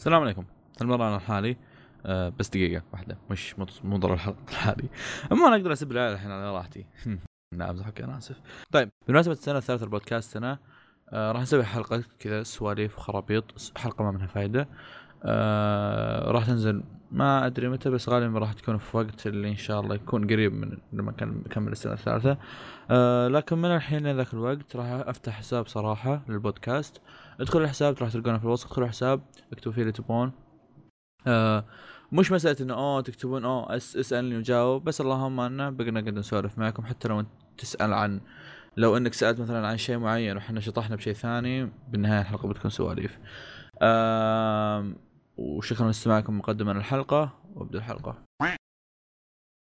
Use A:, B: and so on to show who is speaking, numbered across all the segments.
A: السلام عليكم هالمرة أنا لحالي أه بس دقيقة واحدة مش مط- منظر الحلقة لحالي أما أنا أقدر أسيب العيال الحين على راحتي لا أمزحك أنا آسف طيب بمناسبة السنة الثالثة البودكاست سنة أه راح نسوي حلقة كذا سواليف وخرابيط س- حلقة ما منها فايدة أه راح تنزل ما أدري متى بس غالبا راح تكون في وقت اللي إن شاء الله يكون قريب من لما كان نكمل السنة الثالثة أه لكن من الحين لذاك الوقت راح أفتح حساب صراحة للبودكاست ادخلوا الحساب راح تلقونه في الوصف ادخلوا الحساب اكتبوا فيه اللي تبون آه مش مساله انه اوه تكتبون اوه اس اسالني وجاوب بس اللهم انه بقينا قد نسولف معكم حتى لو انت تسال عن لو انك سالت مثلا عن شيء معين وحنا شطحنا بشيء ثاني بالنهايه الحلقه بتكون سواليف. آه وشكرا لاستماعكم مقدما للحلقه وابدا الحلقه.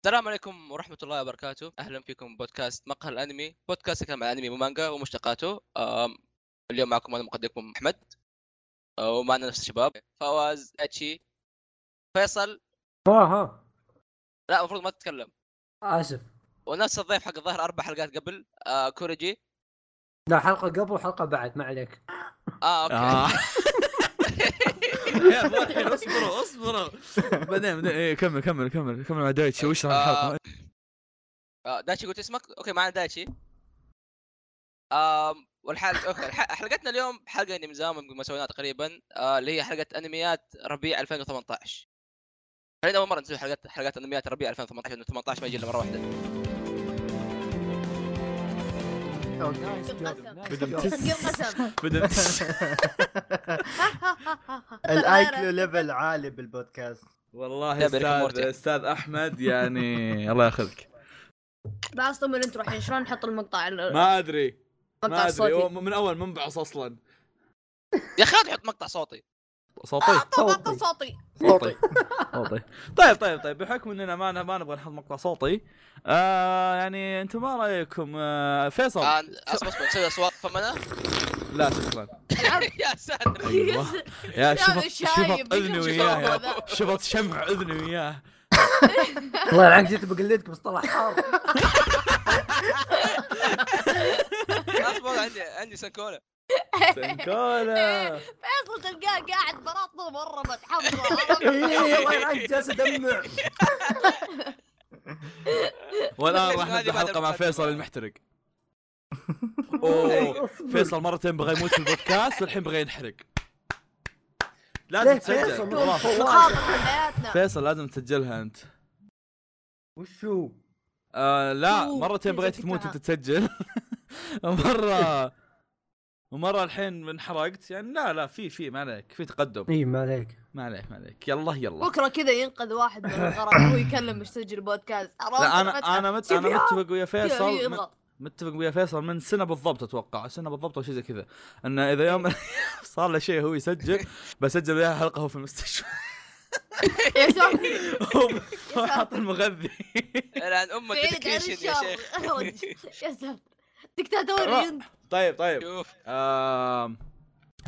B: السلام عليكم ورحمة الله وبركاته، أهلا فيكم بودكاست مقهى الأنمي، بودكاست يتكلم عن الأنمي ومانجا ومشتقاته، أم، اليوم معكم أنا مقدمكم أحمد، أه، ومعنا نفس الشباب، فواز، اتشي، فيصل،
C: ها ها
B: لا المفروض ما تتكلم،
C: اسف
B: ونفس الضيف حق الظاهر أربع حلقات قبل، أه، كوريجي،
C: لا حلقه قبل وحلقه بعد ما عليك
B: آه أوكي،
A: يا أبو الحين اصبروا اصبروا بعدين بعدين إيه، كمل كمل كمل كمل مع دايتشي واشرح الحلقه
B: أه، آه، دايتشي قلت اسمك؟ أوكي معنا دايتشي. أم، والحلقة أوكي، الح- حلقتنا اليوم حلقة نمزام يمكن ما سويناها تقريبا، أه، اللي هي حلقة أنميات ربيع 2018. خلينا اول مره نسوي حلقات حلقات انميات الربيع 2018 لانه 18 ما يجي الا مره واحده
D: انقسم
A: بدنا
E: الايكلو ليفل عالي بالبودكاست
A: والله
B: تابع ريك
A: استاذ
B: ومورتي.
A: استاذ احمد يعني الله ياخذك
D: بعصتهم من الانترو الحين شلون نحط المقطع المقطع
A: ما ادري ما ادري هو
D: الصوتي
A: من اول منبعص اصلا
B: يا اخي لا تحط مقطع صوتي
A: صوتي
D: مقطع آه، صوتي
A: صوتي صوتي طيب طيب طيب بحكم اننا ما ما نبغى نحط مقطع صوتي آه يعني انتم ما رايكم آه فيصل
B: آه، اصبر اصبر نسوي اصوات فمنا
A: لا شكرا
B: يا ساتر
A: أيوة. يا شفط شفط
D: شايب،
A: اذني
D: شفط
A: وياه يا.
D: هذا.
A: شفط شمع اذني وياه
C: الله يلعنك جيت بقلدك بس طلع حار
B: اصبر عندي عندي سنكولا
A: سنكولا
D: فيصل تلقاه إيه، قاعد براطه مره متحمر
C: إيه، الله يلعنك جالس ادمع
A: والان
B: ليش
A: راح
B: هذه
A: نبدا
B: بعد
A: حلقه مع
B: المقدمة؟
A: فيصل المحترق اوه
C: أيوه.
A: فيصل مرتين بغى يموت في البودكاست والحين بغى ينحرق لازم
C: ليه
A: تسجل
C: فيصل؟
A: والله.
D: مخاطر حياتنا
A: فيصل لازم تسجلها انت
C: وشو
A: آه لا
D: أوه،
A: مرتين بغيت
D: تسجل
A: تموت
D: كتاب.
A: انت تسجل مره ومره الحين انحرقت يعني لا لا في في ما عليك في تقدم
C: اي ما عليك
A: ما عليك ما عليك يلا يلا
D: بكره كذا ينقذ واحد من الغرق وهو يكلم مسجل بودكاست عرفت؟
A: لا انا انا مت انا
D: شوف يا-
A: متفق ويا
D: كذا
A: فيصل من-
D: يضغط
A: متفق ويا فيصل من سنه بالضبط اتوقع سنه بالضبط او شيء زي كذا انه اذا يوم صار له شيء هو يسجل بسجل وياه حلقه هو في المستشفى
D: يا ساتر
A: هو هو حاط المغذي
B: لان ام
D: بعيد عن
B: الديديكيشن يا
D: الشر
B: شيخ
D: يا ساتر دكتاتوري انت
A: طيب طيب
B: شوف
A: آم،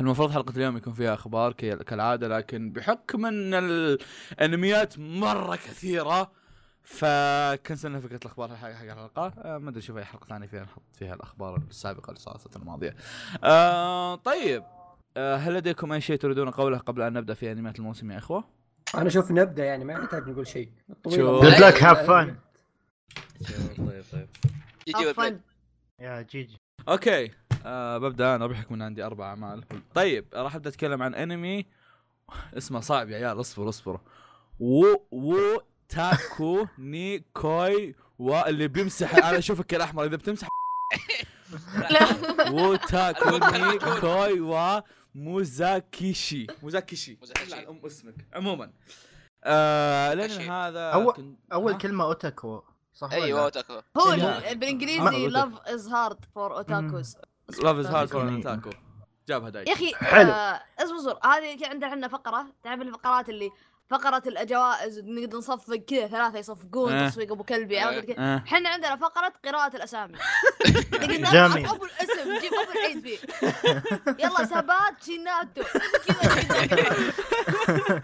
A: المفروض حلقة اليوم يكون فيها أخبار كي- كالعادة لكن بحكم أن الأنميات مرة كثيرة فكنسلنا فكرة الأخبار حق حق الحلقة آه، ما أدري نشوف أي حلقة ثانية فيها نحط فيها الأخبار السابقة اللي صارت السنة الماضية آه، طيب آه، هل لديكم أي شيء تريدون قوله قبل أن نبدأ في أنميات الموسم يا إخوة؟
C: انا اشوف نبدا يعني ما يحتاج نقول شيء
A: شوف.
E: Good luck, have fun.
A: طيب طيب
B: يجيب البريد.
E: يا جيجي
A: اوكي آه ببدا انا بحكم ان عندي اربع اعمال طيب راح ابدا اتكلم عن انمي اسمه صعب يا عيال اصبر اصبر و و تاكو ني كوي و اللي بيمسح انا اشوفك يا الاحمر اذا بتمسح
D: لا
A: و تاكو ني كوي و موزاكيشي موزاكيشي
B: موزاكيشي.
A: لا، أم اسمك عموما آه لان
B: أشي.
A: هذا
E: أول-
A: كنت- ها؟
E: اول كلمه اوتاكو صح
A: أيوة،
E: ولا
B: ايوه
E: لا؟
B: تاكو
D: هو
A: لا.
D: بالانجليزي
A: ما-
D: لاف از هارد فور اوتاكوز
A: Love is hard for an otaku. جابها دايك
D: يا اخي
E: حلو.
D: آه، اصبر اصبر هذه كي عندنا عندنا فقره تعرف الفقرات اللي فقره الجوائز نقدر نصفق كذا ثلاثه يصفقون
A: آه.
D: تصفيق ابو كلبي
B: آه.
D: عرفت كذا
A: آه.
D: احنا عندنا فقره قراءه الاسامي نقدر
E: جميل.
D: نحط ابو الاسم جيب ابو العيد فيه يلا سبات شيناتو كذا كذا.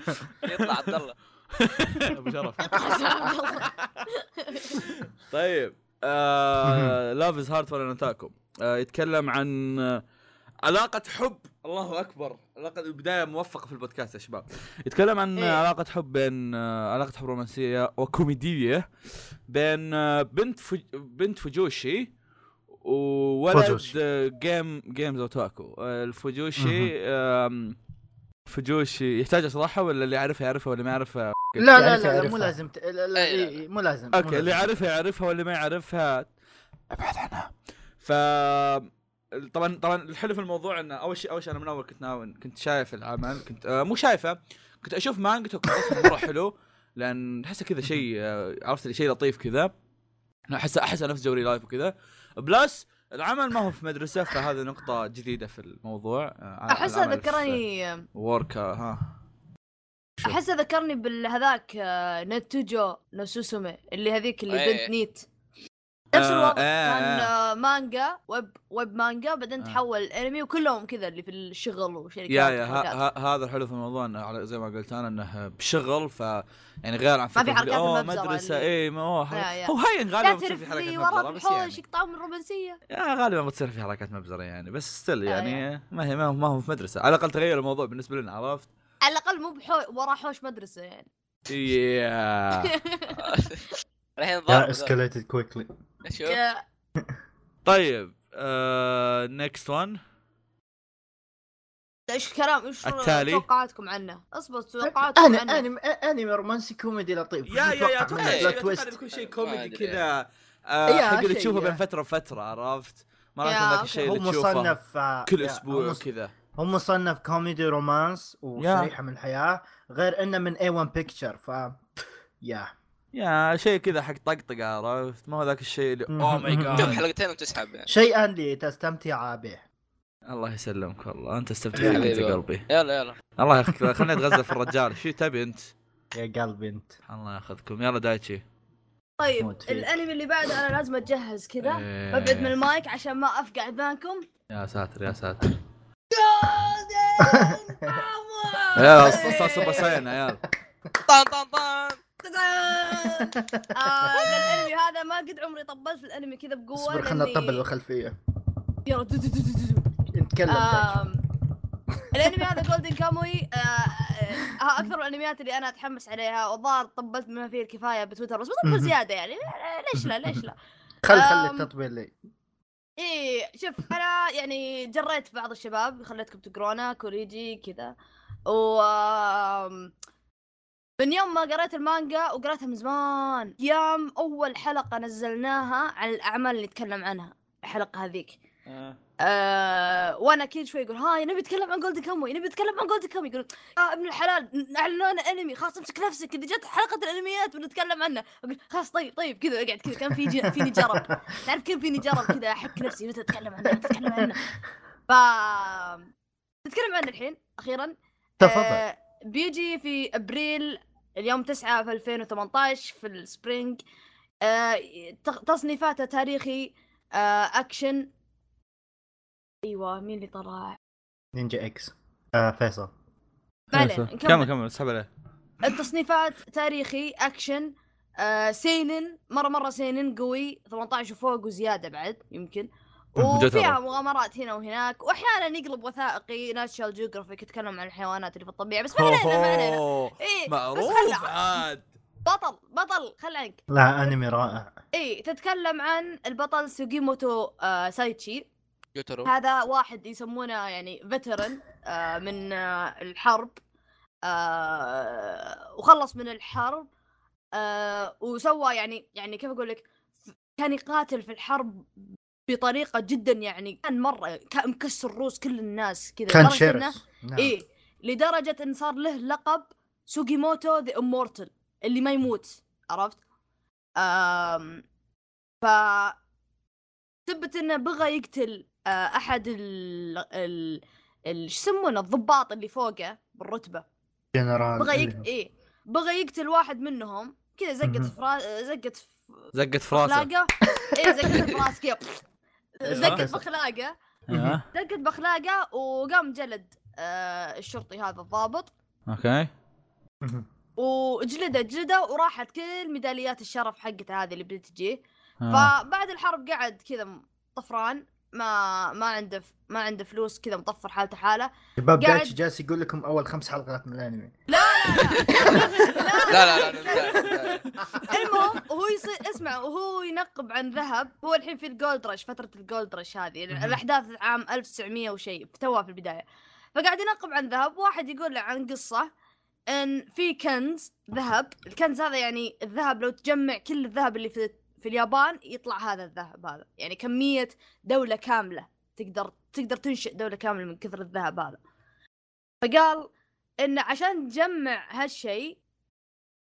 B: يطلع عبد الله
A: ابو شرف
D: يلا.
A: طيب لاف از هارد فور ان اتاكو يتكلم آه، عن آه، علاقة حب الله اكبر علاقة البداية موفقة في البودكاست يا شباب يتكلم عن
D: إيه.
A: علاقة حب بين آه، علاقة حب رومانسية وكوميدية بين آه، بنت فج... بنت فجوشي وولد
E: فجوشي.
A: آه، جيم جيمز اوتاكو آه،
E: مهم.
A: الفجوشي آم، فجوشي يحتاج اشرحها ولا اللي يعرفها يعرفها واللي ما يعرفها
E: لا لا
C: يعرف
E: لا, لا مو
C: يعرفها.
E: لازم ت... لا لا
B: إيه، لا،
E: إيه، إيه، مو لازم يعني مو
A: اوكي أيوة. اللي
E: لازم.
A: يعرفها يعرفها واللي ما يعرفها ابعد عنها ف طبعا طبعا الحلو في الموضوع انه اول شيء اول شيء انا من اول كنت ناوي كنت شايف العمل كنت آه مو شايفه كنت اشوف مانجته كنت أحسه مره حلو لان احسه كذا شيء آه، عرفت اللي شيء لطيف كذا احسه احسه نفس جوري لايف وكذا بلس العمل ما هو في مدرسه فهذه نقطه جديده في الموضوع آه،
D: احسها ذكرني
A: وركا آه، ها شوف.
D: احسها ذكرني بالهذاك آه، نتوجو نوسوسومي اللي هذيك اللي
B: إيه.
D: بنت نيت نفس
A: آه،
D: الوضع
A: آه،
D: كان
A: آه.
D: آه، مانجا ويب ويب مانجا بعدين
A: آه.
D: تحول انمي وكلهم كذا اللي في الشغل وشركات
A: يا يا ها-
D: وحركات.
A: ها- هذا الحلو في الموضوع انه على- زي ما قلت انا انه بشغل ف يعني غير عن
D: ما في
A: فكرة
D: حركات
A: أوه،
D: المبزرة
A: مدرسه
D: اللي-
A: اي إيه، ما هو حر-
D: يا- يا.
A: هو هاي
D: لا
A: غالبا بتصير في
D: تعرف
A: حركات
D: لي
A: مبزره
D: ورا
A: بس
D: الحوش
A: يعني
D: يقطعون من الرومانسيه
A: يا غالبا بتصير في حركات مبزره يعني بس ستيل
D: يا-
A: يعني ما هي ما هو- ما هو في مدرسه على الاقل تغير الموضوع بالنسبه لنا عرفت؟
D: على الاقل مو بحو... ورا حوش مدرسه يعني
A: يا
B: الحين
E: يا
B: ضارب ذا.
E: اسكليتد كويكلي
B: شوف
D: يا-
A: طيب آه، نكست وان
D: ايش كلام ايش
A: التالي.
D: توقعاتكم عنه؟ اصبر توقعاتكم
E: انا
D: عنه
E: انمي انمي رومانسي كوميدي لطيف
A: يا أيوة، يا يا اتوقع
B: منه
A: يا-
E: بلوت
A: أتوقع إنه
E: تويست
A: بيكون شيء
B: ما
A: كوميدي
B: أدري.
A: كذا
E: يا
A: آه، حق اللي
E: شيء
A: تشوفه
E: يا.
A: بين فتره وفتره عرفت؟ ما راح
D: يا،
A: يكون ذاك
D: أوكي.
A: الشيء
E: هو
A: اللي تشوفه
E: مصنف آه،
A: كل
E: يا، هو
A: اسبوع
E: مص-
A: كذا
E: هو مصنف كوميدي رومانس وشريحه من الحياه غير انه من اي 1 بيكتشر ف يا
A: يا شيء كذا حق طقطقه عرفت ما هو ذاك الشيء اللي Oh
E: مهم.
A: اوه ماي
B: شوف
A: جاد
B: حلقتين وتسحب يعني
E: شيئا لتستمتع به
A: الله يسلمك والله انت استمتع
B: حبيبي.
A: انت قلبي
B: يلا يلا
A: الله ياخذك خليني اتغزل في الرجال شو تبي انت؟
E: يا قلبي انت
A: الله ياخذكم يلا دايتشي
D: طيب
E: موت فيك.
D: الانمي اللي بعده انا لازم اتجهز كذا
A: إيه.
D: ببعد من المايك عشان ما افقع ذانكم
A: يا ساتر يا ساتر
D: Golden Power!
A: يا صار سوبر ساين عيال
B: طن طن طن
D: تدان! آه، الانمي هذا ما قد عمري طبلت الانمي كذا بقوه
E: اصبر خلنا
D: لأني-
E: نطبل الخلفيه
D: يلا، دو- دو- دو- دو- دو.
E: نتكلم دايتشي.
D: آم، الانمي هذا جولدن كاموي آه، آه، آه، اكثر الانميات اللي انا اتحمس عليها والظاهر طبلت بما فيه الكفايه بتويتر بس بطبل
E: مهم.
D: زياده يعني ليش لا ليش لا
E: خل خلي
D: آم.
E: التطبيل لي
D: ايه شوف انا يعني جريت بعض الشباب خليتكم تقرونه كوريجي كذا و آم، من يوم ما قريت المانجا وقريتها من زمان يوم اول حلقه نزلناها عن الاعمال اللي نتكلم عنها الحلقه هذيك آه وانا كل شوي يقول هاي نبي نتكلم عن جولد كاموي نبي نتكلم عن جولد كاموي يقول آه ابن الحلال اعلنونا انمي خلاص امسك نفسك اللي جت حلقه الانميات بنتكلم عنه اقول خلاص طيب طيب كذا اقعد كذا كان في جي- فيني جرب تعرف كيف فيني جرب كذا احك نفسي متى اتكلم عنه متى اتكلم عنه ف نتكلم عنه الحين اخيرا
E: تفضل
D: آه، بيجي في ابريل اليوم 9 في 2018 في السبرينج آه، تق- تصنيفاته تاريخي آه، اكشن ايوه مين اللي طلع؟
E: نينجا اكس آه فيصل
D: ما علينا، نكمل.
A: كمل كمل اسحب عليه
D: التصنيفات تاريخي اكشن آه، سينن مره مره سينن قوي 18 وفوق وزياده بعد يمكن وفيها
A: جترة.
D: مغامرات هنا وهناك واحيانا يقلب وثائقي ناشونال جيوغرافيك يتكلم عن الحيوانات اللي في الطبيعه بس ما علينا ما علينا
A: هوهو.
D: إيه، بس
A: معروف آه.
D: خلع.
A: عاد
D: بطل بطل خل عنك
E: لا انمي رائع
D: اي تتكلم عن البطل سوجيموتو آه سايتشي
B: يوترو
D: هذا واحد يسمونه يعني فترن آه من آه الحرب آه وخلص من الحرب آه وسوى يعني يعني كيف اقول لك كان يقاتل في الحرب بطريقه جدا يعني كان مره كان مكسر روس كل الناس كذا
E: كان
D: لدرجة إنه-
E: شرس نعم.
D: ايه لدرجه ان صار له لقب سوجيموتو ذا امورتل اللي ما يموت عرفت؟ أم ف ثبت انه بغى يقتل آه، احد ال ال ال- شو يسمونه الضباط اللي فوقه بالرتبه
E: جنرال
D: بغى يق...
E: إيه.
D: ايه بغى يقتل واحد منهم كذا زقت
E: مهم.
D: فرا... زقت ف-
A: زقت في راسه
D: اخلاقه ايه زقت في راسه كذا
E: إيه.
D: زقت
E: كسر.
D: بخلاقه
A: أيوة.
D: دقت بخلاقه وقام جلد آه، الشرطي هذا الضابط
A: اوكي
E: مهم.
D: وجلده جلده وراحت كل ميداليات الشرف حقته هذه اللي بتجيه
A: آه.
D: فبعد الحرب قعد كذا م- طفران ما ما عنده ف- ما عنده فلوس كذا مطفر حالته حاله
E: شباب
D: قاعد-
E: دايتش جالس يقول لكم اول خمس حلقات من الانمي
B: لا لا لا لا لا
D: المهم وهو يصير اسمع وهو ينقب عن ذهب هو الحين في الجولد رش فتره الجولد رش هذه
E: مهم.
D: الاحداث عام 1900 وشيء توها في البدايه فقاعد ينقب عن ذهب واحد يقول له عن قصه ان في كنز ذهب الكنز هذا يعني الذهب لو تجمع كل الذهب اللي في في اليابان يطلع هذا الذهب هذا يعني كميه دوله كامله تقدر تقدر تنشئ دوله كامله من كثر الذهب هذا فقال ان عشان تجمع هالشيء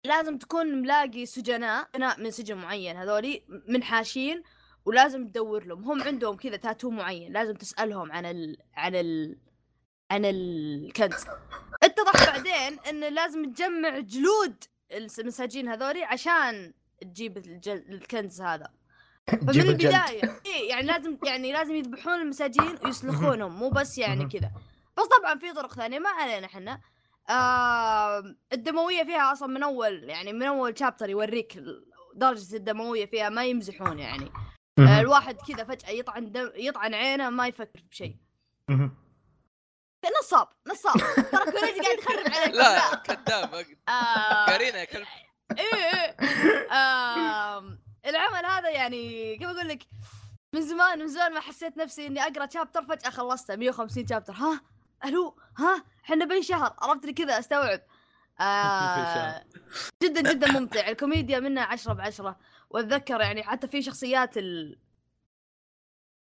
D: لازم تكون ملاقي سجناء سجناء من سجن معين هذولي منحاشين ولازم تدور لهم هم عندهم كذا تاتو معين لازم تسالهم عن ال... عن ال... عن الكنز اتضح بعدين ان لازم تجمع جلود المساجين هذولي عشان تجيب الجل... الكنز هذا فمن
E: جيب الجلد.
D: البدايه إيه يعني لازم يعني لازم يذبحون المساجين ويسلخونهم مو بس يعني
E: مهم.
D: كذا بس طبعا في طرق ثانيه ما علينا احنا آه الدمويه فيها اصلا من اول يعني من اول شابتر يوريك ال- درجه الدمويه فيها ما يمزحون يعني آه
E: مهم.
D: الواحد كذا فجاه يطعن دم يطعن عينه ما يفكر بشيء
E: مهم.
D: نصاب نصاب ترى كوريجي قاعد يخرب عليك
B: لا كذاب
D: آه
B: قارينا يا كلب
D: ايه إيه. آم، العمل هذا يعني كيف اقول لك من زمان من زمان ما حسيت نفسي اني اقرا شابتر فجاه خلصته 150 شابتر ها الو ها احنا بين شهر عرفت لي كذا استوعب آه جدا جدا ممتع الكوميديا منها عشرة بعشرة واتذكر يعني حتى في شخصيات ال...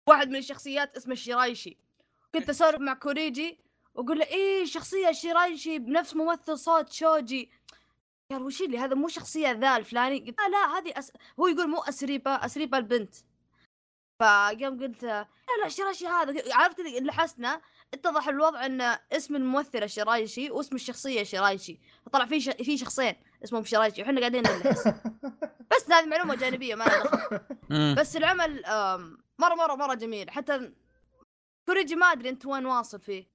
D: واحد من الشخصيات اسمه شيرايشي كنت اسولف مع كوريجي واقول له ايه شخصيه شيرايشي بنفس ممثل صوت شوجي قال وش اللي هذا مو شخصيه ذا الفلاني قلت لا لا هذه أس... هو يقول مو اسريبه اسريبه البنت فقام قلت لا لا شيرايشي هذا عرفت اللي لحسنا اتضح الوضع ان اسم الممثله شيرايشي واسم الشخصيه شيرايشي فطلع في ش... في شخصين اسمهم شيرايشي وحنا قاعدين نلحس بس هذه معلومه جانبيه ما لها دخل.
A: مم.
D: بس العمل آم، مره مره مره جميل حتى كوريجي ما ادري انت وين واصل فيه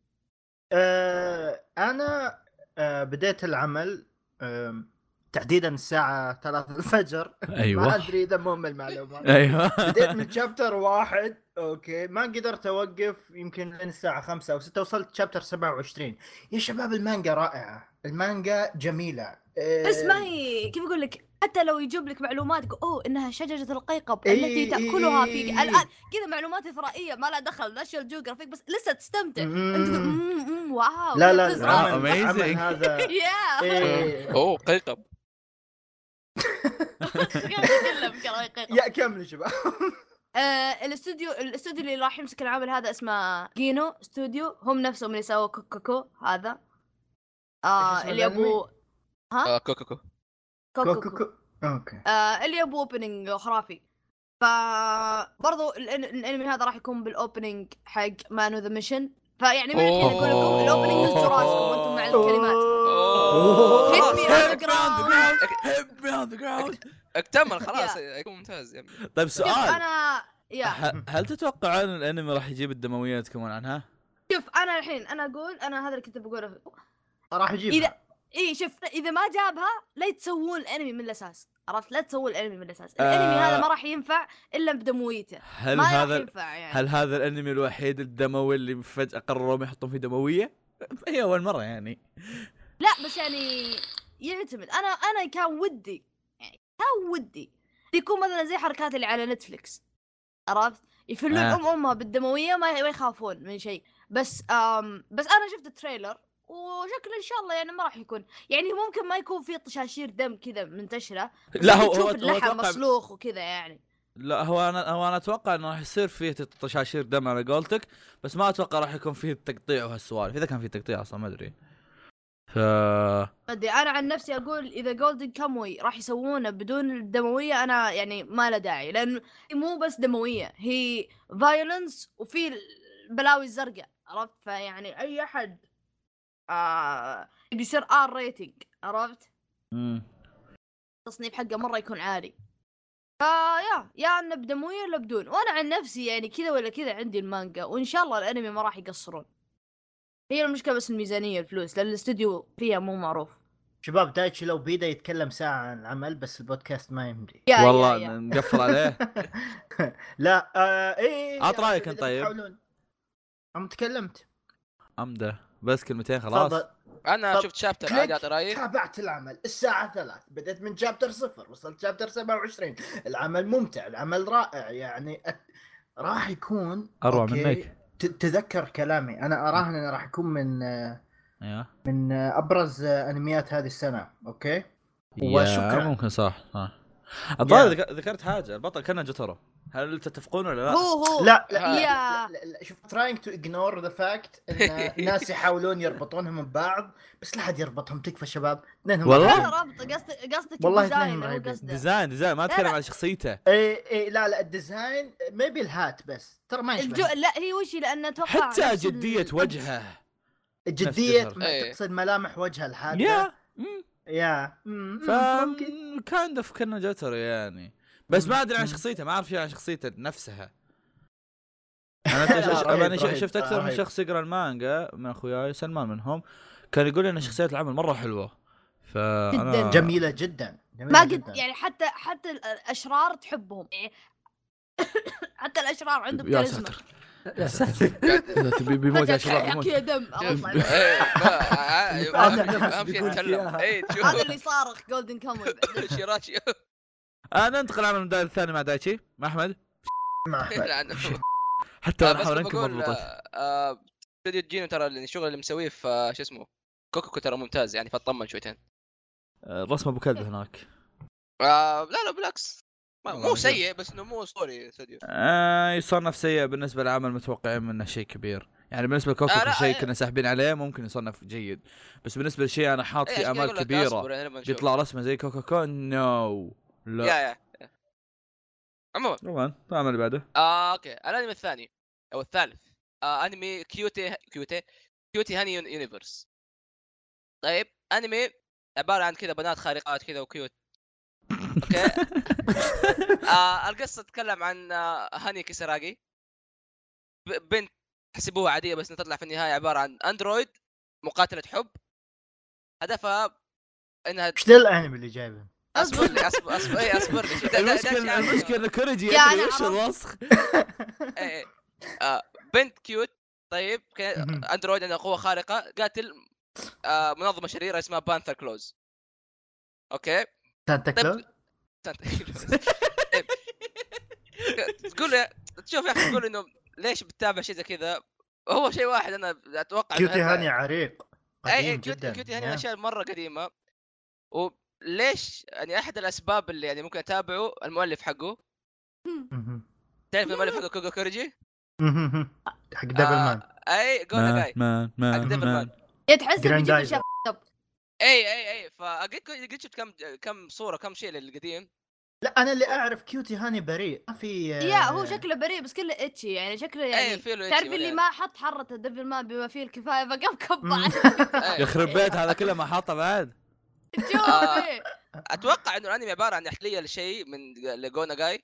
E: آه، انا آه، بديت العمل آم، تحديدا الساعة 3 الفجر ما
A: ايوه
E: ادري اذا مهم المعلومة
A: ايوه
E: بديت من شابتر واحد اوكي ما قدرت اوقف يمكن لين الساعة 5 او 6 وصلت شابتر 27 يا شباب المانجا رائعة المانجا جميلة آه،
D: بس ما هي كيف اقول لك حتى لو يجيب لك معلومات يقول اوه انها شجره القيقب
E: إي
D: التي
E: إي
D: تاكلها
E: إي
D: في
E: إي إي.
D: الان كذا معلومات اثرائيه ما لها دخل لا شيء الجوغرافيك بس لسه تستمتع انت تقول
E: مم.
D: "مم، مم، واو
E: لا لا
D: تزعل.
A: آه،
E: العمل العمل
A: amazing.
E: هذا
D: يا
E: إيه.
B: اوه قيقب
D: قاعد اتكلم كراي قيقب
E: يا كمل شباب
D: آه، الاستوديو الاستوديو اللي راح يمسك العمل هذا اسمه جينو استوديو هم نفسهم اللي سووا كوكوكو هذا
E: إيش
D: آه
E: اسم
D: اللي
E: الأنمي؟
D: ابو
B: آه، كوكوكو
E: كو- كو-
D: كوكوكو
E: كو. اوكي
D: آه اللي ابو اوبننج خرافي ف برضو الان- الانمي هذا راح يكون بالاوبننج حق مان ذا ميشن فيعني من الحين اقول لكم الاوبننج هز راسكم وانتم مع الكلمات
B: أوه.
D: Hit me on the ground.
A: Hit me on the ground.
B: اكتمل خلاص يكون ممتاز يعني
A: طيب
D: شوف
A: سؤال
D: انا يا
A: ه- هل تتوقعون الانمي راح يجيب الدمويه تكمون عنها؟
D: شوف انا الحين انا اقول انا هذا اللي كنت بقوله
E: راح اجيب
D: إذا- اي شوف اذا ما جابها لا تسوون الانمي من الاساس عرفت لا تسوون الانمي من الاساس الانمي
A: آه.
D: هذا ما راح ينفع الا بدمويته
A: هل
D: ما راح
A: هذا
D: ينفع يعني
A: هل هذا الانمي الوحيد الدموي اللي فجاه قرروا ما يحطون فيه دمويه؟ هي اول مره يعني
D: لا بس يعني يعتمد انا انا كان ودي يعني كان ودي يكون مثلا زي حركات اللي على نتفلكس عرفت يفلون
A: آه.
D: ام امها بالدمويه ما ما يخافون من شيء بس آم بس انا شفت التريلر وشكله ان شاء الله يعني ما راح يكون يعني ممكن ما يكون في طشاشير دم كذا منتشره بس
A: لا هو
D: تشوف
A: هو هو
D: اللحم
A: اتوقع
D: مصلوخ وكذا يعني
A: لا هو انا هو انا اتوقع انه راح يصير فيه تشاشير دم على قولتك بس ما اتوقع راح يكون فيه تقطيع وهالسوالف اذا كان فيه تقطيع اصلا ما ادري ف
D: ما ادري انا إيه؟ عن نفسي اقول اذا جولدن كاموي راح يسوونه بدون الدمويه انا يعني ما له داعي لان مو بس دمويه هي فايولنس وفي البلاوي الزرقاء عرفت فيعني اي احد آه بيصير ار ريتنج عرفت
A: مم.
D: التصنيف حقه مره يكون عالي فيا يا انه بدمويه ولا بدون وانا عن نفسي يعني كذا ولا كذا عندي المانجا وان شاء الله الانمي ما راح يقصرون هي المشكله بس الميزانيه الفلوس لان الاستوديو فيها مو معروف
E: شباب دايتشي لو بيده يتكلم ساعه عن العمل بس البودكاست ما يمدي
D: يا- يا-
A: والله
D: يا.
A: نقفل عليه
E: لا آه اي
A: عط رأيك أنت طيب.
E: عم تكلمت
A: عمده بس كلمتين خلاص
E: تفضل.
B: انا
E: طب،
B: شفت شابتر
E: كليك.
B: عادي اعطي رايي
E: تابعت العمل الساعة ثلاث بدأت من شابتر صفر وصلت شابتر 27 العمل ممتع العمل رائع يعني أت... راح يكون
A: اروع
E: أوكي،
A: منك
E: ت- تذكر كلامي أنا أراهن أنه راح يكون من آه،
A: يا
E: من آه، أبرز آه، أنميات هذه السنة أوكي
A: يا
E: وشكراً.
A: ممكن صح ها الظاهر ذك- ذكرت حاجه البطل كان جوترو هل تتفقون ولا لا؟
D: هو هو
E: لا لا,
B: آه.
E: لا,
D: يا.
E: لا, لا, لا شوف تراينج تو اجنور ذا فاكت ان الناس يحاولون يربطونهم من بعض بس لا احد يربطهم تكفى شباب لانهم
A: والله؟
D: لا ربط قصدك قصدك
E: والله
D: الديزاين
E: اثنين
D: هو
E: رهيبين.
D: قصده
A: ديزاين ديزاين ما
D: لا،
A: اتكلم
D: لا.
A: عن شخصيته
E: اي اي إيه، لا لا الديزاين ميبي الهات بس ترى ما
D: الجو...
E: يشبه
D: لا هي وش هي؟ لان اتوقع
A: حتى
D: نفس ال-
A: جديه وجهه
E: جدية
A: نفس
B: الجدار.
E: تقصد ملامح وجه الهات
A: يا مم.
E: يا مم،
A: ف
E: ممكن
A: كان دف كنا جوترو يعني بس ما ادري عن
E: مم.
A: شخصيته ما اعرف شيء عن شخصيته نفسها انا ش-
E: رهيب،
A: انا ش-
E: رهيب،
A: شفت اكثر من
E: رهيب.
A: شخص يقرا المانجا من اخوياي سلمان منهم كان يقول لي ان شخصيات العمل مره حلوه فانا
D: جداً.
E: جميلة جدا جميلة
D: ما قد
E: جداً.
D: يعني حتى حتى ال- الاشرار تحبهم يعني حتى الاشرار عندهم
A: يا
D: كاريزما.
A: ساتر
C: يا ساتر
A: يا ساتر، بي- بيموت يا شباب
D: يا
A: بيموت
D: أخي يا دم
B: إيه،
D: الله يطلع
B: ما- ما-
C: اللي فاتح نفس
B: ما في
C: بيقول
B: يتكلم إيه،
C: فيها.
B: اي
D: هذا
B: تشوف
D: اللي صارخ جولدن كامل
B: شيراتشي
A: آه ننتقل على المدار الثاني مع دايتشي مع احمد
E: مع أحمد.
B: لعنه
A: حتى
B: آه،
A: انا
B: بس
A: احاول انكب
B: بقول
A: مضبوطات
B: آه، آه، استوديو جينو ترى الشغل اللي مسويه في آه، شو اسمه كوكوكو ترى ممتاز يعني فاطمن شويتين
A: آه، رسم ابو كلب هناك
B: آه، لا لا بالعكس ما-
A: والله
B: مو
A: ممتاز.
B: سيء بس انه مو اسطوري استوديو
A: آه يصنف سيء بالنسبه للعمل متوقعين منه شيء كبير يعني بالنسبه لكوكو
B: آه، لا،
A: شيء
B: آه.
A: كنا ساحبين عليه ممكن يصنف جيد بس بالنسبه لشيء انا حاط
B: إيه،
A: فيه
B: عشان
A: امال
B: كذا أقول لك
A: كبيره
B: أصبر، يعني لما نشوف.
A: يطلع رسمه زي كوكو كو نو
B: يا
A: لا
B: يا يا. عموما
A: طبعا العمل اللي بعده
B: آه اوكي الانمي الثاني او الثالث آه انمي كيوتي كيوتي كيوتي هاني يون- يونيفرس طيب انمي عباره عن كذا بنات خارقات كذا وكيوت اوكي آه القصه تتكلم عن آه هاني كيسراجي ب- بنت تحسبوها عاديه بس إنها تطلع في النهايه عباره عن اندرويد مقاتله حب هدفها انها
E: ايش ذا الانمي اللي جايبه؟
B: اصبر لي اصبر اصبر إيه، اصبر لي ده- ده- ده شيء
A: المشكله
B: عام.
A: المشكله ان كوريجي
D: يا
A: يدري
D: أنا
A: وش
D: عرفت.
A: الوسخ
B: إيه، إيه. آه، بنت كيوت طيب كان-
E: مهم.
B: اندرويد عنده قوه خارقه قاتل آه، منظمه شريره اسمها بانثر كلوز اوكي
E: سانتا
B: طيب،
E: كلوز؟
B: سانتا كلوز. طيب. تقول له- تشوف يا اخي تقول انه ليش بتتابع شيء زي كذا هو شيء واحد انا اتوقع إنه
E: كيوتي
B: هذا-
E: هاني عريق
B: أي- أي
E: قديم
B: إيه، كيوتي-
E: جدا
B: كيوتي هاني
E: يا.
B: من الاشياء مره قديمه وليش يعني احد الاسباب اللي يعني ممكن اتابعه المؤلف حقه
E: مهم.
B: تعرف المؤلف حقه كوكو كوريجي
E: مهم. حق دبل
B: آه،
E: مان
B: اي جونا
A: مان
B: جاي
A: مان
B: حق
A: مان
B: ديفل
A: مان.
B: مان
D: يا يعني تحس انه
E: Grand
D: جدا
E: Diver.
D: شاف
B: اي اي اي فقلت إيه، قلت شفت كم كم صوره كم شيء للقديم
E: لا انا اللي اعرف كيوتي هاني بريء ما في آه،
D: يا هو شكله بريء بس كله اتشي يعني شكله
B: اي
D: يعني
B: إيه، في إيه. له
D: تعرف اللي ما حط حرة الدبل مان بما فيه الكفاية فقام كب
E: مم.
D: عليه
B: إيه؟
A: يخرب بيت هذا كله ما حاطه بعد
D: شوف
B: آه.
D: إيه.
B: اتوقع انه الانمي عباره عن احليه لشيء من لجونا جاي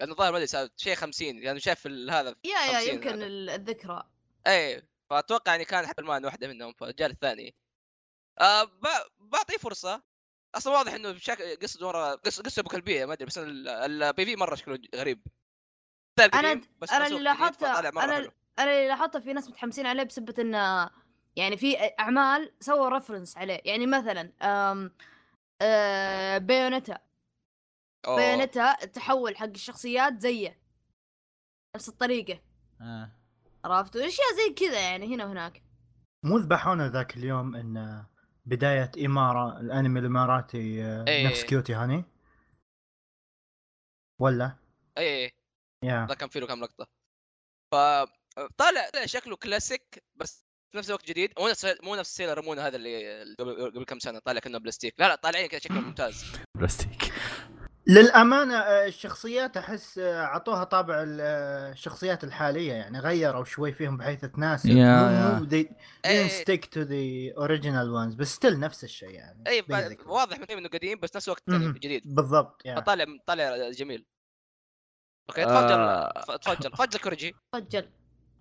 B: لانه ظاهر ما ادري صار شيء 50 يعني شاف ال- هذا
D: يا يا
B: 50
D: يمكن
B: هذا.
D: ال- الذكرى
B: اي فاتوقع يعني كان حتى المان واحده منهم فجاء الثاني آه ب- بعطيه فرصه اصلا واضح انه بشكل قصه ورا قصه قصه ابو كلبيه ما ادري بس البي في مره شكله غريب ستايل
D: أنا-
B: قديم، بس
D: أنا
B: مسوق
D: اللي
B: جديد،
D: لاحظته-
B: فطالع مرة
D: أنا-
B: حلو.
D: انا اللي لاحظته في ناس متحمسين عليه بسبب انه يعني في اعمال سووا رفرنس عليه يعني مثلا أم أه بيونتا
B: أوه.
D: بيونتا التحول حق الشخصيات زيه نفس الطريقه
A: آه.
D: عرفتوا اشياء زي كذا يعني هنا وهناك
E: مو ذبحونا ذاك اليوم آه، ان بدايه اماره الانمي الاماراتي آه،
B: إيه.
E: نفس كيوتي هاني ولا
B: اي
E: يا
B: ذا كان فيه له كم لقطه ف طالع طالع شكله كلاسيك بس في نفس الوقت جديد مو نفس مو نفس سيلر مون هذا اللي اللي قبل قبل كم سنه طالع كانه بلاستيك لا لا طالعين كذا شكله ممتاز
A: بلاستيك
E: للامانه آه، الشخصيات احس آه، اعطوها طابع ال- آه، الشخصيات الحاليه يعني غيروا شوي فيهم بحيث تناسب
A: يا-
E: مو
A: يا.
E: مو they
B: إيه.
E: didn't stick to the original ones بس still نفس الشيء يعني
B: اي ب-
E: basically.
B: إيه، واضح من انه قديم بس نفس الوقت يعني
E: مهم.
B: جديد
E: بالضبط يعني. يا
B: فطالع طالع جميل اوكي تفضل
A: آه.
B: ف- تفضل تفضل كورجي
D: رجل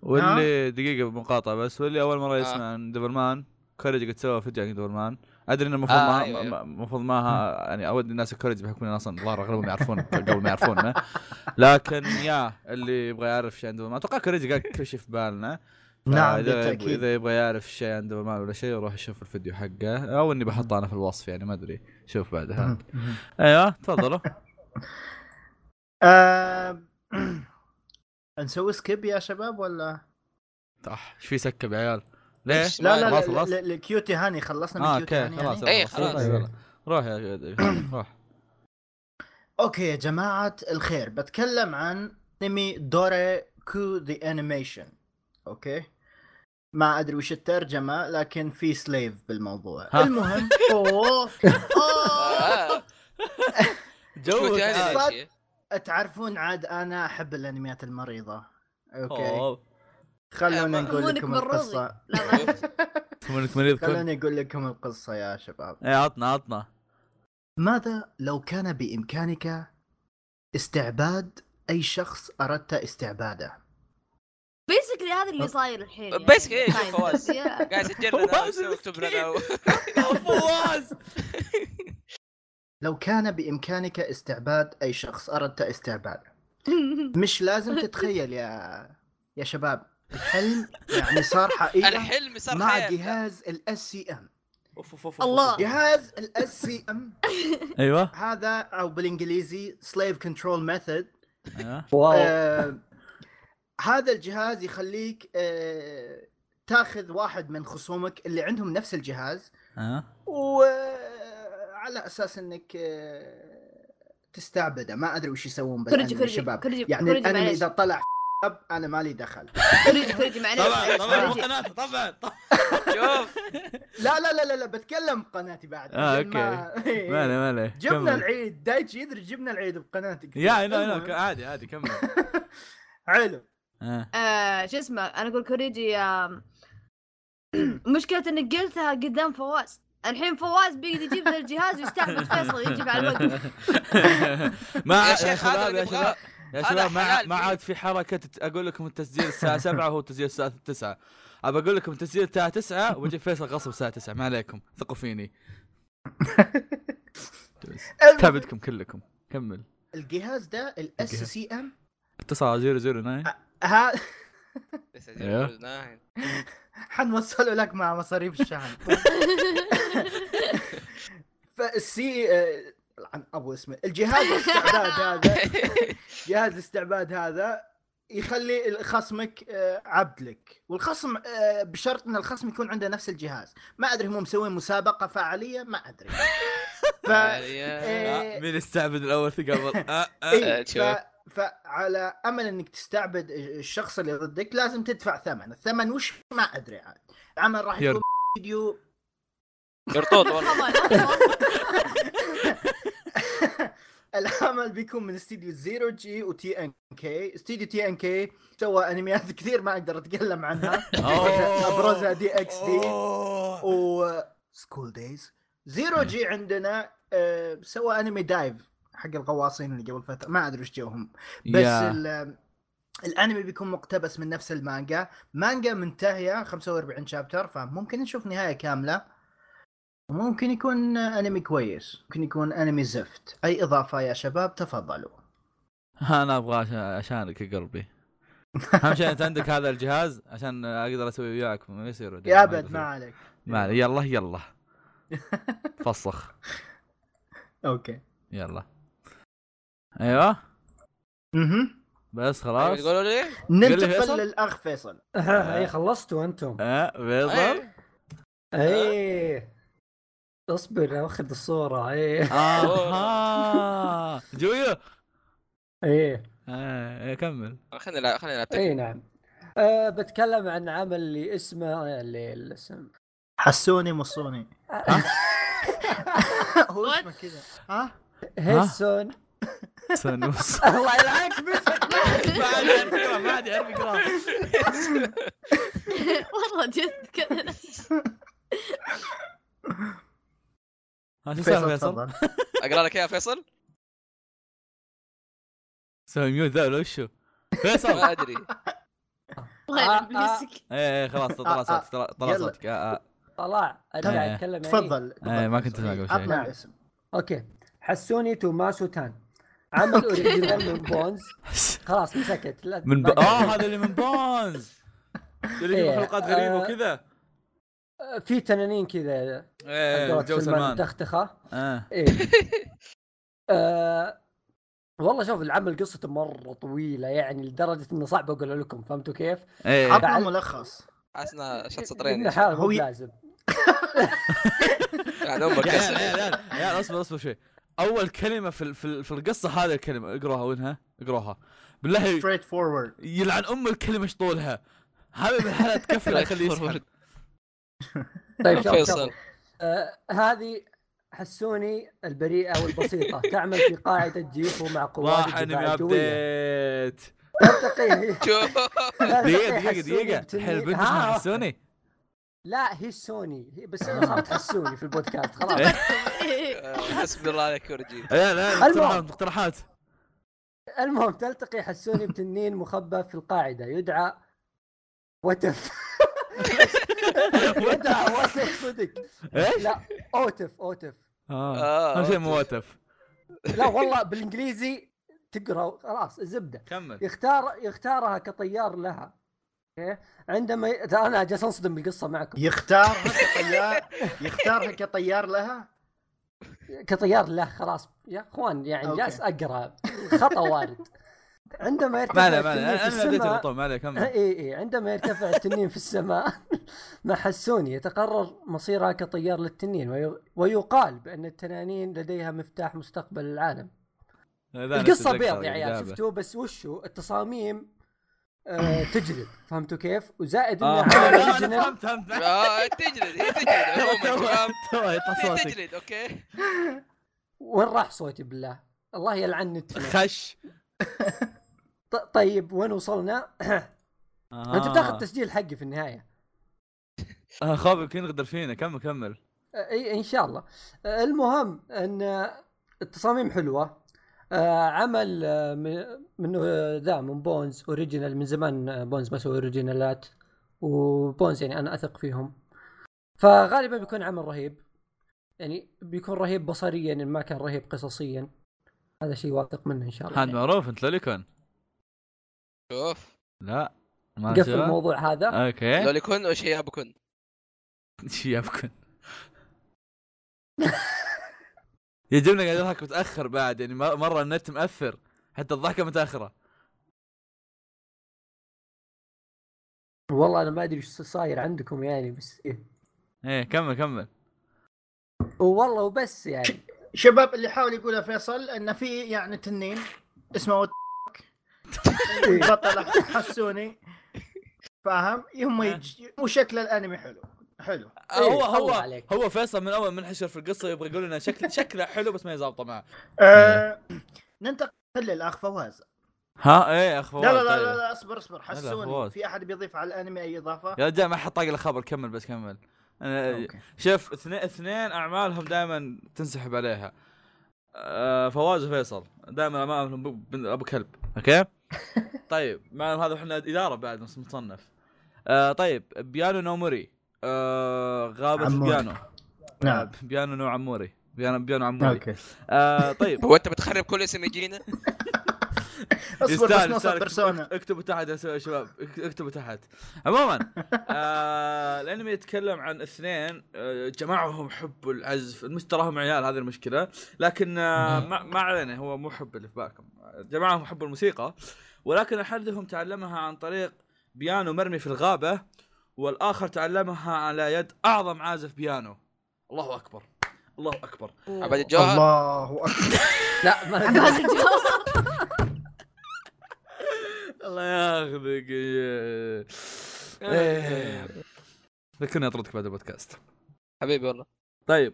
A: واللي دقيقة بمقاطعة بس واللي أول مرة
B: آه.
A: يسمع عن دبل مان كوريج قد سوى فيديو عن دبل مان ادري انه المفروض
B: آه،
A: ما
B: أيوة، أيوة.
A: المفروض ما ها- يعني اود الناس الكوريج بيحكمون اصلا الظاهر اغلبهم يعرفون قبل ما يعرفونا لكن يا اللي يبغى يعرف شيء عندهم اتوقع كوريج قال كل شيء في بالنا آه،
E: نعم
A: اذا يبغى-
E: بالتاكيد
A: اذا يبغى يعرف شيء عنده ما ولا شيء يروح يشوف الفيديو حقه او اني بحطه انا في الوصف يعني ما ادري شوف بعدها ايوه تفضلوا
E: آه، نسوي سكيب يا شباب ولا
A: اح ايش في سكه يا عيال ليه؟
B: إيش؟
E: لا لا
A: خلاص،
E: لا
A: خلاص.
E: لا- لا، كيوتي هاني خلصنا من
A: اه
E: كيوتي
A: اوكي
E: هاني
A: خلاص
E: يعني؟
B: إيه، خلاص.
A: يلا. روح يا روح
E: اوكي يا جماعة الخير بتكلم عن انمي دوري كو ذا انيميشن اوكي ما ادري وش الترجمة لكن في سليف بالموضوع
A: ها.
E: المهم اوه اوه
B: آه، شو
A: جوك
B: تاني
E: عاد.
B: ذا الشيء؟
E: تعرفون عاد انا احب الانميات المريضة اوكي
A: اوكي
E: خلونا
B: أما-
E: نقول
D: أمونك
E: لكم
D: من الرزق.
E: القصة
D: لا ما-
A: منك مريض كل
E: خلوني اقول لكم القصة يا شباب
A: ايه عطنا عطنا
E: ماذا لو كان بإمكانك استعباد أي شخص أردت استعباده؟
D: بيسكلي هذا اللي صاير الحين يعني.
B: Basically إيه، شوف
D: طيب.
B: فواز.
D: يا-
B: قاعد يسجل لنا
A: فواز
B: ويكتب
A: مسكين.
B: لنا و-
A: فواز
E: لو كان بإمكانك استعباد أي شخص أردت استعباده مش لازم تتخيل يا يا شباب الحلم يعني صار حقيقة
B: الحلم صار
E: مع
B: حياة.
E: جهاز الاس سي ام
D: الله.
E: جهاز الاس سي ام
A: ايوه
E: هذا او بالانجليزي سليف كنترول ميثود
A: ايوه
C: واو
E: آه، هذا الجهاز يخليك آه، تاخذ واحد من خصومك اللي عندهم نفس الجهاز
A: اه
E: وعلى اساس انك آه، تستعبده ما ادري وش يسوون
D: كوريجي
E: بالانمي
D: كوريجي
E: شباب
D: كوريجي
E: يعني
D: كوريجي
E: الانمي
D: معليش.
E: اذا طلع شاب انا مالي دخل
D: كوريجي كوريجي معليش معليش،
B: طيب،
D: كوريجي.
A: قناته طبعا طبعا
B: شوف
E: لا لا لا لا, لا بتكلم بقناتي بعد
A: آه،
E: عشان ما- إيه.
A: ما عليه ما عليه
E: جبنا
A: كمل.
E: العيد دايتشي يدري جبنا العيد بقناتي
A: يا اي نو اي
E: المهم،
A: نو عادي عادي كمل
E: حلو
A: آه.
D: آه، شو اسمه انا اقول كوريجي آم، مشكلة انك قلتها قدام فواز الحين فواز بيقدر يجيب ذا الجهاز ويستعبد فيصل يجيب على الوقت
A: ما
B: يا
A: عاد- يا
B: شيخ هذا
A: شباب
B: اللي
A: يا
B: نبغاه.
A: شباب يا
B: هذا
A: شباب ما عاد-
B: حلال
A: ما
B: فيه.
A: عاد في حركه تت- اقول لكم التسجيل الساعه 7 وهو تسجيل الساعه 9 ابى اقول لكم التسجيل الساعه 9 واجي فيصل غصب الساعه 9 ما عليكم ثقوا فيني
E: المهم،
A: كبدكم كلكم كمل
E: الجهاز ده الاس سي ام
A: اتصل 009 أيوه.
E: حنوصله لك مع مصاريف الشحن فالسي عن ابو اسمه الجهاز الاستعباد هذا جهاز الاستعباد هذا يخلي ال- خصمك آه، عبد لك والخصم آه، بشرط ان الخصم يكون عنده نفس الجهاز ما ادري هم مسوين مسابقه فعاليه ما ادري ف...
B: أيوه.
E: آه،
A: مين استعبد الاول ثقه آه، آه.
E: إيه،
B: شوف.
E: ف... فعلى امل انك تستعبد الشخص اللي ضدك لازم تدفع ثمن الثمن وش ما ادري عاد العمل راح
A: يرد.
E: يكون فيديو
B: قرطوط والله
D: خبر خبر.
E: العمل بيكون من استديو زيرو جي وتي ان كي استديو تي ان كي سوى انميات كثير ما اقدر اتكلم عنها
A: أوه.
E: ابرزها دي اكس دي
A: أوه.
E: و سكول دايز زيرو جي عندنا آه، سوى انمي دايف حق الغواصين اللي قبل فتره ما ادري وش جوهم بس
A: يا.
E: ال- الانمي بيكون مقتبس من نفس المانجا مانجا منتهيه 45 شابتر فممكن نشوف نهايه كامله وممكن يكون انمي كويس ممكن يكون انمي زفت اي اضافه يا شباب تفضلوا
A: انا ابغى عشان عشانك يا قلبي اهم شيء انت عندك هذا الجهاز عشان اقدر اسوي وياك ما يصير
E: يا نعم. ابد ما عليك
A: ما علي يلا يلا فصخ
E: اوكي
A: يلا ايوه
E: اها
A: بس خلاص
B: تقولوا لي؟
A: فيصل؟
E: ننتقل للاخ فيصل آه.
C: اي خلصتوا انتم
A: اه فيصل
B: أيوه.
C: اي اصبر اخذ الصوره
A: أيوة.
C: اي
A: اها جويو
C: اي
A: آه، إيه، كمل
B: خلينا نلعب خلينا نلعب
C: اي نعم أه بتكلم عن عمل اللي اسمه اللي الاسم
E: حسوني مصوني هو اسمه كذا ها
C: هيسون
A: سن وص-
C: الله يلعنك مسك
A: ما عاد يعرف يقرا ما عاد يعرف يقرا
D: والله جد كذا
A: ها، آه، شو صار فيصل؟
E: تفضل
B: اقرا لك اياها فيصل؟
A: سوي ميوت ذا ولا وشو؟ فيصل
B: ما ادري
D: الله يلعن بيسك
A: ايه إيه، خلاص طلع
E: آه،
A: صوتك طلع- طلع
E: يلا.
A: صوتك آه، آه.
C: طلع انا قاعد
A: إيه.
C: اتكلم يعني.
E: تفضل
A: إيه، ما كنت أسمع قبل شوي.
E: عطنا الاسم
C: اوكي حسوني توماسو تان عمل اوريجينال من بونز خلاص مسكت لا
A: من ب...
C: ما-
E: طيب.
A: اه هذا اللي من بونز اللي يجيب
C: إيه،
A: حلقات غريبه
C: آه،
A: وكذا
C: في تنانين كذا
A: ايه
C: حقت
A: آه. جو
C: سلمان
A: سلمان
C: تختخه
A: آه.
C: ايه آه، والله شوف العمل قصته مره طويله يعني لدرجه انه صعب اقول لكم فهمتوا كيف؟
A: ايه
E: عطنا ملخص
B: حاسنا شد صدرين
C: انه حال
E: هو
C: هو
E: ي-
C: لازم
B: يعني امك
A: يا عيال، يا عيال، يا عيال، اصبر اصبر شوي اول كلمه في ال- في, ال- في القصه هذه الكلمه اقراها وينها اقراها بالله
E: ستريت فورورد
A: يلعن ام الكلمه ايش طولها هذا بالحالة تكفل اخليه يسحب
C: طيب شوف
B: فيصل.
C: شوف آه، هذه حسوني البريئه والبسيطه تعمل في قاعده جيفو مع قوات
A: راح
C: الدفاع
A: انمي
C: الجويه
A: ابديت
C: ترتقي
A: دقيقه دقيقه دقيقه الحين البنت
C: آه.
A: مش مع حسوني
C: لا هي سوني هي بس انها صارت حسوني في البودكاست خلاص
A: إيه.
B: حسبي آه، الله عليك آه، ورجيك
A: لا لا
C: المهم.
A: اقتراحات اقتراحات
C: المهم تلتقي حسوني بتنين مخبى في القاعده يدعى وتف يدعى وتف صدق
A: ايش؟
C: لا اوتف اوتف
A: اه
B: آه،
A: اهم شيء
B: أوكي.
A: مواتف
C: لا والله بالانجليزي تقرا خلاص الزبده
A: كمل
C: يختار يختارها كطيار لها اوكي عندما ي... ترى انا جالس انصدم بالقصه معكم
E: يختارها كطيار يختارها كطيار لها
C: كطيار له خلاص يا اخوان يعني
E: أوكي.
C: جالس اقرا خطا وارد عندما يرتفع
A: ما عليه ما عليه
C: التنين
A: انا
C: في
A: أنا بديت
C: السماء-
A: المطور ما عليه كمل
C: اي اي إيه، عندما يرتفع التنين في السماء مع حسوني يتقرر مصيرها كطيار للتنين وي- ويقال بان التنانين لديها مفتاح مستقبل العالم
A: لا،
C: القصه
A: نفس
C: بيض يعني،
A: القصة
C: يا عيال
A: الإجابة.
C: شفتوه بس وشو التصاميم آه تجذب فهمتوا كيف؟ وزائد انه
A: آه،
C: عمل
A: لا، أنا
C: original-
A: فهمت فهمت
B: اه تجلد هي تجلد عموما شباب
A: تو يطلع
B: هي
A: صوتك
B: تجلد اوكي
C: وين راح صوتي بالله؟ الله يلعن التنين.
A: خش
C: ط- طيب وين وصلنا؟ انت بتاخذ تسجيل حقي في النهايه
A: آه، خاف يمكن يغدر فينا كمل كمل
C: اي ان شاء الله آه، المهم ان آه، التصاميم حلوه آه، عمل آه، م- من آه، ذا من بونز اوريجينال من زمان آه، بونز ما سوى اوريجينالات وبونز يعني انا اثق فيهم فغالبا بيكون عمل رهيب يعني بيكون رهيب بصريا ان ما كان رهيب قصصيا هذا شيء واثق منه ان شاء الله
A: هذا
C: يعني.
A: معروف انت لوليكون
B: شوف
A: لا ما
C: قفل
A: شاء.
C: الموضوع
A: أه.
C: هذا
E: إيه؟
B: لو
A: اوكي
B: لكن وش هي ابكن
A: شيابكن يعجبني قاعد يضحك متاخر بعد يعني مر- مره النت مأثر حتى الضحكه متاخره
C: والله انا ما ادري ايش صاير عندكم يعني بس إيه.
A: ايه كمل كمل
C: والله وبس يعني
E: شباب اللي حاول يقولها فيصل انه في يعني تنين اسمه وت-
C: إيه.
E: بطل حسوني فاهم يهم يج- وشكل الانمي حلو حلو
A: آه، هو
C: إيه،
A: هو
C: طلع عليك.
A: هو فيصل من اول منحشر في القصه يبغى يقول لنا شكل شكله حلو بس ما يزابطه معه
E: آه، ننتقل للاخ فواز
A: ها ايه اخ
E: لا
A: فواز
E: لا لا,
A: طيب.
E: لا, لا اصبر اصبر حسوني
A: فواز.
E: في احد بيضيف على الانمي اي اضافه؟
A: يا رجال ما حد طاق الخبر كمل بس كمل انا
E: أوكي.
A: شوف اثنين اثنين اعمالهم دائما تنسحب عليها آه، فواز وفيصل دائما امامهم ب- ب- ابو كلب اوكي طيب مع إن هذا احنا اداره بعد بس مصنف آه، طيب بيانو نوموري آه، غابه
E: عموري.
A: بيانو
E: نعم
A: بيانو نو عموري بيانو بيانو عموري
E: اوكي
A: آه، طيب
B: هو انت بتخرب كل اسم يجينا
E: اصبر بس
A: يستاهل-
E: نوصل
A: يستاهل.
E: بيرسونا
A: اكتبوا تحت يا شباب اك- اكتبوا تحت عموما آه الانمي يتكلم عن اثنين آه جمعهم حب العزف المش- تراهم عيال هذه المشكله لكن آه ما, ما علينا هو مو حب اللي في بالكم جمعهم حب الموسيقى ولكن احدهم تعلمها عن طريق بيانو مرمي في الغابه والاخر تعلمها على يد اعظم عازف بيانو الله اكبر الله اكبر
B: عبد الجوهر
E: الله اكبر
C: لا ما
D: أه.
A: الله ياخذك إيه. إيه. ذكرني اطردك بعد البودكاست
B: حبيبي والله
A: طيب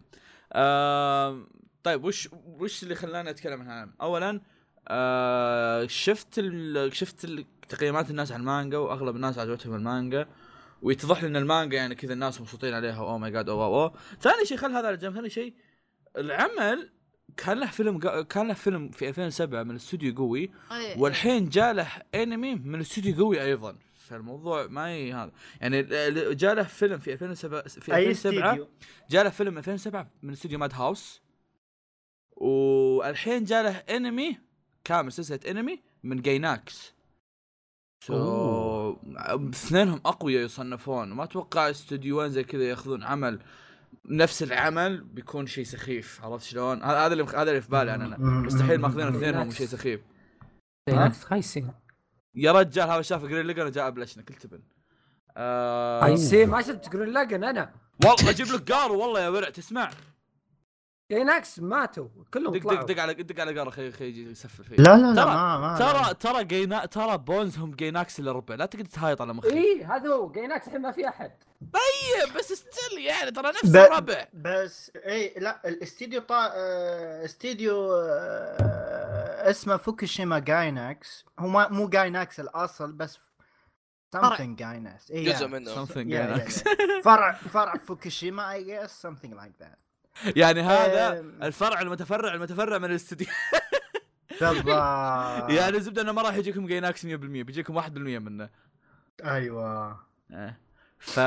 A: آم، طيب وش وش اللي خلاني اتكلم عن العالم؟ اولا آه، شفت ال... شفت ال- تقييمات الناس على المانجا واغلب الناس عجبتهم المانجا ويتضح لي ان المانجا يعني كذا الناس مبسوطين عليها "Oh اوه ماي جاد اوه اوه ثاني شيء خل هذا على جنب ثاني شيء العمل كان له فيلم قا- كان له فيلم
D: طيب.
A: في 2007 من استوديو قوي والحين جاء له انمي من استوديو قوي ايضا فالموضوع ما ي... هذا يعني ال- جاء له فيلم في 2007 في
E: اي
A: 2007
E: استديو
A: جاء له فيلم 2007 من استوديو ماد هاوس والحين جاء له انمي كامل سلسله انمي من جايناكس سو
F: أوه.
A: اثنينهم اقوياء يصنفون ما اتوقع استوديوين زي كذا ياخذون عمل نفس العمل بيكون شيء سخيف عرفت شلون؟ هذا هذا اللي هذا اللي في بالي انا أنا. مستحيل ماخذين اثنينهم شيء سخيف
F: جايناكس خايسين
A: يا رجال هذا شاف جرين ليجر جاء بلشنا كل تبن آه
F: أيوة.
C: سي ما شفت جرين لاجن انا
A: والله اجيب لك قارو والله يا ورع تسمع
C: جايناكس ماتوا كلهم
A: دق دق
C: طلعوا
A: دق على دق على قارو خليه خليه يجي يسفل فيه
F: لا لا
A: ترى-
F: لا ما ما
A: ترى ترى جينا ترى بونز هم جيناكس الا ربع لا تقدر تهايط على مخي
C: اي هذا هو جايناكس الحين ما في احد
A: إيه، بس ستيل يعني ترى نفس
E: ب-
A: الربع
E: بس اي لا الاستديو طا... آه، استديو آه، اسمه فوكوشيما جايناكس هو ما مو جايناكس الاصل بس something جايناكس اي
B: جزء منه
A: something يعني.
E: Yeah, yeah,
A: جيناكس
E: yeah. فرع فرع فوكوشيما اي جس something like that
A: يعني هذا
E: أم.
A: الفرع المتفرع المتفرع من الاستديو
E: بالضبط
A: يعني الزبده انه ما راح يجيكم جيناكس 100% بيجيكم 1% منه
E: ايوه
A: إيه. ف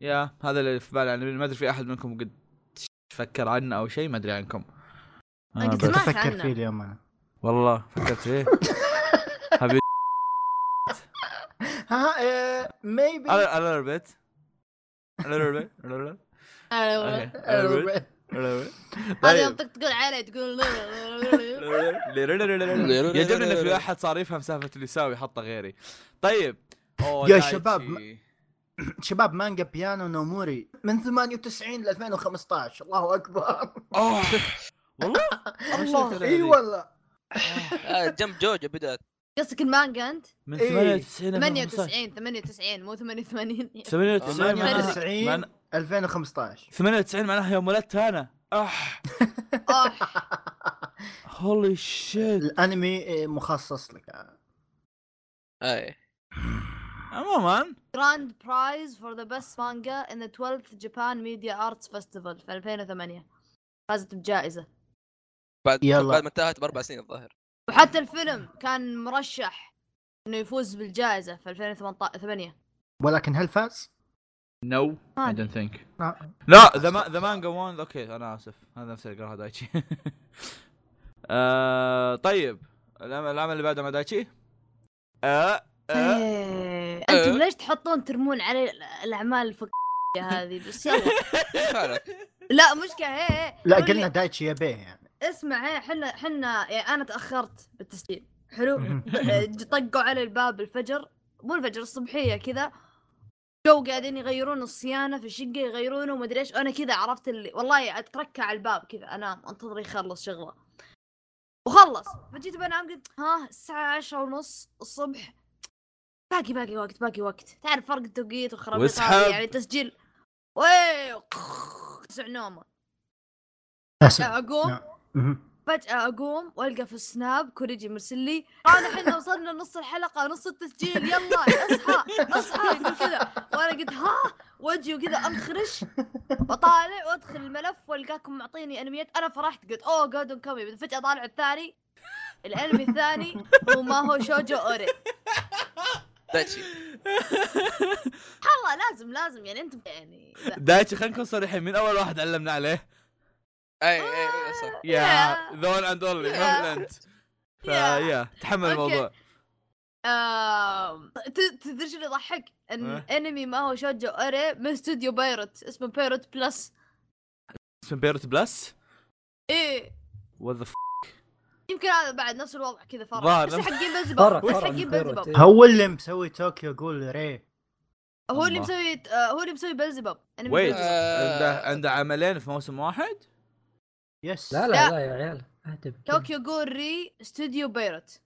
A: يا هذا اللي في بالي يعني ما ادري في احد منكم قد فكر عنه او شيء ما ادري عنكم
D: أنا قد
A: آه،
D: سمعت
A: بس-
E: افكر
D: عنه.
E: فيه اليوم انا
A: والله فكرت فيه حبيبي
E: ها إيه، ميبي
A: a a little bit a little bit a little bit Okay,
E: آه،
A: a little bit a little bit آه،
D: آه، هذا
A: طيب.
D: يوم تك- تقول عليه تقول
A: يعجبني ان في واحد صار يفهم سالفه اللي يساوي حطه غيري طيب أوه،
E: يا
A: دايتشي.
E: شباب، ما- شباب مانجا بيانو نوموري من 98 ل 2015 الله اكبر
A: أوه. والله
E: الله إيوه، اي والله
B: آه، جنب جوجو بدات
D: قصدك المانجا انت؟
A: من
E: إيه.
A: 98
D: 98 98 مو 88
A: 98 معناها-
E: 98
A: معناها-
E: 2015
A: 98 معناها يوم ولدت انا اح
D: اوه
A: هولي شيت
E: الانمي إيه، مخصص لك
B: اي
A: عموما
D: جراند برايز فور ذا بيست مانجا ان ذا 12th جابان ميديا ارتس فيستيفال في 2008 فازت بجائزه
B: بعد
E: يلا.
B: بعد ما انتهت باربع سنين الظاهر
D: وحتى الفيلم كان مرشح انه يفوز بالجائزه في 2008
E: ولكن هل فاز؟
A: نو
D: ما
A: اي دونت ثينك
E: لا.
A: لا ذا ما- ذا مانجا وان اوكي انا اسف هذا نفس اللي قراها دايتشي آه، طيب العمل العمل اللي بعده مع دايتشي آه، آه،
D: إيه،
B: أه.
D: انتم ليش تحطون ترمون علي ال- الاعمال الفقيه هذه بس يلا
B: كيف حالك؟
D: لا إيه، مشكله هي هي
E: لا
D: قول لي-
E: قلنا دايتشي يبيه يعني
D: اسمع هي حنا حنا يعني انا تاخرت بالتسجيل حلو آه، ج- طقوا علي الباب الفجر مو الفجر الصبحيه كذا جو قاعدين يغيرون الصيانه في الشقه يغيرونه ومدري ايش انا كذا عرفت اللي والله اتركع على الباب كذا انام انتظر يخلص شغله وخلص فجيت بنام قلت ها الساعه عشرة ونص الصبح باقي باقي وقت باقي وقت تعرف فرق التوقيت والخرابيط هذه
A: واسحب.
D: يعني تسجيل ويه تسع نومه
E: أسف.
D: اقوم
E: نعم. مهم.
D: فجأة أقوم وألقى في السناب كوريجي مرسل لي أنا حنا وصلنا نص الحلقة نص التسجيل يلا اصحى اصحى يقول كذا وأنا قلت ها وجهي وكذا أنخرش وطالع وأدخل الملف وألقاكم معطيني أنميات أنا فرحت قلت "Oh أوه جودن كومي فجأة طالع الثاني الأنمي الثاني هو ما هو شوجو أوري
B: دايتشي
D: الله لازم لازم يعني أنتم يعني لا.
A: دايتشي خلينا نكون صريحين من اول واحد علمنا عليه
B: اي اي اي إيه، صح
A: يا ذا ون اند اونلي ما
D: يا.
A: في انت
D: يا.
A: فيا تحمل
D: أوكي.
A: الموضوع
D: آم، ت- تدري شنو يضحك؟ ان
A: إيه؟
D: انمي ما هو شوجو اوري من استوديو بايرت اسمه بايرت بلس
A: اسمه بيرت بلس
D: ايه
A: وات ذا
D: يمكن هذا بعد نفس الوضع كذا فرع
A: ظاهر
D: بس
A: نفس-
D: حقين
C: فرع
D: بنزباب بس
C: فرع
D: حقين
C: من بيروت،
D: بنزباب
C: إيه.
E: هو اللي مسوي طوكيو قول ري
D: هو اللي
A: الله.
D: مسوي آه، هو اللي مسوي بنزباب انا من
E: إيه.
A: ويت
D: بنزباب.
B: آه،
A: عنده عنده عملين في موسم واحد
E: يس
C: لا لا لا يا عيال أهدب.
D: طوكيو جول ري استوديو بيروت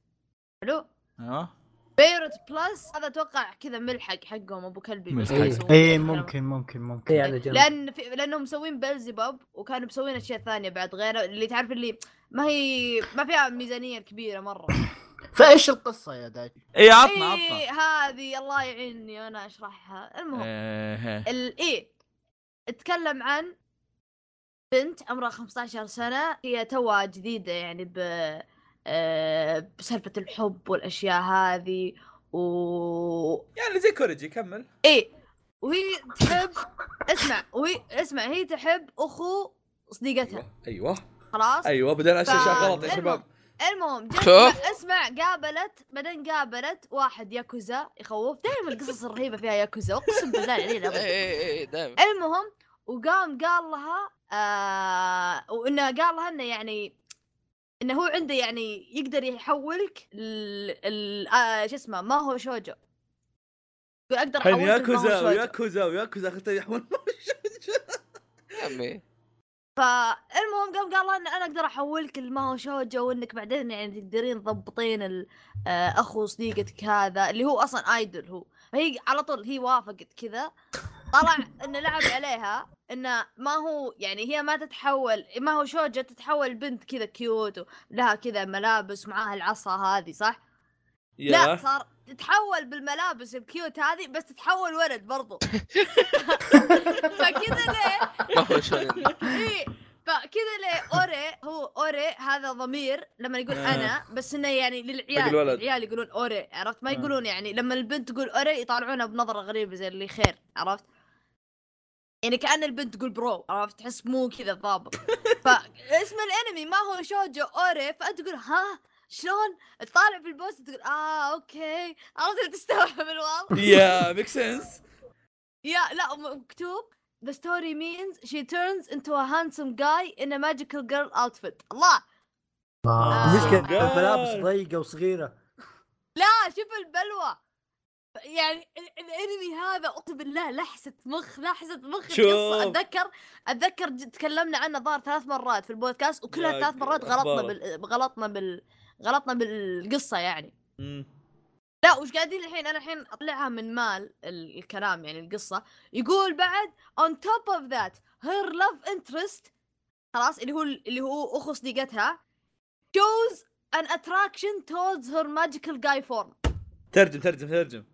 D: حلو
A: اه
D: بيروت بلس هذا اتوقع كذا ملحق حقهم ابو كلبي
A: ملحق.
D: بس-
E: اي إيه، ممكن ممكن ممكن
C: إيه على جنب
D: لان في لانهم مسوين بلزباب وكانوا مسوين اشياء ثانيه بعد غير اللي تعرف اللي ما هي ما فيها ميزانيه كبيره مره
E: فايش القصه يا دايتشي؟
A: اي إيه، عطنا عطنا
D: اي إيه، هذه الله يعيني انا اشرحها المهم
A: إيه.
D: ال ايه اتكلم عن بنت عمرها 15 سنة هي توها جديدة يعني ب آه، بسالفة الحب والأشياء هذه و
A: يعني زي كوريجي كمل
D: ايه وهي تحب اسمع وهي اسمع هي تحب اخو صديقتها
A: ايوه
D: خلاص
A: ايوه بدينا
D: ف-
A: اشياء غلط يا شباب
D: المهم جت
B: شوف.
D: اسمع قابلت بعدين قابلت واحد ياكوزا يخوف دائما القصص الرهيبه فيها ياكوزا اقسم بالله عليه
B: اي
D: العظيم
B: اي اي دائما
D: المهم وقام قال لها آه وانه قال لها انه يعني انه هو عنده يعني يقدر يحولك ال ال- آه شو اسمه ما هو شوجو اقدر
A: حين
D: احولك ما
A: ياكوزا
D: هو شوجو
A: وياكوزا وياكوزا اخر يحول
B: يا عمي
D: فالمهم قام قال لها ان انا اقدر احولك لما هو شوجو وانك بعدين يعني تقدرين تضبطين ال- آه، اخو صديقتك هذا اللي هو اصلا ايدول هو فهي على طول هي وافقت كذا طلع انه لعب عليها انه ما هو يعني هي ما تتحول ما هو شوجو تتحول بنت كذا كيوت لها كذا ملابس معاها العصا هذه صح؟ لا صار تتحول بالملابس الكيوت هذه بس تتحول ولد برضو فكذا ليه
B: ما هو شونين
D: ايه فكذا ليه اوري هو اوري هذا ضمير لما يقول
A: آه.
D: انا بس انه يعني للعيال
A: حق الولد.
D: العيال يقولون اوري عرفت ما
A: آه.
D: يقولون يعني لما البنت تقول اوري يطالعونها بنظره غريبه زي اللي خير عرفت يعني كان البنت تقول برو عرفت تحس مو كذا ضابط فاسم الانمي ما هو شوجو اوري فانت تقول ها شلون تطالع في البوست تقول اه اوكي عرفت اللي تستوعب الوضع
A: يا ميك سنس
D: يا لا م- مكتوب The story means she turns into a handsome guy in a magical girl outfit. الله
C: المشكله
A: آه.
C: الملابس ضيقه وصغيره
D: لا شوف البلوى يعني ال- الانمي هذا اقسم بالله لحسه مخ لحسه مخ
A: شوف.
D: القصة. اتذكر اتذكر ج- تكلمنا عنه ظهر ثلاث مرات في البودكاست وكلها
A: يا
D: ثلاث
A: ك-
D: مرات غلطنا
A: أخبارك.
D: بال... غلطنا بال غلطنا بالقصه يعني لا وش قاعدين الحين انا الحين اطلعها من مال ال- الكلام يعني القصه يقول بعد on top of that her love interest خلاص اللي هو اللي هو اخو صديقتها shows an attraction towards her magical guy form
A: ترجم ترجم ترجم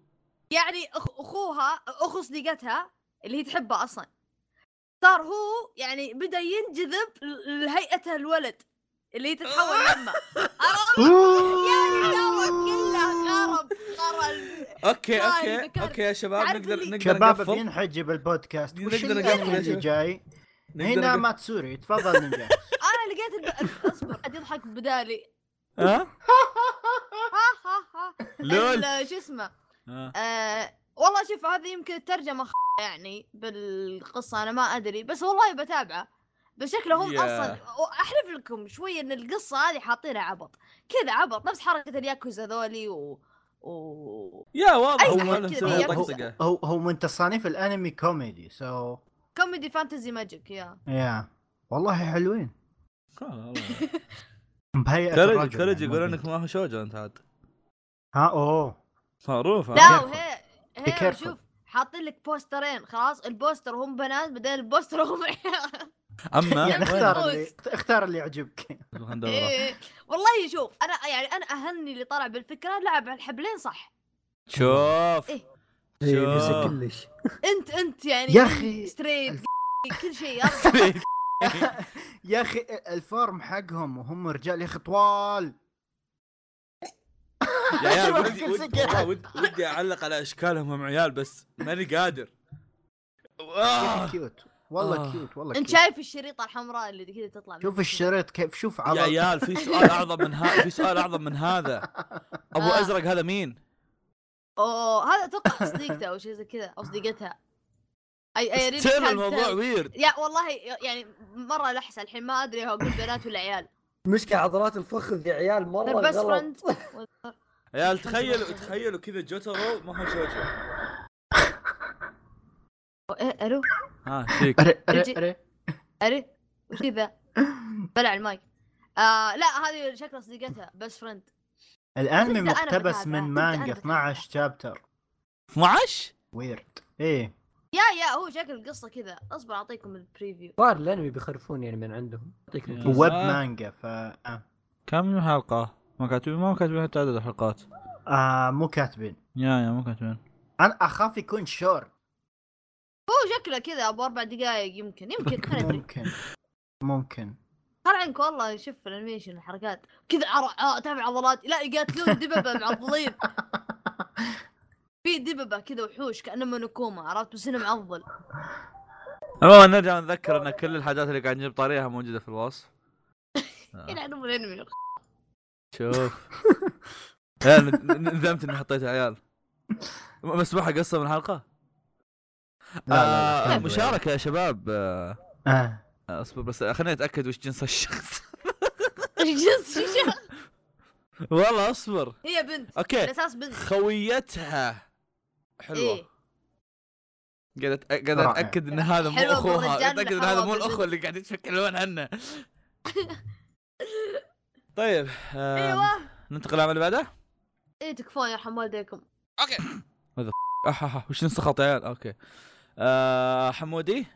D: يعني أخ- اخوها اخو صديقتها اللي هي تحبه اصلا صار هو يعني بدا ينجذب ل- لهيئته الولد اللي هي تتحول لامه عرفت؟
A: آه.
D: يعني دورك كله خرب خرب
A: اوكي
D: والله
A: اوكي
D: ذكرت.
A: اوكي يا شباب
D: تعرف
A: نقدر
D: اللي-
A: نقدر
E: شباب
A: نقفل
E: بينحجب البودكاست وش
A: نقدر
E: الأكل
A: نقفل يا
E: اللي
A: شباب.
E: جاي
A: نقدر
E: هنا
A: نقفل.
E: ماتسوري تفضل نجاح
D: انا آه، لقيت الب... اصبر قاعد يضحك بدالي
A: ها
D: ها ها ها
A: لول
D: ال- شو اسمه
A: آه.
D: آه... والله شوف هذه يمكن الترجمه خ... يعني بالقصه انا ما ادري بس والله بتابعه بس شكله هم
A: يا.
D: اصلا احلف لكم شوي ان القصه هذه حاطينها عبط كذا عبط نفس حركه الياكوزا ذولي و... و...
A: يا واضح
D: أي
A: هو
D: أحد كذا
A: مسوي
D: يقصد.
A: طقطقه
E: هو هو من تصانيف الانمي كوميدي سو
D: كوميدي فانتزي ماجيك يا
E: يا والله حلوين
A: والله.
E: بهيئة
A: كوريجي
E: الرجل
A: كوريجي
E: يعني
A: يقول
E: ما
A: انك ما هو شوجو انت عاد
E: ها اوه
A: معروف
D: لا
E: careful.
D: وهي
E: Be
D: هي
E: careful.
D: شوف حاطين لك بوسترين خلاص البوستر هم بنات بعدين البوستر هم عيال
A: اما
E: يعني
D: وين؟
E: اختار اللي اختار اللي يعجبك
A: خلنا ندور وراه.
D: إيه. والله شوف انا يعني انا اهني اللي طلع بالفكره لعب على الحبلين صح
A: شوف
D: إيه.
A: شوف.
C: نسى كلش
D: انت انت يعني
E: يا أخي.
D: ستريت كل شيء
E: يا اخي الفورم حقهم وهم رجال يا اخي طوال
A: يا عيال ودي
E: شوف الكل
A: ودي-
E: سكت.
A: والله ودي- ودي اعلق على اشكالهم هم عيال بس ماني قادر آه.
E: كيوت والله
A: آه.
E: كيوت والله
D: انت
E: كيوت.
D: شايف الشريطه الحمراء اللي كذا تطلع
E: شوف
D: منها.
E: الشريط كيف شوف
A: يا
E: عضل
A: عيال في سؤال اعظم من هذا في سؤال اعظم من هذا ابو
D: آه.
A: ازرق هذا مين؟
D: اوه هذا اتوقع صديقته او شيء زي كذا او صديقتها اي اي ريلي
A: ستيل
D: إيه، كان
A: الموضوع
D: ثاني.
A: ويرد
D: يا والله يعني مره لحسه الحين ما ادري هو اقول بنات ولا عيال
C: مشكله عضلات الفخذ يا عيال مره
D: They're best
C: غلط
A: عيال تخيلوا تخيلوا كذا جوترو ما هو شوجو
D: إيه، الو
A: ها فيك
E: أري- أري-
D: يجي-
E: أري.
D: اري وش ذا بلع المايك آه لا هذه شكلها صديقتها بس فرند
E: الانمي
D: تبدأ أنا
E: مقتبس
D: بتابعه،
E: من
D: تبدأ أنا
E: مانجا
D: بتابعه.
E: 12 شابتر
A: 12
E: ويرد ايه
D: يا يا هو شكل القصه كذا اصبر اعطيكم البريفيو
C: صار الانمي بيخرفون يعني من عندهم يعطيكم
A: يا.
C: الكل.
E: ويب
A: آه.
E: مانجا ف آه.
A: كم حلقة؟ ما كاتبين ما كاتبين حتى عدد الحلقات
E: آه مو كاتبين
A: يا يا ما كاتبين
E: انا اخاف يكون شورت
D: هو شكله كذا ابو اربع دقائق يمكن يمكن خلينا ندري
E: ممكن ممكن
D: خل عنك والله شوف الانيميشن الحركات كذا عر... آه تابع عضلات لا يقاتلون دببه معضلين في دببه كذا وحوش كانه منكومه عرفت بس انه معضل
A: المهم نرجع نتذكر ان كل الحاجات اللي قاعد نجيب طاريها موجوده في الوصف آه.
B: يعني
D: يلعن ام الانمي
A: شوف يا ند- ندمت اني حطيت عيال م- مسموحه قصه من الحلقه
E: لا، لا،
A: آه
E: الحمد
A: مشاركه يا شباب آه
E: آه.
A: اصبر بس خليني اتاكد وش جنس الشخص
D: جنس شيشة.
A: والله اصبر
D: هي بنت
A: اوكي
D: الاساس بنت
A: خويتها
D: ايه
A: حلوه قاعد أت- قاعد
E: رائع.
A: اتاكد ان هذا مو
D: حلوة
A: اخوها
D: بالرجال
A: اتاكد ان هذا
D: وحلوة
A: مو الاخوه
D: بالبنت.
A: اللي قاعدين يتشكلون عنه طيب آم،
D: ايوه
A: ننتقل للعمل اللي بعده
D: ايه تكفون يرحم والديكم
B: اوكي
A: احا وش انسخط يا عيال اوكي آه، حمودي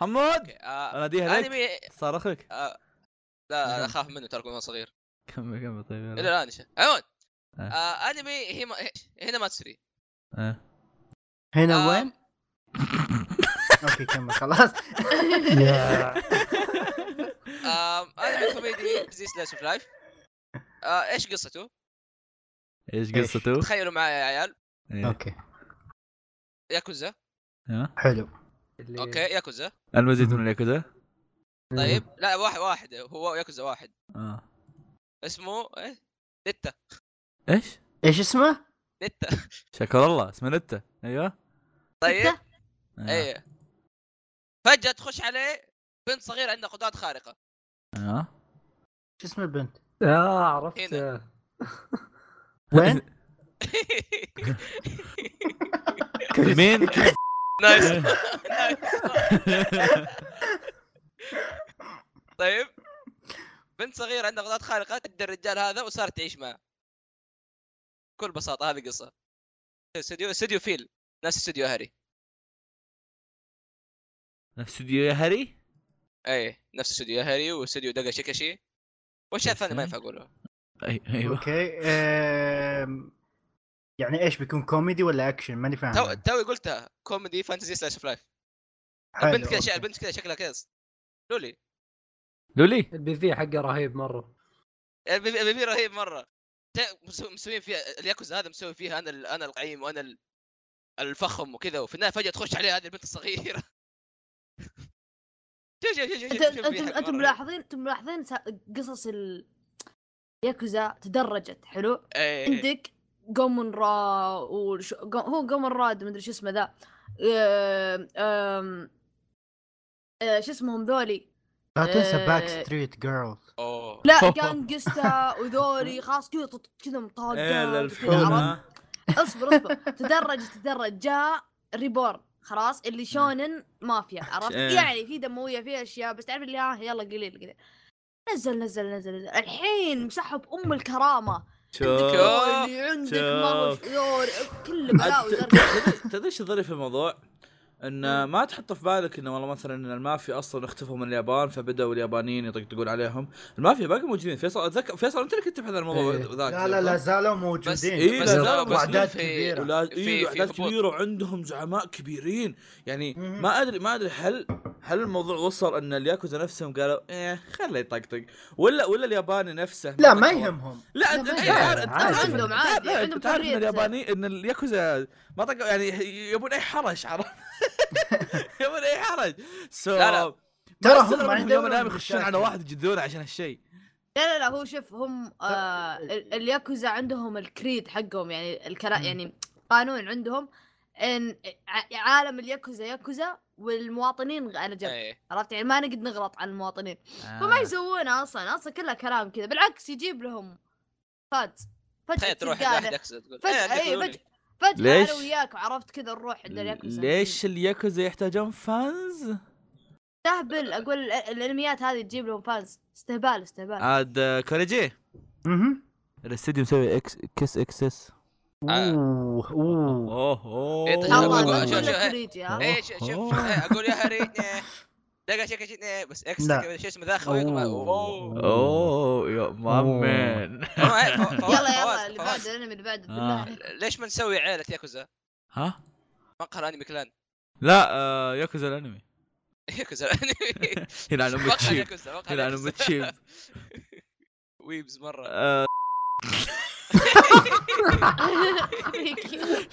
A: حمود
B: اوكي آه،
A: اناديها لك
B: انمي
A: صار لك
B: آه، لا أنا اخاف منه ترى وانا صغير
A: كمل كمل طيب
B: الى
A: يلا.
B: الان شيء. عموما
A: آه.
B: آه، انمي هي ما... هنا ما تسري
A: آه.
E: هنا
B: آه.
E: وين؟ اوكي كمل خلاص
B: آم، انمي آه، كوميدي زي سلاش اوف لايف آه، ايش قصته؟
A: ايش قصته؟
B: تخيلوا معي يا عيال
A: إيه.
E: اوكي
B: ياكوزا
A: ها؟
E: حلو
C: اللي-
B: اوكي ياكوزا
A: المزيد من الياكوزا
B: طيب لا واحد واحد هو ياكوزا واحد
A: آه.
B: اسمه ايه نتا
A: ايش؟
E: ايش اسمه؟
B: نتا
A: شكر الله اسمه نتا ايوه
B: طيب
D: نتا؟
A: آه.
B: ايه فجأة تخش عليه بنت صغيرة عندها قدرات خارقة
A: آه.
E: ايش اسم البنت؟
C: اه عرفت
B: هنا.
E: وين؟
A: مين؟
B: نايس طيب بنت صغيرة عندها قدرات خارقة تدى الرجال هذا وصارت تعيش معه بكل بساطة هذه قصة استوديو استوديو فيل ناس استوديو هاري
A: نفس استوديو يا هري؟
B: اي نفس استوديو هاري واستوديو دقا شيكاشي والشيء الثاني ما ينفع اقوله
A: أي-
B: أيوة.
A: ايوه
E: اوكي آم، يعني ايش بيكون كوميدي ولا اكشن؟ ماني فاهم
B: تو توي قلتها كوميدي فانتزي سلاش اوف لايف
E: حلو،
B: البنت كذا شيء
E: أوكي.
B: البنت كذا شكلها كذا لولي
A: لولي
E: Oh
C: البي في حقه رهيب مره
B: البيبي البيبي رهيب مره تا- مسو- مسويين فيها الياكوزا هذا مسوي فيها انا ال- انا القعيم وانا ال- الفخم وكذا وفي النهايه فجاه تخش عليها هذه البنت الصغيره شوف شوف شوف شوف-
D: انت
B: شوف شوف
D: انتم
B: في حق
D: انتم
B: مرة.
D: ملاحظين انتم ملاحظين سا- قصص ال ياكوزا تدرجت حلو
B: إيه.
D: عندك جومون را وش... جو... هو جومون راد مدري شو اسمه ذا آم، آم، آه، شو اسمهم ذولي
E: لا تنسى
D: آه،
E: باك ستريت جيرلز
B: أوه.
D: لا جانجستا وذولي خلاص كذا تط- كذا مطاقات
A: ايه
D: وكذا، عرفت؟
A: الفحومه
D: اصبر اصبر تدرج تدرج جاء ريبورن خلاص اللي شونن مافيا عرفت
A: إيه.
D: يعني في دمويه في اشياء بس تعرف اللي ها يلا قليل قليل نزل نزل نزل نزل الحين مسحب ام الكرامه عندك
A: شوف
D: اولي عندك ما هو
A: شوف.
D: شعور كل بلاوي
A: أت-
D: زرقاء.
A: تدري ايش الظريف في الموضوع؟ ان ما تحط في بالك انه والله مثلا ان المافيا اصلا اختفوا من اليابان فبداوا اليابانيين يطقطقون عليهم، المافيا باقي موجودين فيصل اتذكر فيصل انت اللي كنت تبحث عن الموضوع
C: إيه.
A: ذاك
E: لا لا لا زالوا موجودين
A: آه. إيه، لا
B: بس-
A: زالوا
B: بس
E: وأعداد
B: في-
E: كبيرة.
A: ولا
B: في-
A: ايوه
B: في
A: احداث
B: هبوط.
A: كبيره وعندهم زعماء كبيرين يعني
E: مهم.
A: ما ادري ما ادري هل هل الموضوع وصل ان الياكوزا نفسهم قالوا ايه خله يطقطق ولا ولا الياباني نفسه
E: لا
A: طقطق.
E: ما يهمهم
A: لا انت
D: لا،
A: انت
D: ما
A: تعرف- انت
C: يهم. عادي.
A: تعرف-
D: عندهم عادي،
A: تعرف- لا،
D: عندهم
A: انت تعرف ان
D: حرية.
A: الياباني ان الياكوزا ما طقوا يعني يبون اي حرج عرفت يبون اي حرج سو
B: لا، لا.
E: ترى هم ما
A: ما
E: عندهم
A: يوم الايام يخشون على
E: مشاكل.
A: واحد يجدونه عشان هالشيء
D: لا لا لا هو شوف هم آه ال- الياكوزا عندهم الكريد حقهم يعني الكلام يعني قانون عندهم ان ع- عالم الياكوزا ياكوزا والمواطنين على جنب
B: إيه.
D: عرفت يعني ما نقد نغلط على المواطنين فما يسوونه اصلا اصلا كلها كلام كذا بالعكس يجيب لهم فات فجاه
B: تخيل تروح
D: تلقاه
B: لواحد
D: له.
B: ياكوزا تقول إيه،
D: فجاه
B: عندك
D: اي
B: لولي.
D: فجاه فجاه
A: ليش؟
D: انا وياك عرفت كذا الروح عند الياكوزا
A: آه، ليش الياكوزا يحتاجون فانز؟
D: تهبل اقول ال- الانميات هذه تجيب لهم فانز استهبال استهبال
A: عاد آه، كوريجي
E: مهم.
A: الاستديو مسوي اكس كيس اكس اس
B: آه.
E: اوه اوه
A: اوه اوه
B: إيه، طيب،
D: الله
B: أقول-
D: يقول
B: شوف- شوف،
D: لك
B: إيه.
D: كوريجي ها
B: ايه ش- شوف
A: أوه.
B: إيه، اقول يا هاري إيه، دقا شيك شيك، إيه، بس اكس
E: لا.
B: كذا شو اسمه ذا خوي يقول، اوه
A: اوه يا مامن
B: أما إيه، فو- فواز-
D: يلا يلا
B: فواز-
D: اللي
B: فواز،
D: بعده الانمي اللي بعده
A: آه.
D: بالله عليك.
B: ليش ما نسوي عيلة ياكوزا؟
A: ها؟
B: مقهى انمي كلان
A: لا آه، ياكوزا الانمي
B: ياكوزا انمي
A: هنا انا
B: مقهى
A: متشيب
B: ياكوزا، مقهى
A: هنا انا
B: ياكوزا.
A: متشيب
B: ويبز مره
A: آه،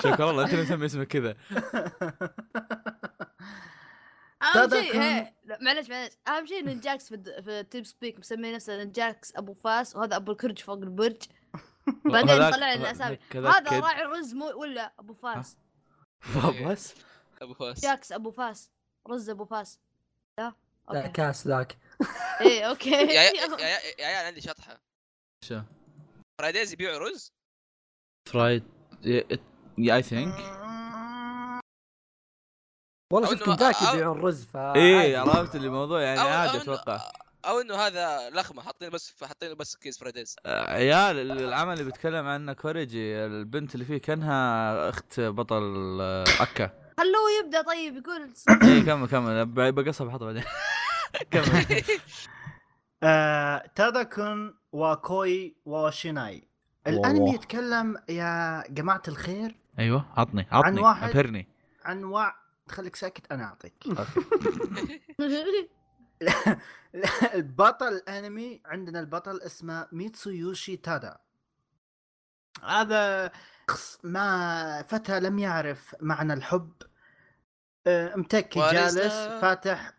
A: شكرا الله انت اللي مسمي اسمك كذا
D: اهم
E: تادا
D: شيء
E: كان-
D: إيه، لا، معلش معلش اهم شيء ان جاكس في, الد- في تيب سبيك مسمي نفسه ان جاكس ابو فاس وهذا ابو الكرج فوق البرج بعدين
A: وهذاك-
D: طلع لنا اسامي
A: هذاك- هذاك
D: هذا
A: كد.
D: راعي رز مو ولا ابو فاس
A: بس
B: ابو فاس
D: جاكس ابو فاس رز ابو فاس لا
C: لا
D: اوكي
C: كاس ذاك
D: ايه اوكي
B: يا يا يا- يا- يا عيال عندي شطحه
A: شو
B: فرايديز يبيعوا رز
A: فرايد اي ثينك
C: والله
B: أو
C: شوف
B: إنه-
C: كنتاكي
B: أو-
C: يبيعون رز ف
A: ايه عرفت اللي الموضوع يعني
B: أو-
A: عادي
B: أو-
A: اتوقع
B: او انه هذا لخمه حاطين بس حاطين بس كيس فرايديز
A: آه، عيال ال- العمل اللي بيتكلم عنه كوريجي البنت اللي فيه كانها اخت بطل آه، اكا
D: خلوه يبدا طيب يقول
A: ايه كمل كمل ب- بقصها بحطها بعدين كمل
E: تاداكون آه، واكوي واشيناي
A: والله.
E: الانمي يتكلم يا جماعه الخير
A: ايوه عطني عطني
E: عن واحد-
A: ابهرني
E: عن وع خليك ساكت انا اعطيك البطل الانمي عندنا البطل اسمه ميتسويوشي تادا هذا شخص ما فتى لم يعرف معنى الحب آه، متكي
B: What is
E: جالس
B: love؟
E: فاتح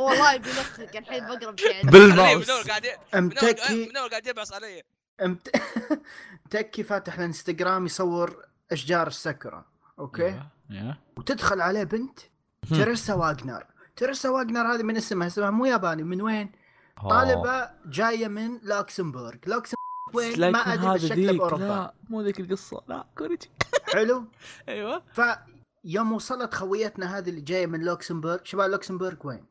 D: والله يبلخك الحين بقرب شيء عندك.
B: علي
A: بالماوس
B: من اول قاعد ي- من اول
E: متكي
B: من اول قاعد يبعص علي
E: مت... متكي فاتح الانستغرام يصور اشجار السكره اوكي
A: أيوة، أيوة.
E: وتدخل عليه بنت
A: هم.
E: تيرسا واجنر تيرسا واجنر هذه من اسمها اسمها مو ياباني من وين؟ طالبه جايه من لوكسمبورغ لوكسمبورغ وين ما ادري بس شكله باوروبا
A: مو ذيك القصه لا كوريجي
E: حلو
A: ايوه
E: فيوم وصلت خويتنا هذه اللي جايه من لوكسمبورغ شباب لوكسمبورغ وين؟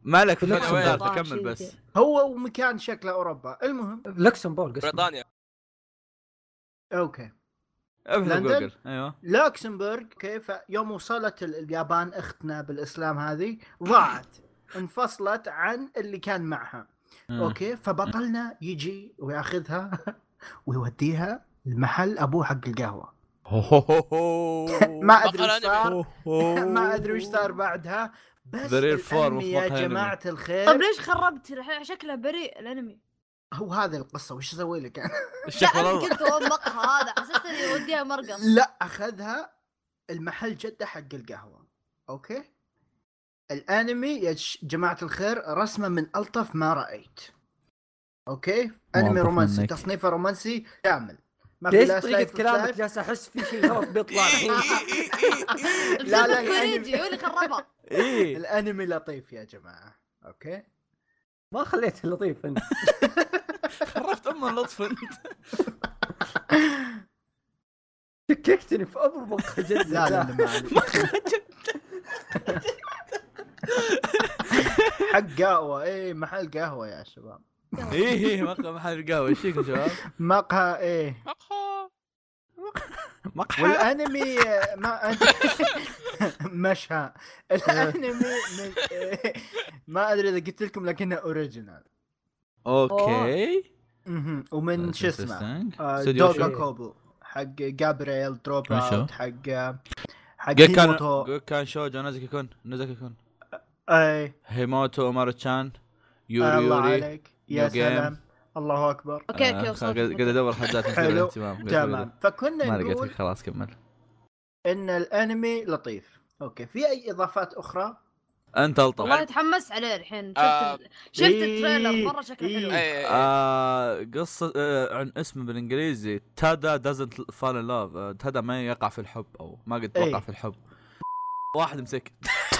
A: ما لك في
C: في
A: الفتره
C: لوكسمبورغ.
A: الثالثه كمل بس
E: هو ومكان شكله اوروبا المهم
C: لوكسمبورغ اسمه.
B: بريطانيا
E: اوكي
A: ابحث
E: لندن؟
A: جوجل ايوه
E: لوكسمبورغ كيف يوم وصلت ال- اليابان اختنا بالاسلام هذه ضاعت انفصلت عن اللي كان معها اوكي فبطلنا يجي وياخذها ويوديها المحل ابوه حق القهوه ما ادري
B: بقر
E: وش
B: أنمي.
E: صار ما ادري وش صار بعدها بس
A: برير فور
E: الأنمي يا
A: مفروض
E: جماعه
D: طيب
E: الخير
D: ليش خربت الحين شكله بريء الانمي
E: هو هذه القصه وش اسوي لك انا؟
D: لا
A: الشكل
D: انا
A: والله
D: قلت اومقها هذا حسست اني اوديها مرقص
E: لا اخذها المحل جده حق القهوه اوكي الانمي يا ش- جماعه الخير رسمه من الطف ما رايت اوكي انمي
A: ألطف
E: رومانسي
A: منك.
E: تصنيفه رومانسي كامل ما
C: ليش
E: لا
C: طريقة
E: سلايف
C: كلامك
E: سلايف.
C: جالس احس في شيء غلط بيطلع الحين
E: لا يعني لا
D: كوريجي
E: الانمي
D: هو اللي خربها
A: ايه
E: الانمي لطيف يا جماعه اوكي
C: ما خليته لطيف انت
A: عرفت ام اللطف انت
C: شككتني في ابرمق جدا
E: لا لا لا ما عليك. حق قهوه ايه محل قهوه يا شباب
A: ايه ايه مقهى محل قهوه ايش فيكم يا شباب؟
E: مقهى ايه
A: مقهى
E: والانمي ما أدري مشها الانمي من... ما ادري اذا قلت لكم لكنه اوريجينال
A: اوكي
E: مهم. ومن شو اسمه آه،
A: استوديو
E: دوغا
A: شو؟
E: كوبو حق جابرييل دروب
A: من شو؟
E: اوت حق حق
A: جيك كان
E: هيموتو
A: جيك كان شوجو نازكي كون نازكي كون
E: اي
A: هيموتو امارو تشان يوري
E: الله
A: يوري
E: عليك يا
A: New Game.
E: سلام الله اكبر
D: اوكي
A: آه،
D: اوكي
A: خل-
D: وصلت
A: قاعد قاعد ادور حاجات مثيره
E: حلو.
A: للاهتمام قاعد أدور.
E: تمام فكنا
A: ما لقيتك
E: نقول
A: خلاص كمل
E: ان الانمي لطيف اوكي في اي اضافات اخرى
A: انت
D: والله
A: الطف
D: تحمست عليه الحين شفت
B: آه،
D: ال- شفت
E: إيه،
D: التريلر مره شكله
E: إيه.
D: حلو
B: إيه، إيه.
A: آه قصة آه عن اسمه بالانجليزي تادا doesn't fall in love آه، تادا ما يقع في الحب او ما قد
E: إيه.
A: وقع في الحب واحد مسك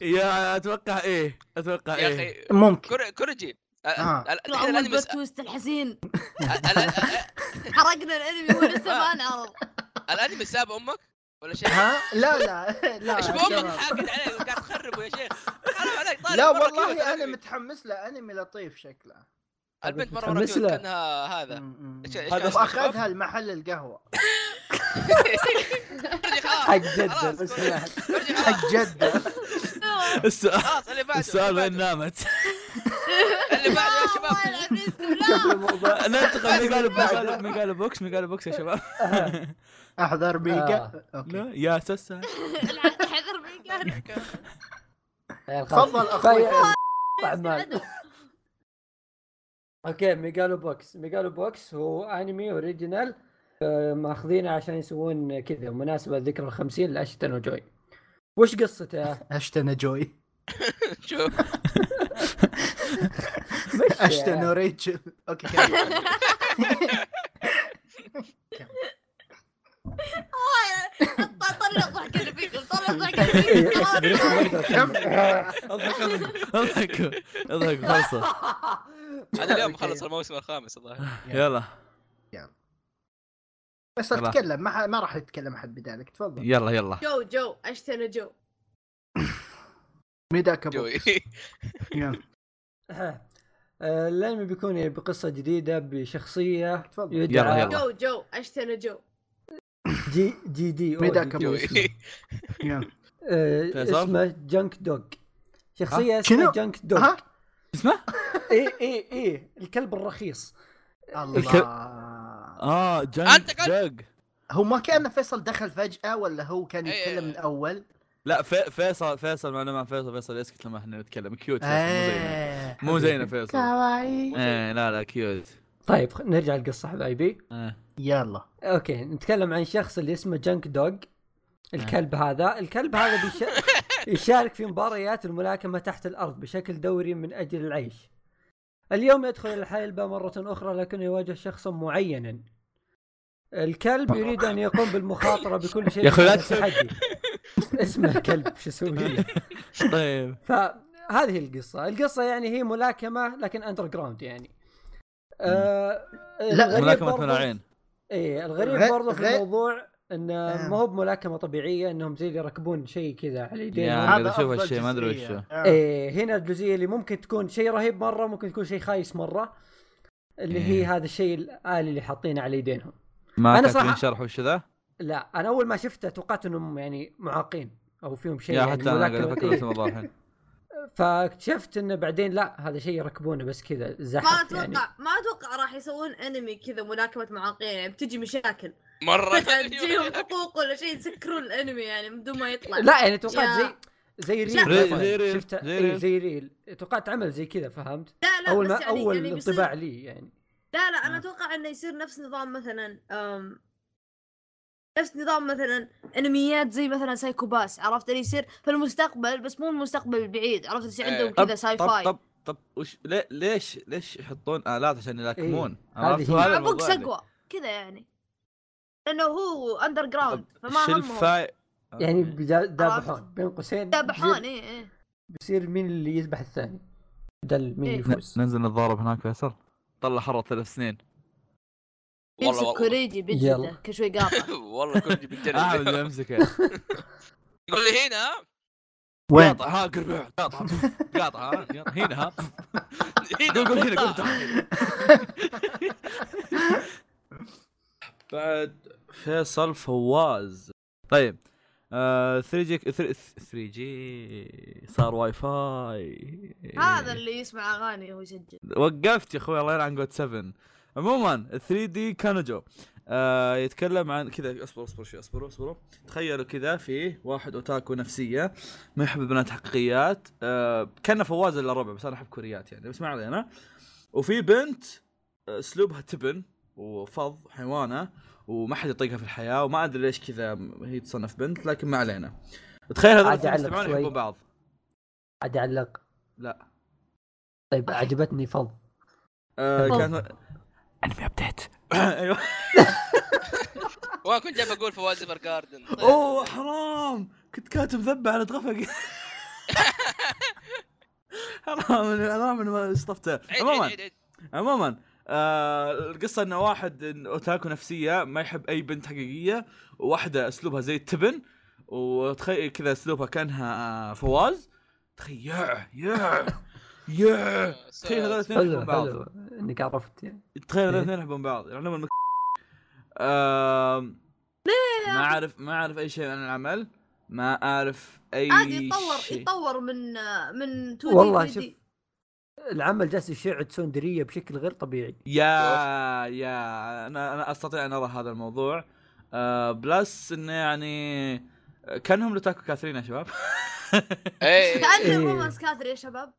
A: يا اتوقع ايه اتوقع
B: يا
A: ايه
B: اخي
E: ممكن
B: كور- كورجي أ-
E: آه.
B: أ- الحين
D: اول
B: الأنمي س-
D: بلوت تويست الحزين
B: ال- ال-
D: حرقنا الانمي هو لسه ما انعرض
B: الانمي ساب امك ولا شيء؟
E: ها لا لا لا
B: ايش بامك
E: تمام.
B: حاقد عليك وقاعد تخربه يا شيخ حرام عليك طالع
E: لا
B: مرة كيوت
E: والله انا
B: الأنمي.
E: متحمس له انمي لطيف شكله
B: البنت مره مره
C: متحمس
B: كيوت
C: له.
B: كانها هذا
E: م- م-
B: إيش- يعني؟
A: هذا
B: إيش كان اسمه؟
E: واخذها المحل القهوه
B: كورجي خلاص،
C: حق جدة
B: خلاص،
C: بس
B: كورجي.
C: لا.
B: كورجي خلاص،
E: حق جده
A: السؤال
B: خلاص اللي بعده
A: السؤال
B: اللي
A: وين
B: بعده.
A: نامت؟
B: اللي بعده يا شباب
D: الله يلعب رزقه لا
A: ننتقل ميجالو ميجالو ميجالو بوكس ميجالو بوكس يا شباب
E: احضر ميجا اوكي
A: آه. لا يا سسا
D: الع- حذر من قلبك
E: تفضل اخوي
C: فهي-
E: آه،
C: طعمان اوكي ميجالو بوكس ميجالو بوكس هو انمي اوريجينال آه، ماخذينه عشان يسوون كذا مناسبه ذكرى الخمسين لاشتن وجوي وش قصته؟
E: اشتن جوي
B: شوف
C: مش
E: اشتن
A: يعني.
E: وريتشل اوكي كمل.
D: طلع الضحك اللي فيك طلع الضحك اللي فيك
C: اصبر اصبر ما أقدر أكمل.
A: اضحك اضحك اضحك خلصة
B: انا اليوم مخلص الموسم الخامس الظاهر
A: يلا
E: بس اتكلم ما ح- ما راح يتكلم احد بدالك تفضل
A: يلا يلا
D: جو جو اشتري جو
E: ميداك ابو
B: جوي
E: يلا.
C: آه، الانمي بيكون بقصه جديده بشخصيه
E: تفضل
A: يلا،
C: يدعى
A: يلا.
D: جو جو اشتري جو
C: جي جي دي أو
E: ميداك
C: دي-
E: أبو
B: جوي
E: اسمه. يلا.
C: آه،
A: فيصل؟
C: اسمه جنك دوغ شخصيه
E: شنو؟
C: اسمها جنك دوغ
E: ها؟
A: اسمه؟
C: اي اي اي الكلب الرخيص
E: الله
A: اه
B: أنت
A: جنك
B: قلت-
A: دوغ
E: هو ما كان فيصل دخل فجأة ولا هو كان
B: إيه.
E: يتكلم من أول؟
A: لا في- فيصل فيصل معنا مع فيصل فيصل يسكت لما احنا نتكلم كيوت فيصل مو زينا
E: إيه.
A: مو زينا فيصل
E: كواي
A: ايه لا لا كيوت
C: طيب خ- نرجع للقصه حبايبي
A: إيه.
E: يلا
C: اوكي نتكلم عن شخص اللي اسمه جنك دوغ الكلب هذا الكلب هذا بيش... يشارك في مباريات الملاكمة تحت الأرض بشكل دوري من أجل العيش اليوم يدخل الحلبة مرة أخرى لكنه يواجه شخصا معينا الكلب يريد أن يقوم بالمخاطرة بكل شيء
A: يا أخي لا
C: هذا
A: تسب.
C: تحدي. اسمه كلب شو اسوي له؟
A: طيب
C: فهذه القصة القصة يعني هي ملاكمة لكن أندر جراوند يعني آه الغريب
A: ملاكمة
C: برضو-
A: ملاعين
C: ايه الغريب
E: غ-
C: برضه في
E: غ-
C: الموضوع انه
E: آه.
C: ما هو بملاكمه طبيعيه انهم زي اللي يركبون شيء كذا على
A: يا.
C: ايديهم
A: قاعد أشوف
E: أفضل
A: هالشيء، ما أدري
E: جزئية.
A: وش إيه.
E: آه.
C: ايه هنا الجزئيه اللي ممكن تكون شيء رهيب مره ممكن تكون شيء خايس مره اللي هي
A: إيه.
C: هذا الشيء الالي اللي حاطينه على يدينهم
A: ما
C: أنا
A: كان
C: صراحة-
A: صراحة... شرح وش ذا
C: لا انا اول ما شفته توقعت انهم يعني معاقين او فيهم شيء
A: يا
C: يعني
A: حتى انا قاعد
C: ملاكمة.
A: افكر
C: إيه.
A: نفس الموضوع الحين
C: فاكتشفت انه بعدين لا هذا شيء يركبونه بس كذا
D: ما
C: زحف يعني
D: اتوقع ما اتوقع راح يسوون انمي كذا ملاكمه معاقين يعني بتجي مشاكل
B: مره
D: فجاه تجيهم حقوق ولا شيء يسكرون الانمي يعني من دون ما يطلع
C: لا يعني توقعت
D: يا.
C: زي زي
D: لا.
C: ريل
A: ريل-
C: مثلاً.
A: زي ريل-
C: شفت
A: زي
C: إيه،
A: ريل.
C: زي ريل توقعت عمل زي كذا فهمت
D: لا لا
C: اول
D: بس
C: ما
D: يعني
C: اول
D: يعني بيصير-
C: انطباع لي يعني
D: لا لا انا
A: آه.
D: اتوقع انه يصير نفس نظام مثلا أم نفس نظام مثلا انميات زي مثلا سايكو باس عرفت اللي يصير في المستقبل بس مو المستقبل البعيد عرفت يصير
B: إيه.
D: عندهم
A: طب-
D: كذا ساي
C: طيب.
A: طب
D: فاي
A: طب طب وش ليه- ليش ليش يحطون الات عشان يلاكمون؟
C: إيه. هذه
A: عرفت؟
C: هي.
A: هذا
D: مع بوك
A: الموضوع اللي-
D: سقوى كذا يعني لانه هو اندر جراوند
A: طب
D: فما
A: شو
D: همهم
A: الفايد
C: يعني بدا-
D: عرفت.
C: دابحون بين قوسين
D: ذبحون
C: بيصير-
D: اي اي
C: بيصير مين اللي يذبح الثاني بدل مين
D: إيه.
C: يفوز
A: ننزل نتضارب هناك فيصل طلع حرة ثلاث سنين
B: والله
D: يمسك
B: والله
D: كوريجي
C: يلا.
D: بيجلده كل شوي قاطع
B: والله كوريجي
A: احمد
B: بيتجنن
A: اللي امسكه
B: يقول لي هنا
E: وين؟
A: قاطع ها قربع قاطع قاطع ها يلا، هنا ها قول قول هنا قول
B: هنا
A: تعال. بعد فيصل فواز طيب 3 جي 3 جي صار واي فاي
D: هذا اللي يسمع اغاني هو يسجل
A: وقفت يا اخوي الله يلعن جود 7 عموما 3 دي كانجو آه يتكلم عن كذا اصبروا اصبروا شوي اصبروا اصبروا تخيلوا كذا في واحد اوتاكو نفسيه ما يحب البنات حقيقيات آه كان فواز الا ربع بس انا احب كوريات يعني بس ما علينا وفي بنت آه، اسلوبها تبن وفض حيوانه وما حد يطيقها في الحياه وما ادري ليش كذا م- هي تصنف بنت لكن ما علينا تخيل هذول
C: عاد
A: الاثنين
C: علق
A: يجتمعون
C: شوي.
A: يحبوا بعض
C: عاد اعلق
A: لا
C: طيب عجبتني فض
A: آه
D: أوه.
A: كان
F: انمي ابديت
A: ايوه
B: وانا كنت جاي بقول فواز ايفر جاردن طيب.
A: اوه حرام كنت كاتب ذبه على اتغفق حرام إني- حرام اني ما شطفته
B: عيد عيد
A: عموما
B: عيد عيد
A: عموما آه القصه انه واحد إن اوتاكو نفسيه ما يحب اي بنت حقيقيه وواحده اسلوبها زي التبن وتخيل كذا اسلوبها كانها آه، فواز تخيل يا يا يا
B: آه،
A: تخيل هذول الاثنين
C: حلو
A: يحبون بعض
C: حلو انك عرفت يعني
A: تخيل
C: إيه.
A: الاثنين يحبون بعض يعني عموما مك... آم، ما اعرف ما اعرف اي شيء عن العمل ما اعرف اي
D: عادي يتطور
A: شيء.
D: يتطور من من 2
C: والله
D: دي 3 دي
C: العمل جالس يشع سوندريه بشكل غير طبيعي
A: يا يا انا انا استطيع ان ارى هذا الموضوع آه بلس انه يعني كانهم لوتاكو كاثرين يا شباب
B: إيه.
D: كانه
C: إيه.
D: رومانس كاثري يا شباب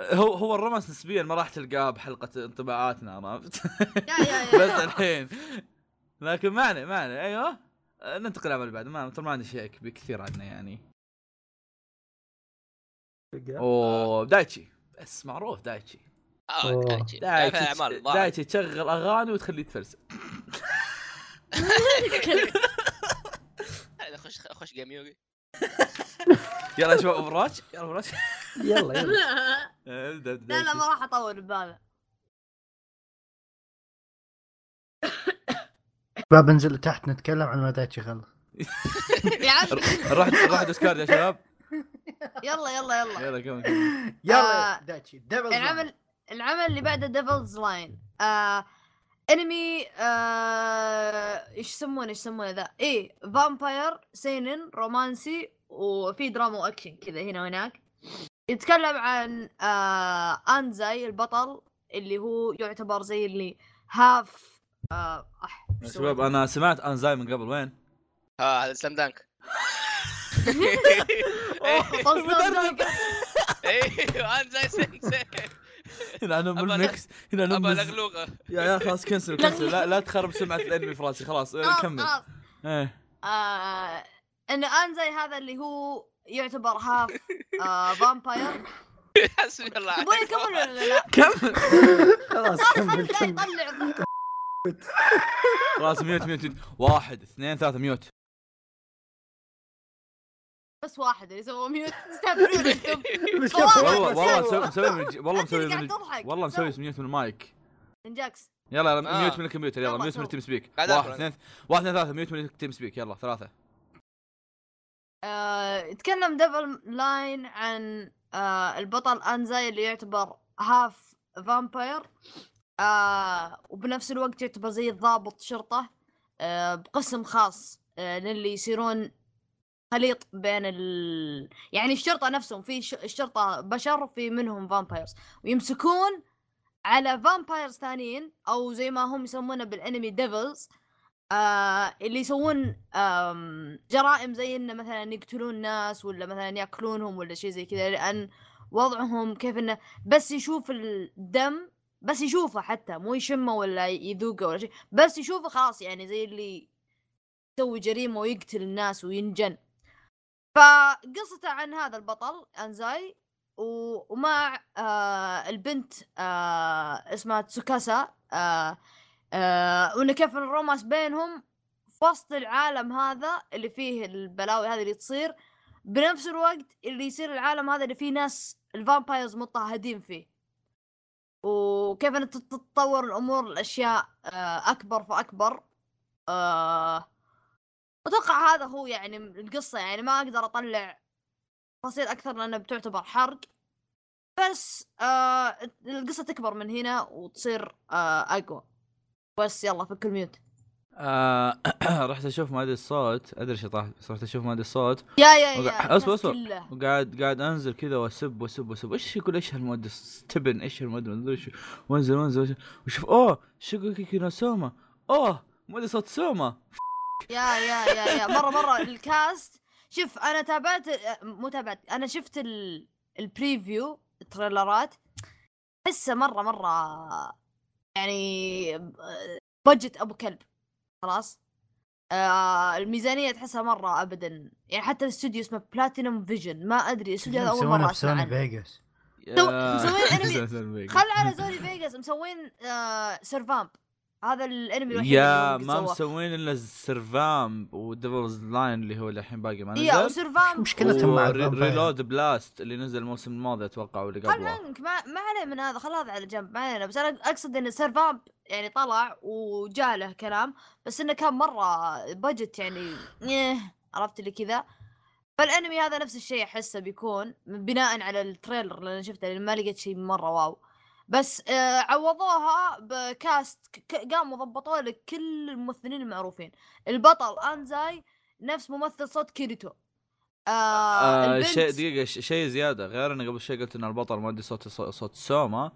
A: هو هو الرمس نسبيا ما راح تلقاه بحلقه انطباعاتنا عرفت
D: يا يا
A: بس
D: يا
A: الحين لكن معنى معنى ايوه آه، ننتقل العمل اللي بعد ما ترى ما عندي شيء أكبر كثير عنه يعني اوه دايتشي بس معروف دايتشي
B: اه
C: أوه.
B: دايتشي دايتشي
A: دايتشي
B: الاعمال ضاعت
A: دايتشي تشغل اغاني وتخليه يتفلسف
B: هذا خش خش جيم يوغي
A: يلا يا شباب اوفراج يلا اوفراج
C: يلا يلا
A: آه، ابدا ابدا
D: لا لا
A: دايتشي.
D: ما راح اطول بهذا
E: شباب انزل تحت نتكلم عن ما دايتشي خلص
D: يا عم
A: نروح نروح ديسكارد يا شباب
D: يلا يلا يلا
A: يلا كمل كمل
E: يلا
D: آه،
E: دايتشي دبل
D: العمل العمل اللي بعده ديفلز لاين آه انمي آه ايش يسمونه ايش يسمونه ذا ايه فامباير سينن رومانسي وفي دراما واكشن كذا هنا وهناك يتكلم عن آه انزاي البطل اللي هو يعتبر زي اللي هاف آه أح
A: يا شباب انا سمعت انزاي من قبل وين؟
B: اه هذا سلام دانك
A: مدرب.
B: ايوه انا زي سينسي
A: هنا انا من
B: أبا
A: الميكس هنا انا من
B: ابا
A: المز-
B: لغلوغه
A: يا يا خلاص كنسل كنسل لا لا تخرب سمعه الانمي في راسي خلاص آه،
D: خلاص
A: كمل
D: خلاص
A: ايه
D: آه ان انزاي هذا اللي هو يعتبر هاف آه فامباير
B: حسبي الله
D: تبون يكمل
B: عليك
D: ولا لا؟
A: كمل
C: خلاص كمل
D: لا
C: كمل
D: يطلع ضحك.
A: خلاص ميوت ميوت ميوت. واحد اثنين ثلاثه ميوت
D: بس واحد اللي سووا ميوت تستهبلون انتم
A: والله
D: بس
A: والله مسوي
D: سووا.
A: مسوي من الج- والله
D: أنت
A: مسوي
D: اللي
A: من
D: قاعد
A: الج-
D: تضحك.
A: والله مسوي
D: سووا.
A: ميوت من المايك
D: انجاكس
A: يلا يلا
B: آه.
A: ميوت من الكمبيوتر يلا
D: يلا،
A: ميوت من
D: سوي.
A: التيم سبيك
B: بعد
A: واحد
B: أقرأ.
A: اثنين واحد اثنين ثلاثه ميوت من التيم سبيك يلا ثلاثه
D: آه، يتكلم ديفل لاين عن آه، البطل انزاي اللي يعتبر هاف فامباير آه، وبنفس الوقت يعتبر زي الضابط شرطة آه، بقسم خاص آه، للي يصيرون خليط بين ال... يعني الشرطة نفسهم في ش... الشرطة بشر وفي منهم فامبايرز ويمسكون على فامبايرز ثانيين او زي ما هم يسمونه بالانمي ديفلز آه اللي يسوون آم، جرائم زي انه مثلا يقتلون ناس ولا مثلا ياكلونهم ولا شيء زي كذا لان وضعهم كيف انه بس يشوف الدم بس يشوفه حتى مو يشمه ولا يذوقه ولا شيء بس يشوفه خلاص يعني زي اللي يسوي جريمه ويقتل الناس وينجن فقصته عن هذا البطل انزاي و- ومع آه البنت آه اسمها تسوكاسا آه آه وانه كيف إن الرومانس بينهم في وسط العالم هذا اللي فيه البلاوي هذه اللي تصير بنفس الوقت اللي يصير العالم هذا اللي فيه ناس الفامبايرز مضطهدين فيه وكيف ان تت- تتطور الامور الاشياء آه اكبر فاكبر آه اتوقع هذا هو يعني القصه يعني ما اقدر اطلع تفاصيل اكثر لانها بتعتبر حرق بس آه القصه تكبر من هنا وتصير آه اقوى بس يلا فك الميوت
A: آه رحت اشوف مادي الصوت ادري ايش طاح بس رحت اشوف مادي الصوت
D: يا
A: وقع-
D: يا يا
A: أصبر-
D: الناس
A: أصبر.
D: كلها.
A: وقاعد قاعد انزل كذا واسب واسب واسب ايش يقول ايش هالمواد تبن ايش هالمواد ما ادري شو وانزل وانزل وانزل. وشوف اوه شوكوكي كينو سوما اوه مادي صوت سوما
D: يا يا يا يا مره مره الكاست شوف انا تابعت آه، مو تابعت انا شفت ال... البريفيو التريلرات احسه مره مره يعني آه، بجت ابو كلب خلاص آه الميزانيه تحسها مره ابدا يعني حتى الاستوديو اسمه بلاتينوم فيجن ما ادري الاستوديو هذا اول مره اسمع عنه
E: فيجاس
D: تو- مسوين أنمي.
A: أنمي
D: خل على زوري فيجاس مسوين آه سيرفامب هذا الانمي الوحيد
A: يا
D: اللي
A: ما
D: سواه.
A: مسوين الا السرفام وديفلز لاين اللي هو اللي الحين باقي ما
D: يا
A: نزل
D: وسيرفامب
E: مشكلتهم مع الفامباير
A: ريلود بلاست اللي نزل الموسم الماضي اتوقع واللي
D: خل
A: قبله
D: عنك ما, ما عليه من هذا خل هذا على جنب ما علينا بس انا اقصد ان سيرفامب يعني طلع وجاء له كلام بس انه كان مره بجت يعني إيه، عرفت اللي كذا فالانمي هذا نفس الشيء احسه بيكون بناء على التريلر اللي انا شفته لأن ما لقيت شيء مره واو بس آه عوضوها بكاست ك- ك- قاموا ضبطوا لك كل الممثلين المعروفين البطل انزاي نفس ممثل صوت كيريتو آه
A: آه
D: البنت-
A: شيء دقيقة ش- شيء زيادة غير اني قبل شوي قلت ان البطل مؤدي صوت صو- صوت سوما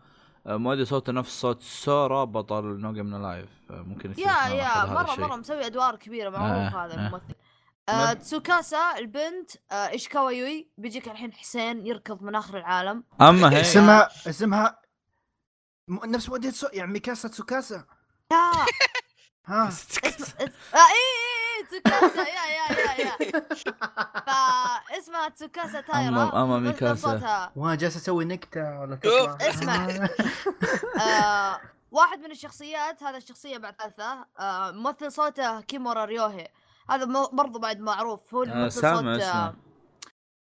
A: آه، مؤدي صوته نفس صوت سورا بطل نوجا من لايف ممكن يختلف
D: يا
A: معنا أحد
D: يا
A: هذا
D: مره
A: الشيء.
D: مره مسوي ادوار كبيره معروف
A: آه،
D: هذا
A: آه.
D: الممثل آه،
E: نعم.
D: تسوكاسا البنت آه، ايش كاوايوي بيجيك الحين حسين يركض من اخر العالم
A: اما هي
E: اسمها اسمها م- نفس وديت سو... يعني ميكاسا تسوكاسا
D: لا
E: ها
D: اس- اس- آه، اي اي اي تسوكاسا يا يا يا يا فاسمها تسوكاسا تايرا
A: أما- أما
D: بس
A: ميكاسا.
D: ضبطها.
E: وانا جالس اسوي نكته ولا
B: شوف،
E: تطلع.
D: اسمع. آه، واحد من الشخصيات هذا الشخصيه بعد ثالثة آه، ممثل صوته كيمورا ريوهي هذا مو- برضو بعد معروف هو اللي
A: آه،
D: ممثل
A: سامع
D: صوت آه،
A: اسمه.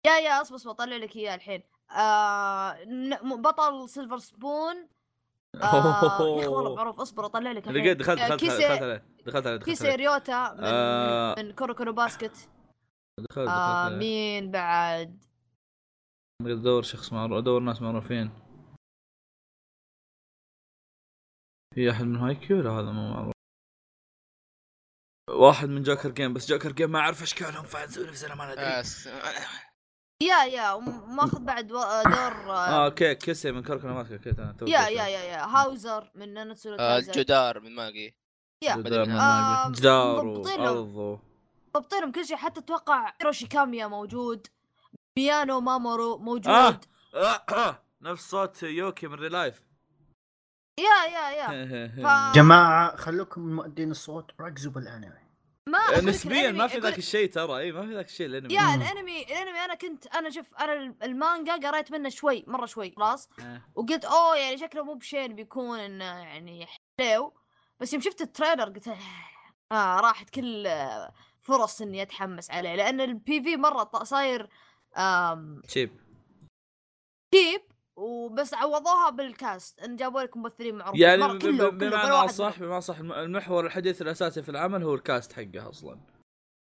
D: يا يا اصبر أصبر، بطلع لك اياه الحين آه، ن- م- بطل سيلفر سبون آه، يا اخي والله معروف اصبر اطلع لك الحين.
A: لقيت دخلت
D: آه،
A: دخلت
D: كيسي-
A: دخلت عليه دخلت عليه دخلت
D: كيسي
A: عليه
D: ريوتا من,
A: آه.
D: من كورو كورو باسكت
A: دخلت
D: آه
A: عليه
D: مين بعد
A: قاعد ادور شخص معروف ادور ناس معروفين في احد من هاي كيو لا هذا مو معروف واحد من جوكر جيم بس جوكر جيم ما اعرف اشكالهم فنسوي نفسنا ما ندري
B: أس-
D: يا يا وم- ماخذ بعد و- آه، دور آه
A: اه اوكي كيسي من كركنا ماسكه كيت انا تو
D: يا يا يا يا هاوزر من ناناتسو نو
B: آه،
D: تايزن.
B: الجدار من ماجي
D: يا.
B: بدل من
D: آه،
A: جدار
D: مضبطينه.
A: وارض و-
D: ضبطينهم كل شيء حتى اتوقع هيروشي كاميا موجود بيانو مامورو موجود
A: آه. آه، نفس صوت يوكي من ريلايف
D: يا يا يا ف-
E: جماعه خلوكم من مؤدين الصوت ركزوا بالانمي
D: ما أقول لك
A: نسبيا ما
D: الأنمي-
A: في
D: أقول-
A: ذاك الشيء ترى اي ما في ذاك الشيء الانمي
D: يعني يا الانمي الانمي انا كنت انا شوف انا ال- المانجا قريت منه شوي مره شوي خلاص
A: آه.
D: وقلت اوه يعني شكله مو بشين بيكون انه يعني حلو بس يوم شفت التريلر قلت آه آه، راحت كل آه، فرص اني اتحمس عليه لان البي في مره ط- صاير آم،
A: شيب
D: شيب وبس عوضوها بالكاست ان جابوا لك ممثلين معروفين
A: يعني
D: مرة
A: ب-
D: كلهم-
A: ب-
D: كلهم، ولا واحد
A: بمعنى صح
D: منهم.
A: بمعنى صح الم- المحور الحديث الاساسي في العمل هو الكاست حقه اصلا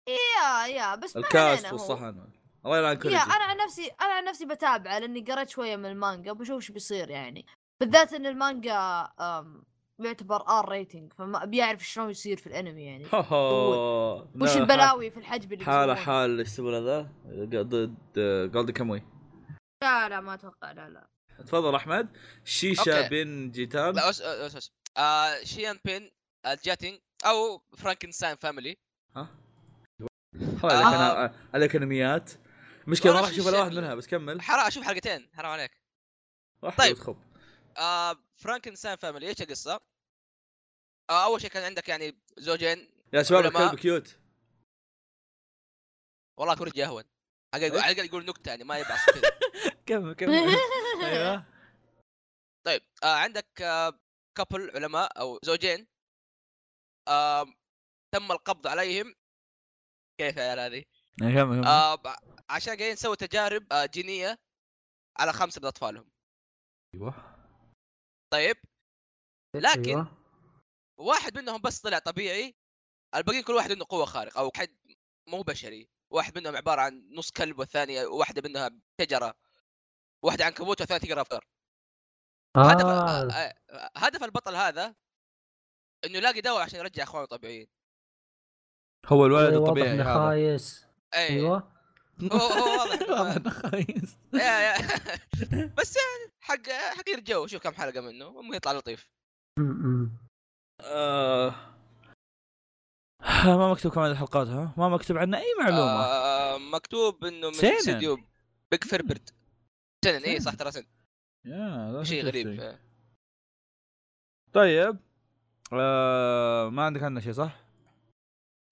D: يا يا بس ما علينا
A: الكاست
D: هو.
A: والصحن الله يلعن كل
D: يا انا عن نفسي انا عن نفسي بتابعه لاني قريت شويه من المانجا بشوف ايش بيصير يعني بالذات ان المانجا أم، يعتبر ار ريتنج فما بيعرف شلون يصير في الانمي يعني وش البلاوي في الحجب اللي
A: حاله
D: بيسوونه.
A: حال ايش يسمونه ذا ضد جولد كاموي
D: لا لا ما اتوقع لا لا
A: تفضل احمد شيشه
B: أوكي.
A: بن جيتان
B: لا أس أس أس آه شيان بين الجاتين او فرانكنستاين فاميلي
A: ها عليك
B: آه.
A: انا عليك انميات مشكله ما راح
B: ولا طيب. شي
A: اشوف ولا واحد
B: شكله.
A: منها بس كمل
B: حرام اشوف حلقتين حرام عليك
A: راح
B: طيب.
A: تخب
B: آه فرانكنستاين فاميلي ايش القصه؟ آه اول شيء كان عندك يعني زوجين
A: يا شباب
B: علماء.
A: الكلب كيوت
B: والله كوريجي اهون على الأقل-
A: إيه؟
B: على الاقل يقول نكته يعني ما يبعث كذا
A: كمل
B: آه.
A: ايوه
B: طيب آه عندك آه كابل علماء او زوجين آه تم القبض عليهم كيف يا عيال هذه؟
A: أيوة، كمل كمل
B: آه ب- عشان قاعدين نسوي تجارب آه جينيه على خمسه من اطفالهم
A: ايوه
B: طيب لكن
E: أيوة.
C: آه،
B: واحد منهم بس طلع طبيعي الباقيين كل واحد عنده قوه خارقه او حد مو بشري واحد منهم عباره عن نص كلب والثانيه واحده منها شجره واحده عنكبوت والثانيه تقرا افكار هدف
F: آه.
C: أيوة،
B: آه، آه، هدف البطل هذا انه يلاقي دواء عشان يرجع اخوانه طبيعيين
A: هو الولد
F: إيه، واضح
A: الطبيعي
F: انه
A: هذا إيه.
F: خايس
B: اي
A: أيوة.
F: ايوه
C: أيوة.
B: هو هو واضح
A: واضح
B: إنه-
A: انه خايس
B: يا- يا- بس يعني حق حق الجو شوف كم حلقه منه ممكن يطلع لطيف
F: م- م.
A: آه. ما مكتوب كمان الحلقات ها ما مكتوب عنا اي معلومه
B: آه، مكتوب انه من
A: سينن.
B: استديو بيج فيربرت سنن اي صح ترى سنن
A: يا لا
B: شيء
A: شكل
B: غريب
A: شيء.
B: آه.
A: طيب آه ما عندك عنا شيء صح؟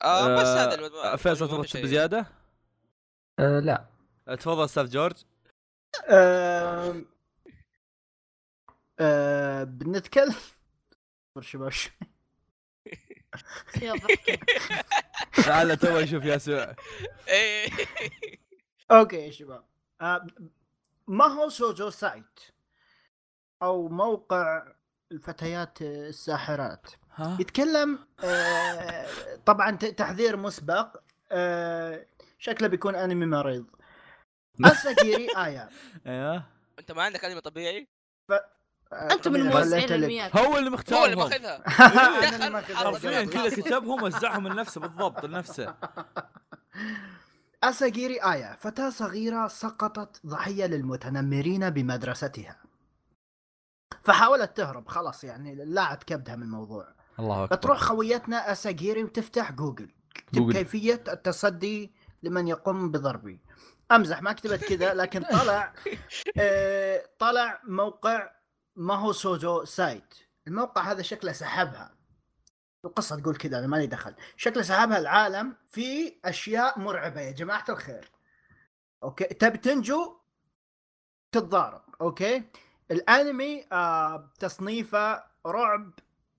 B: آه بس
A: آه،
B: هذا الم-
A: فيصل
B: المهم
A: تبغى
B: شيء.
A: تسب زياده؟
F: آه، لا
A: تفضل استاذ جورج
E: آم، آه، بنتكلم اصبر شباب شوي.
D: يا ضحكة.
A: تعال تو اشوف ياسوع
B: إيه.
E: اوكي يا شباب آه، ما هو سوجو سايت او موقع الفتيات الساحرات
A: ها؟
E: يتكلم آه، طبعا ت- تحذير مسبق آه، شكله بيكون انمي مريض آية. اساجيري ايا
A: ايوه
B: انت ما عندك انمي طبيعي
E: آه،
D: انتم من
E: طبيعي،
D: موزعين
E: خليته لك.
D: الانميات
A: هو اللي
B: هو اللي
A: مختارهم
B: ماخذها
E: أنا اللي
B: دخل
E: ماخذ
B: حرفياً
A: حرفيا
E: الفيلم.
A: كذا كتبهم وزعهم لنفسه بالضبط لنفسه
E: أساجيري آيا آية. فتاة صغيرة سقطت ضحية للمتنمرين بمدرستها فحاولت تهرب خلاص يعني لاعت كبدها من الموضوع
A: الله اكبر
E: فتروح خويتنا أساجيري وتفتح جوجل اكتب
A: جوجل.
E: كيفيه التصدي لمن يقوم بضربي امزح ما كتبت كذا لكن طلع آه، طلع موقع ما هو سوجو سايت الموقع هذا شكله سحبها القصه تقول كذا انا مالي دخل شكله سحبها العالم في اشياء مرعبه يا جماعه الخير اوكي تبي تنجو تتضارب اوكي الانمي آه تصنيفه رعب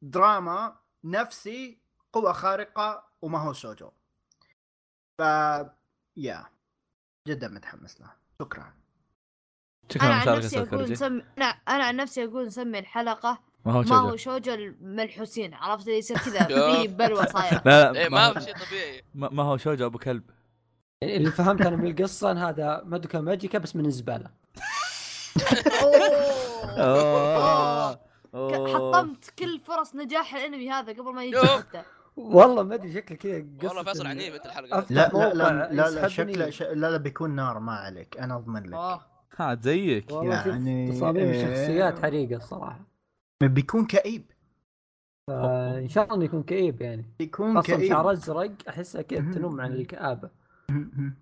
E: دراما نفسي قوة خارقة وما هو سوجو ف يا جدا متحمس له شكرا
D: انا عن نفسي اقول نسمي لا انا عن نفسي اقول نسمي الحلقه
A: ما هو
D: ما هو
A: شجر
D: شوجو الملحوسين عرفت اللي يصير كذا
C: آه.
D: في بلوى صايره
A: لا
B: ايه
A: لا ما
B: ما
A: هو-
B: هو شيء طبيعي
A: ما ما هو شوجو ابو كلب
C: يعني اللي فهمت انا من القصه ان هذا مادوكا ماجيكا بس من الزباله
D: أوه.
A: أوه. أوه.
D: حطمت كل فرص نجاح الانمي هذا قبل ما يجي
B: يوه.
D: حتى
C: والله ما ادري شكله كذا قصه
B: والله فيصل
C: إن-
B: عنيف انت الحلقه
C: أف-
E: لا
C: موقع
E: لا لا لا, لا
C: يسحبني.
E: شكله ش... لا لا بيكون نار ما عليك انا اضمن لك
B: آه.
A: عاد زيك
C: والله يعني
E: يعني،
C: تصاميم
E: إيه.
C: شخصيات حريقه الصراحه
E: بيكون كئيب
C: فان آه، شاء الله إنه يكون كئيب يعني
E: بيكون
C: اصلا شعر
E: كئيب
C: ازرق احسه كذا تنم عن الكابه
A: ممكن-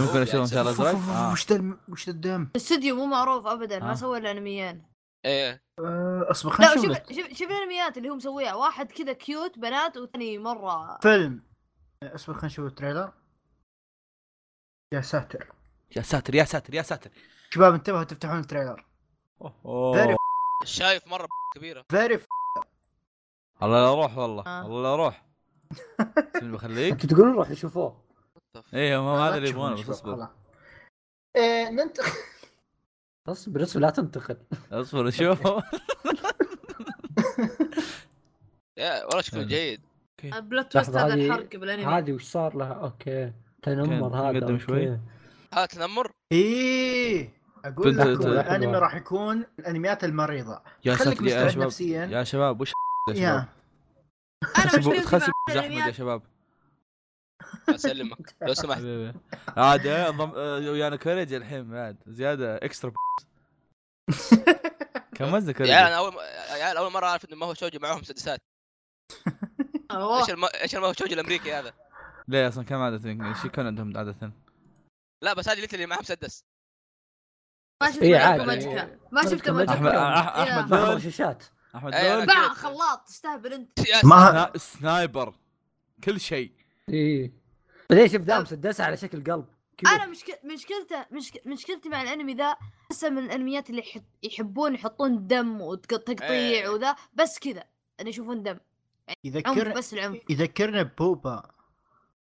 A: ممكن اشوف شعر
E: فف-
A: ازرق
E: فف-
A: آه.
E: وش ذا وش ذا الدم؟
D: الاستوديو مو معروف ابدا
A: آه.
D: ما سوى الا انميين
B: ايه
E: آه، اصبر خلينا
D: لا
E: نشوف
D: شوف
E: لك.
D: شوف شوف الانميات اللي هو مسويها واحد كذا كيوت بنات والثاني مره
E: فيلم آه، اصبر خلينا نشوف التريلر يا ساتر
A: يا ساتر يا ساتر يا ساتر
E: شباب انتبهوا تفتحون التريلر
A: اوه
E: تعرف-
B: شايف مره كبيره
E: فيري
A: الله لا اروح والله
D: آه.
A: والله لا اروح سيبني بخليك
C: انتوا تقولون روح شوفوه
A: ايه ما ما
E: لا
A: هذا اللي
E: تشوفون
A: يبغونه بس
E: شباب،
A: اصبر
E: خلاص. آه، ننتقل
C: اصبر اصبر لا تنتقد
A: اصبر شوف
B: يا والله شكله
A: حلو.
B: جيد
D: بلوت
C: تويست لحظة، هذا هذه- الحرق
D: بالانمي
C: هذه وش صار لها اوكي تنمر
A: كان
C: هذا
A: مقدم
C: أوكي.
A: شوي.
B: هذا تنمر
E: ايه اقول
A: بنت-
E: لكم
A: بنت-
E: الانمي راح يكون الانميات المريضه
A: يا
E: خليك
A: ساتر يا
E: مستعد
A: شباب
E: نفسيا
A: يا شباب وش يا
E: يا
A: شباب
D: انا
A: خسبوا-
D: مشكلتي
A: خسبوا
D: مع
A: احمد يا
D: الانميات
A: شباب
B: اسلمك لو سمحت
A: حبيبي عاد آه، انضم- آه، ويانا كوريج الحين بعد زياده اكسترا كم وزن
B: يا
A: كوريج؟
B: عيال انا اول يا عيال اول مره اعرف انه ما هو شوجي معاهم مسدسات
D: آه،
B: ايش الم... ايش الم- هو شوجي الامريكي هذا
A: ليه اصلا كم عاده شو كان عندهم عاده؟
B: لا بس هذه اللي معاه مسدس
D: ما شفت
C: إيه،
D: ملك
C: عادي.
D: ماجيكا ما شفت
C: ملك
A: احمد
D: ملك ماجيكا
A: أح- احمد
C: ما
A: دول
C: أحضر شاشات
A: احمد
B: أي، أنا
A: دول
D: باع خلاط تستهبل انت
B: يا
E: ما
A: سنا- سنايبر كل شيء
C: ايه بعدين شوف دامس الدسه على شكل قلب كبير.
D: انا مشك... مشكلته مشك... مشكلتي مع الانمي ذا احسه من الانميات اللي يح... يحبون يحطون دم
B: إيه.
D: وتقطيع وذا بس كذا ان يشوفون دم
E: يذكر
D: عنف بس العنف
A: إيه.
E: يذكرنا ببوبا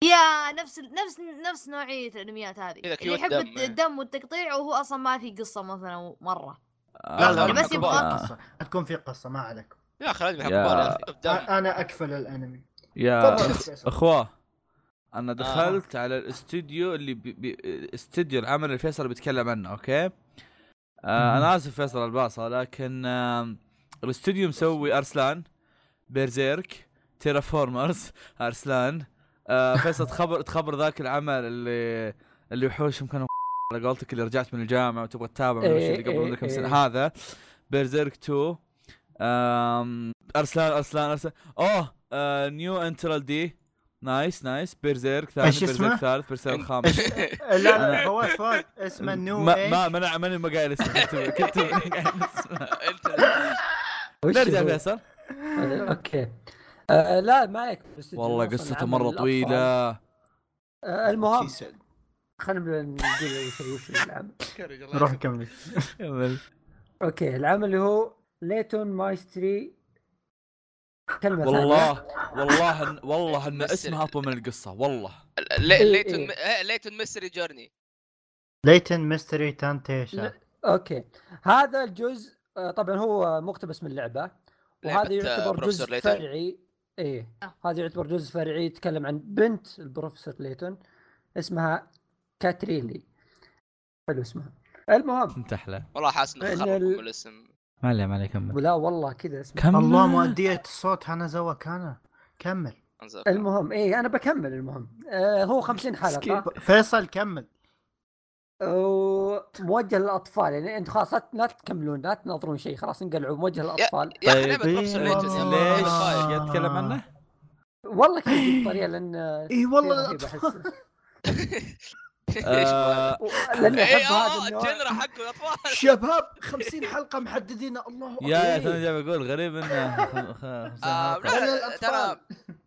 D: يا نفس ال- نفس نفس نوعيه الانميات هذه
B: كذا
D: اللي
B: كيوت
D: يحب
B: دم، إيه.
D: الدم والتقطيع وهو اصلا ما في قصه مثلا مره
E: لا
A: آه،
E: لا
D: بس
E: بس
D: يبغى-
E: قصه حتكون في قصه ما عليك
B: يا اخي لازم يحب
A: يا-
B: يا اخي دم.
E: أ- انا اكفل الانمي
A: يا
E: تفضل فيصل.
A: اخواه انا دخلت على الاستوديو اللي بي بي استوديو العمل اللي فيصل بيتكلم عنه اوكي آه انا اسف فيصل الباصه لكن آه الاستوديو مسوي ارسلان بيرزيرك تيرافورمرز ارسلان آه فيصل تخبر تخبر ذاك العمل اللي اللي وحوشهم كانوا على قولتك اللي رجعت من الجامعه وتبغى تتابع من الوش اللي قبل
C: إيه،
A: من كم
C: إيه،
A: سنه
C: إيه.
A: هذا بيرزيرك 2 آم، ارسلان ارسلان ارسلان اوه آه، نيو انترال دي نايس نايس بيرزيرك ثاني
E: إيش اسمه؟
A: بيرزيرك ثالث بيرزيرك خامس
E: لا لا فواز فواز اسمه نو
A: ما ما منع ماني ما قايل اسمه كنت- كنت قايل اسمه.
B: انت
C: وش
A: نرجع
C: هو؟
A: فيصل
C: آه، اوكي آه لا معك بس
A: والله
C: أصلاً
A: قصته
C: عمل
A: مره
C: الأطفال.
A: طويله
C: آه المهم خلينا نقول وش- وش العمل
E: نروح نكمل
A: كمل.
C: اوكي العمل اللي هو ليتون مايستري كلمه ثانية.
A: والله والله إن- والله ان
B: بس-
A: اسمها اطول من القصه والله
B: لي-
C: إيه،
B: ليتون
C: إيه.
B: إيه، ليتون ميستري جورني
E: ليتن ميستري تانتيشن
C: لا. اوكي هذا الجزء آه، طبعا هو مقتبس من لعبه وهذا
B: لعبة، آه،
C: يعتبر
B: بروفيسور
C: جزء
B: ليتون.
C: فرعي ايه هذا يعتبر جزء فرعي يتكلم عن بنت البروفيسور ليتون اسمها كاتريلي حلو اسمها المهم
A: انت احلى
B: والله حاسس انه
C: لأن
B: خرب
C: إيه، ال-
B: الاسم
A: ما عليه ما عليه كمل
C: ولا والله كذا اسمها
A: كمل
E: الله مؤدية صوت هانازاوا كان كمل
B: أنزل.
C: المهم ايه انا بكمل المهم آه هو 50 حلقه
E: فيصل كمل
C: وموجه للاطفال يعني انتم خلاص لا- لا تكملون لا تناظرون شيء خلاص انقلعوا موجه للاطفال
B: يا اخي
A: طيب،
B: لعبه
E: إيه،
B: بروفيسور ليتون
E: والله.
B: يا أخي،
A: ليش
B: خايف.
A: قاعد تتكلم عنه؟
C: والله كان في طريقه لان
E: اي إيه، والله
C: طيب، رهيبة أحس.
B: إيش
A: آه.
B: بقى؟
C: لاني
B: إيه،
C: احب
B: آه،
C: هذا
B: آه،
C: النوع
B: الجنرا حقه الاطفال
E: شباب 50 حلقه محددين الله
A: يا يا توني
E: عليك.
A: جاي بقول غريب انه خم- خ- خمسين
B: آه،
A: حلقة.
B: لا،
E: أنا
B: لا، ترى
E: الأطفال.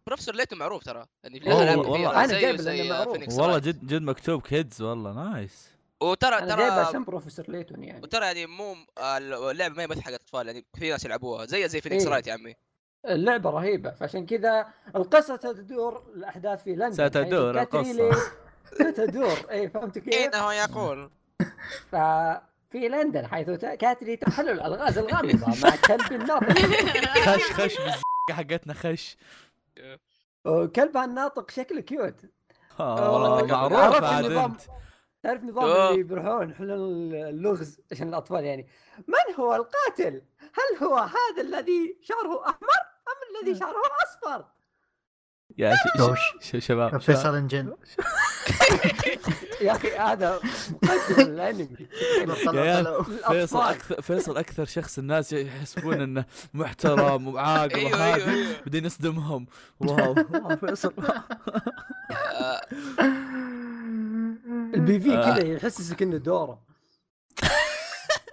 B: بروفيسور ليتو معروف ترى يعني في
A: والله-
B: ألعاب
A: والله.
B: كثيرة
C: أنا
B: زيه
C: جايبه
B: زي
C: لأنه معروف.
B: Phoenix
A: والله
B: Wright.
A: جد جد مكتوب كيدز والله نايس
B: وترى
C: انا جايبه
B: ترى
C: عشان بروفيسور ليتون يعني
B: وترى يعني مو اللعبه ما هي بس حق الاطفال يعني في ناس يلعبوها زي زي فينيكس
C: إيه.
B: رايت يا عمي
C: اللعبه رهيبه فعشان كذا القصه تدور الاحداث في لندن
A: ستدور
C: يعني كاتريلي ستدور اي فهمت كيف؟
B: انه يقول
C: ففي لندن حيث تا- كاتري تحلل الالغاز الغامضه مع كلب الناطق
A: خش خش بالزقة حقتنا خش
C: وكلبها الناطق شكله كيوت
A: آه، والله
B: أوه.
A: معروف
C: عرفت
A: عاد
C: النظام.
A: انت
C: تعرف
B: آه.
C: نظام اللي بيروحون يحلون اللغز عشان الاطفال يعني من هو القاتل؟ هل هو هذا الذي شعره احمر ام
A: آه.
C: الذي شعره اصفر؟
A: يا ش-
E: دوش.
A: ش- ش- شباب
E: فيصل انجن
C: يا اخي هذا مقدم الانمي
A: يا عيال. فيصل
C: الأطفال.
A: اكثر فيصل اكثر شخص الناس يحسبون انه محترم وعاقل
B: ايوه ايوه
A: وهادي
B: ايوه
A: بعدين يصدمهم واو واو فيصل
B: آه،
C: البي في
A: آه.
C: كذا يحسسك انه دوره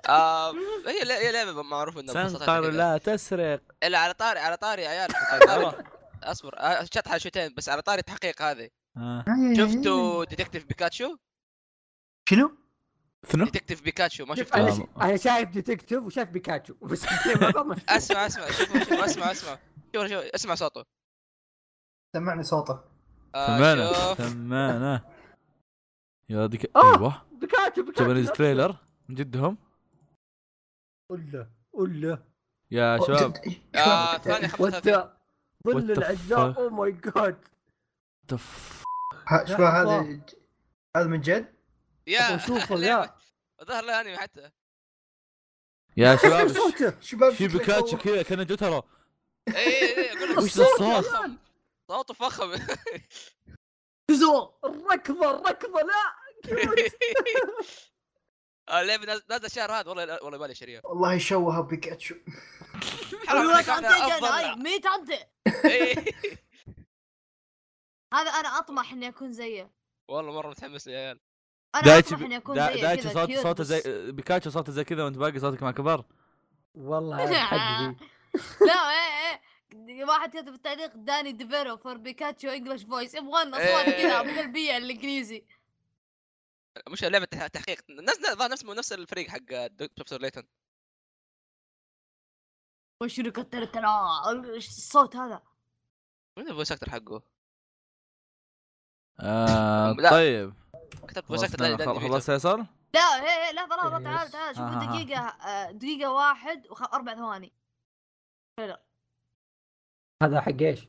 B: آه، هي لا- هي لعبه معروف انها قصتها
A: تنقر
B: كذا.
A: لا تسرق
B: لا على طاري على طاري يا عيال على طاري اصبر آه، شطحه شوتين بس على طاري تحقيق هذه
A: آه.
B: شفتوا ديتكتيف بيكاتشو؟
E: شنو؟
A: ثنو
B: ديتكتيف بيكاتشو ما
C: شوف
B: شفته
C: انا انا شايف ديتكتيف وشايف بيكاتشو بس الاثنين مع بعض ما شفتهم.
B: اسمع اسمع شوفوا شوفوا اسمع اسمع شوف شوف اسمع صوته
F: سمعني صوته
B: آه
A: ثمانة
B: شوف
A: ثمانة يا ديك
C: آه.
A: ايوه
C: بيكاتشو بيكاتشو
A: جابانيز
C: نفسه.
A: تريلر من جدهم
C: قول له قول له
A: يا شباب
B: آه، ثمانية خمسة
C: وانت ظل Oh
A: What the fuck؟
C: العزاء او ماي جاد
A: تف
F: شو هذا هذا من جد؟
B: يا
C: شوفه لا
B: ظهر له انمي حتى
A: يا شباب
C: شوف صوته
E: شباب
A: شي بيكاتشو كذا كان جوترو
B: اي اي اقول إيه، لك
A: وش ذا الصوت؟
B: فخم. صوته فخم
C: زور الركضه الركضه لا كيوت.
B: آه، اللعبه ناز- نازله الشهر هذا والله والله بالي شريها
F: والله شوه بيكاتشو
B: حرام إيه. عليك احنا افضل
D: ميت انت
B: إي.
D: هذا انا اطمح اني اكون زيه
B: والله مره متحمس يا عيال
D: انا
A: دايتشي
D: اطمح اني اكون
A: دا-
D: زيه
A: دايتشي
D: كذا،
A: صوت
D: كيوت
A: صوته
D: بس-
A: زي آه، بيكاتشو صوته زي كذا وانت باقي صوتك ما كبر
C: والله هذا حق ذي.
D: لا ايه ايه واحد كتب التعليق داني ديفيرو فور بيكاتشو انجلش فويس يبغون اصوات كذا ابو قلبيه الانجليزي
B: مش لعبه تح- تحقيق نفس ظهر نفس نفس الفريق حق دكتور ليتون
D: وشركة الكلا ايش الصوت هذا؟
B: مين الفويس اكتر حقه؟
A: آه
B: لا.
A: طيب
B: كتبت فويس اكتر
A: خلصنا-
B: لأني- لأني
A: خل-
B: فيتو.
A: خلاص فيصل
D: لا ايه ايه لحظة لحظة تعال تعال
A: آه، آه،
D: شوفوا
A: آه.
D: دقيقة آه، دقيقة واحد واربع ثواني
C: هذا حق ايش؟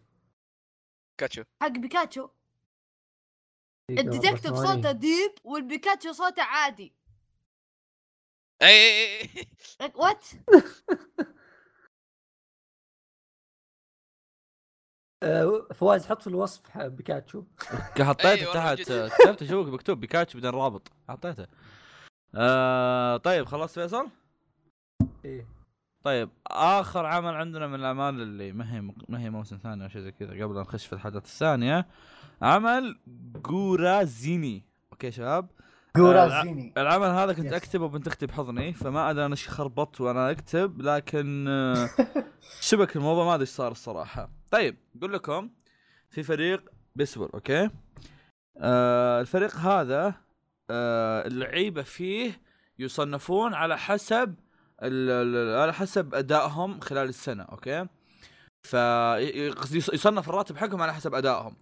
B: بيكاتشو
D: حق بيكاتشو
C: بس إيه،
D: الديتكتيف
C: ماني.
D: صوته ديب والبيكاتشو صوته عادي
B: اي اي اي
D: لك وات
C: آه، فواز حط في الوصف ح- بيكاتشو
B: أي
A: حطيته
B: والله
A: تحت آه،
B: جد.
A: كتبت اشوفك مكتوب بيكاتشو بعدين رابط حطيته آه طيب خلاص فيصل
C: إيه.
A: طيب اخر عمل عندنا من الاعمال اللي ما هي ما هي موسم ثاني او شيء زي كذا قبل أن نخش في الحدث الثانيه عمل جورازيني اوكي يا شباب آه،
F: جورازيني
A: العمل هذا كنت
F: Yes.
A: اكتبه وبنت اختي بحضني فما ادري انا ايش خربطت وانا اكتب لكن آه، شبك الموضوع ما ادري ايش صار الصراحه طيب اقول لكم في فريق بيسبول اوكي آه الفريق هذا آه اللعيبه فيه يصنفون على حسب ال- ال- على حسب ادائهم خلال السنه اوكي فيصنف الراتب حقهم على حسب ادائهم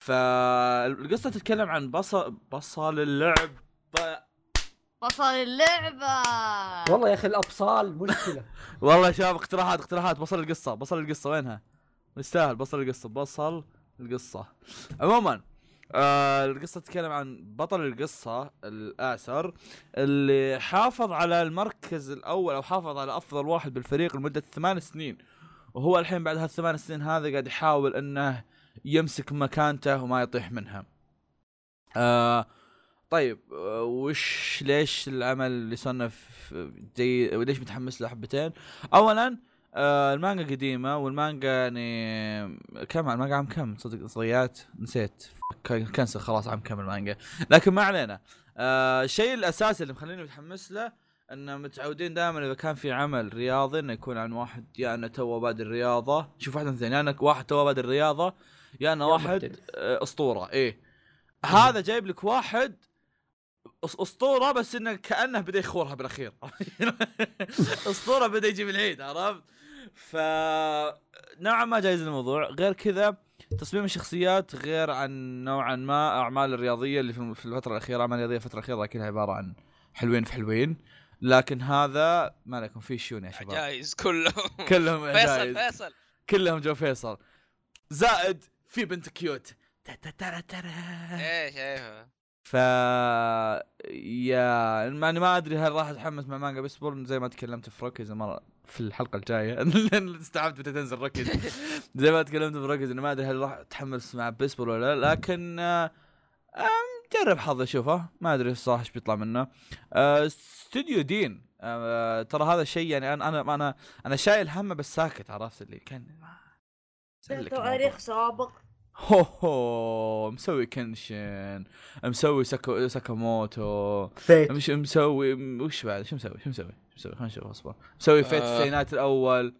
A: فالقصه تتكلم عن بصل بصل اللعب
D: بطل اللعبة
C: والله يا اخي الابصال مشكله
A: والله يا شباب اقتراحات اقتراحات بصل القصه بصل القصه وينها؟ يستاهل بصل القصه بصل القصه عموما آه القصه تتكلم عن بطل القصه الاسر اللي حافظ على المركز الاول او حافظ على افضل واحد بالفريق لمده ثمان سنين وهو الحين بعد هالثمان سنين هذا قاعد يحاول انه يمسك مكانته وما يطيح منها. آه طيب آه، وش ليش العمل اللي صنف آه، جي ليش متحمس له حبتين؟ اولا آه المانجا قديمه والمانجا يعني كم المانجا عام كم صدق صغيات نسيت ك- كنسل خلاص عام كم المانجا لكن ما علينا آه الشيء الاساسي اللي مخليني متحمس له ان متعودين دائما اذا كان في عمل رياضي انه يكون عن واحد يا يعني انه تو بادئ الرياضه شوف واحد من اثنين يا انك واحد تو بادئ الرياضه يا انه
C: يا
A: واحد
C: محترف.
A: آه، اسطوره ايه هذا جايب لك واحد أس- اسطوره بس انه كانه بدا يخورها بالاخير اسطوره بدا يجيب العيد عرفت؟ ف نوعا ما جايز الموضوع غير كذا تصميم الشخصيات غير عن نوعا ما اعمال الرياضيه اللي في في الفتره الاخيره اعمال الرياضيه الفتره الاخيره كلها عباره عن حلوين في حلوين لكن هذا ما لكم فيه شيون يا شباب
B: جايز كلهم
A: كلهم
B: فيصل
A: عجايز
B: فيصل
A: كلهم جو فيصل زائد في بنت كيوت تا- تا- ترى ترى
B: ايش ايوه
A: ف يا ما انا ما ادري هل راح اتحمس مع مانجا بيسبول زي ما تكلمت في روكيز المره في الحلقه الجايه لان استوعبت متى تنزل روكيز زي ما تكلمت في روكيز انا ما ادري هل راح اتحمس مع بيسبول ولا لا لكن آه، آه، جرب حظ اشوفه ما ادري الصراحه ايش بيطلع منه آه، استوديو دين آه، ترى هذا الشيء يعني انا انا انا انا شايل همه بس ساكت عرفت اللي كان ما- سلك الموضوع.
D: تاريخ سابق
A: هو هو مسوي كنشن مسوي ساكو ساكاموتو
E: فيت
A: مش مسوي م- وش بعد شو مسوي شو مسوي شو مسوي خلينا نشوف اصبر مسوي فيت
B: آه.
A: السينات الاول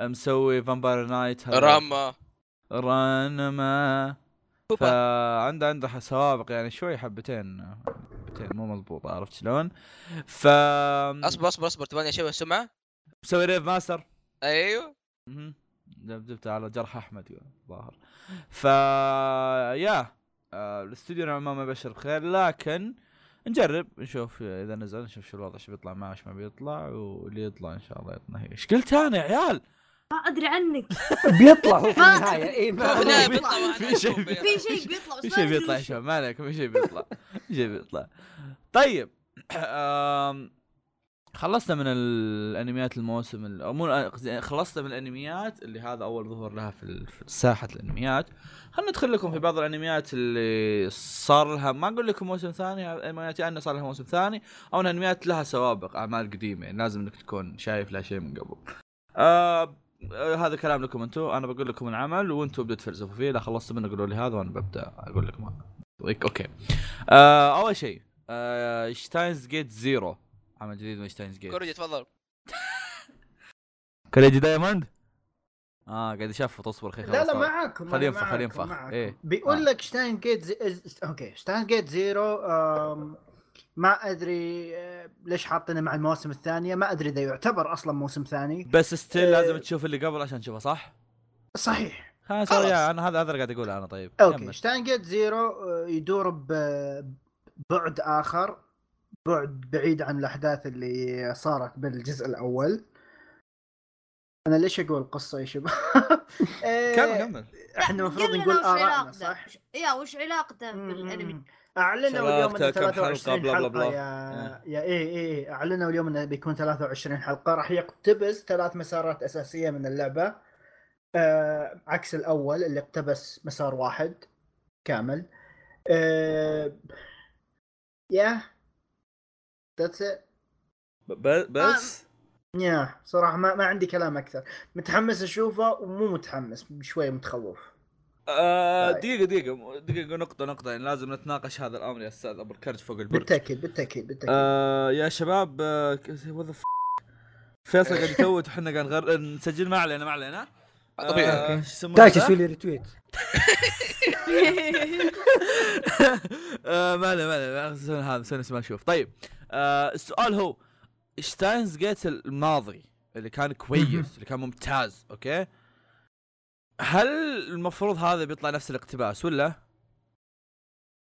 A: مسوي فامباير نايت هذا.
B: راما
A: رانما
B: كوبا
A: فعنده عنده سوابق يعني شوي حبتين حبتين مو مضبوطه عرفت شلون؟ ف
B: اصبر اصبر اصبر تبغاني اشوف السمعه
A: مسوي ريف ماستر
B: ايوه
A: مهم. جبت على جرح احمد ظاهر ف يا آه، الاستوديو نوعا ما ما يبشر بخير لكن نجرب نشوف اذا نزل نشوف شو الوضع شو بيطلع معه شو ما بيطلع واللي يطلع ان شاء الله يطلع هي ايش قلت انا يا عيال
D: ما ادري عنك
C: بيطلع هو في
D: ما-
C: النهايه اي ما
B: لا،
A: في-
B: بيطلع وأنا
A: في شيء
B: أشوف.
A: بيطلع.
D: في شيء بيطلع بس
A: في
D: ما
A: شيء
D: أدري
A: بيطلع يا
D: وش.
A: شباب ما عليكم في شيء بيطلع في شيء بيطلع طيب آم، خلصنا من الانميات الموسم ال- أو مو الأ- قصدي خلصنا من الانميات اللي هذا اول ظهور لها في ال- في ساحه الانميات خلينا ندخل لكم في بعض الانميات اللي صار لها ما اقول لكم موسم ثاني انميات يا انه صار لها موسم ثاني او إن انميات لها سوابق اعمال قديمه يعني لازم انك تكون شايف لها شيء من قبل. آه آه، هذا كلام لكم انتم انا بقول لكم العمل وانتم ابدوا تفلسفوا فيه اذا خلصتوا منه قولوا لي هذا وانا ببدا اقول لكم هذا. طيب، اوكي آه اول شيء آه شتاينز جيت زيرو عمل جديد من شتاينز جيت
B: كوريجي تفضل
A: كوريجي دايموند اه قاعد يشفط اصبر خي
E: لا
A: خلاص
E: لا
A: طلع.
E: معاكم
A: خليه
E: خلينا
A: ينفخ، خليه ينفخ. إيه. آه.
E: بيقول لك شتاين جيت زي... إز- اوكي شتاين جيت زيرو آم، ما ادري آه، ليش حاطينه مع المواسم الثانيه ما ادري اذا يعتبر اصلا موسم ثاني
A: بس ستيل
E: آه.
A: لازم تشوف اللي قبل عشان تشوفه صح؟
E: صحيح
A: خلاص
B: خلاص.
A: يا انا هذا هذا اللي قاعد اقوله انا طيب
E: اوكي
A: كمل.
E: شتاين جيت زيرو آه، يدور ب- بعد اخر بعد بعيد عن الاحداث اللي صارت بالجزء الاول انا ليش اقول قصه يا شباب؟ آه،
A: كمل كمل
E: احنا المفروض
D: قلنا
E: نقول
D: وش
E: ارائنا
D: علاقته؟
E: صح؟
D: يا وش علاقته بالانمي
E: مم. اعلنوا امم، اليوم انه
A: شراكتك كم حلقة،
E: 23
A: بلا
E: حلقه
A: بلا إيه. بلا.
E: يا يا اي اي اعلنوا اليوم انه بيكون 23 حلقه راح يقتبس ثلاث مسارات اساسيه من اللعبه آه عكس الاول اللي اقتبس مسار واحد كامل آه يا ذاتس ات
A: ب- بس
E: يا صراحه ما, ما عندي كلام اكثر متحمس اشوفه ومو متحمس شوي متخوف
A: آه،
E: طيب.
A: دقيقة دقيقة دقيقة نقطة نقطة يعني لازم نتناقش هذا الأمر يا أستاذ أبو الكرج فوق البرج
E: بالتاكيد بالتاكيد بالتاكيد
A: آه يا شباب آه ك- what the f- فيصل قاعد يتوت وحنا قاعد نغر... نسجل ما علينا ما علينا
B: طبيعي.
A: آه، شو يسمونه
C: دايش
A: ذا؟
C: يسوي لي ريتويت
A: آه، ما عليه ما عليه ما عليه، سوينا هذا سوينا نفس ما نشوف طيب آه السؤال هو شتاينز جيت الماضي اللي كان كويس اللي كان ممتاز اوكي هل المفروض هذا بيطلع نفس الاقتباس ولا؟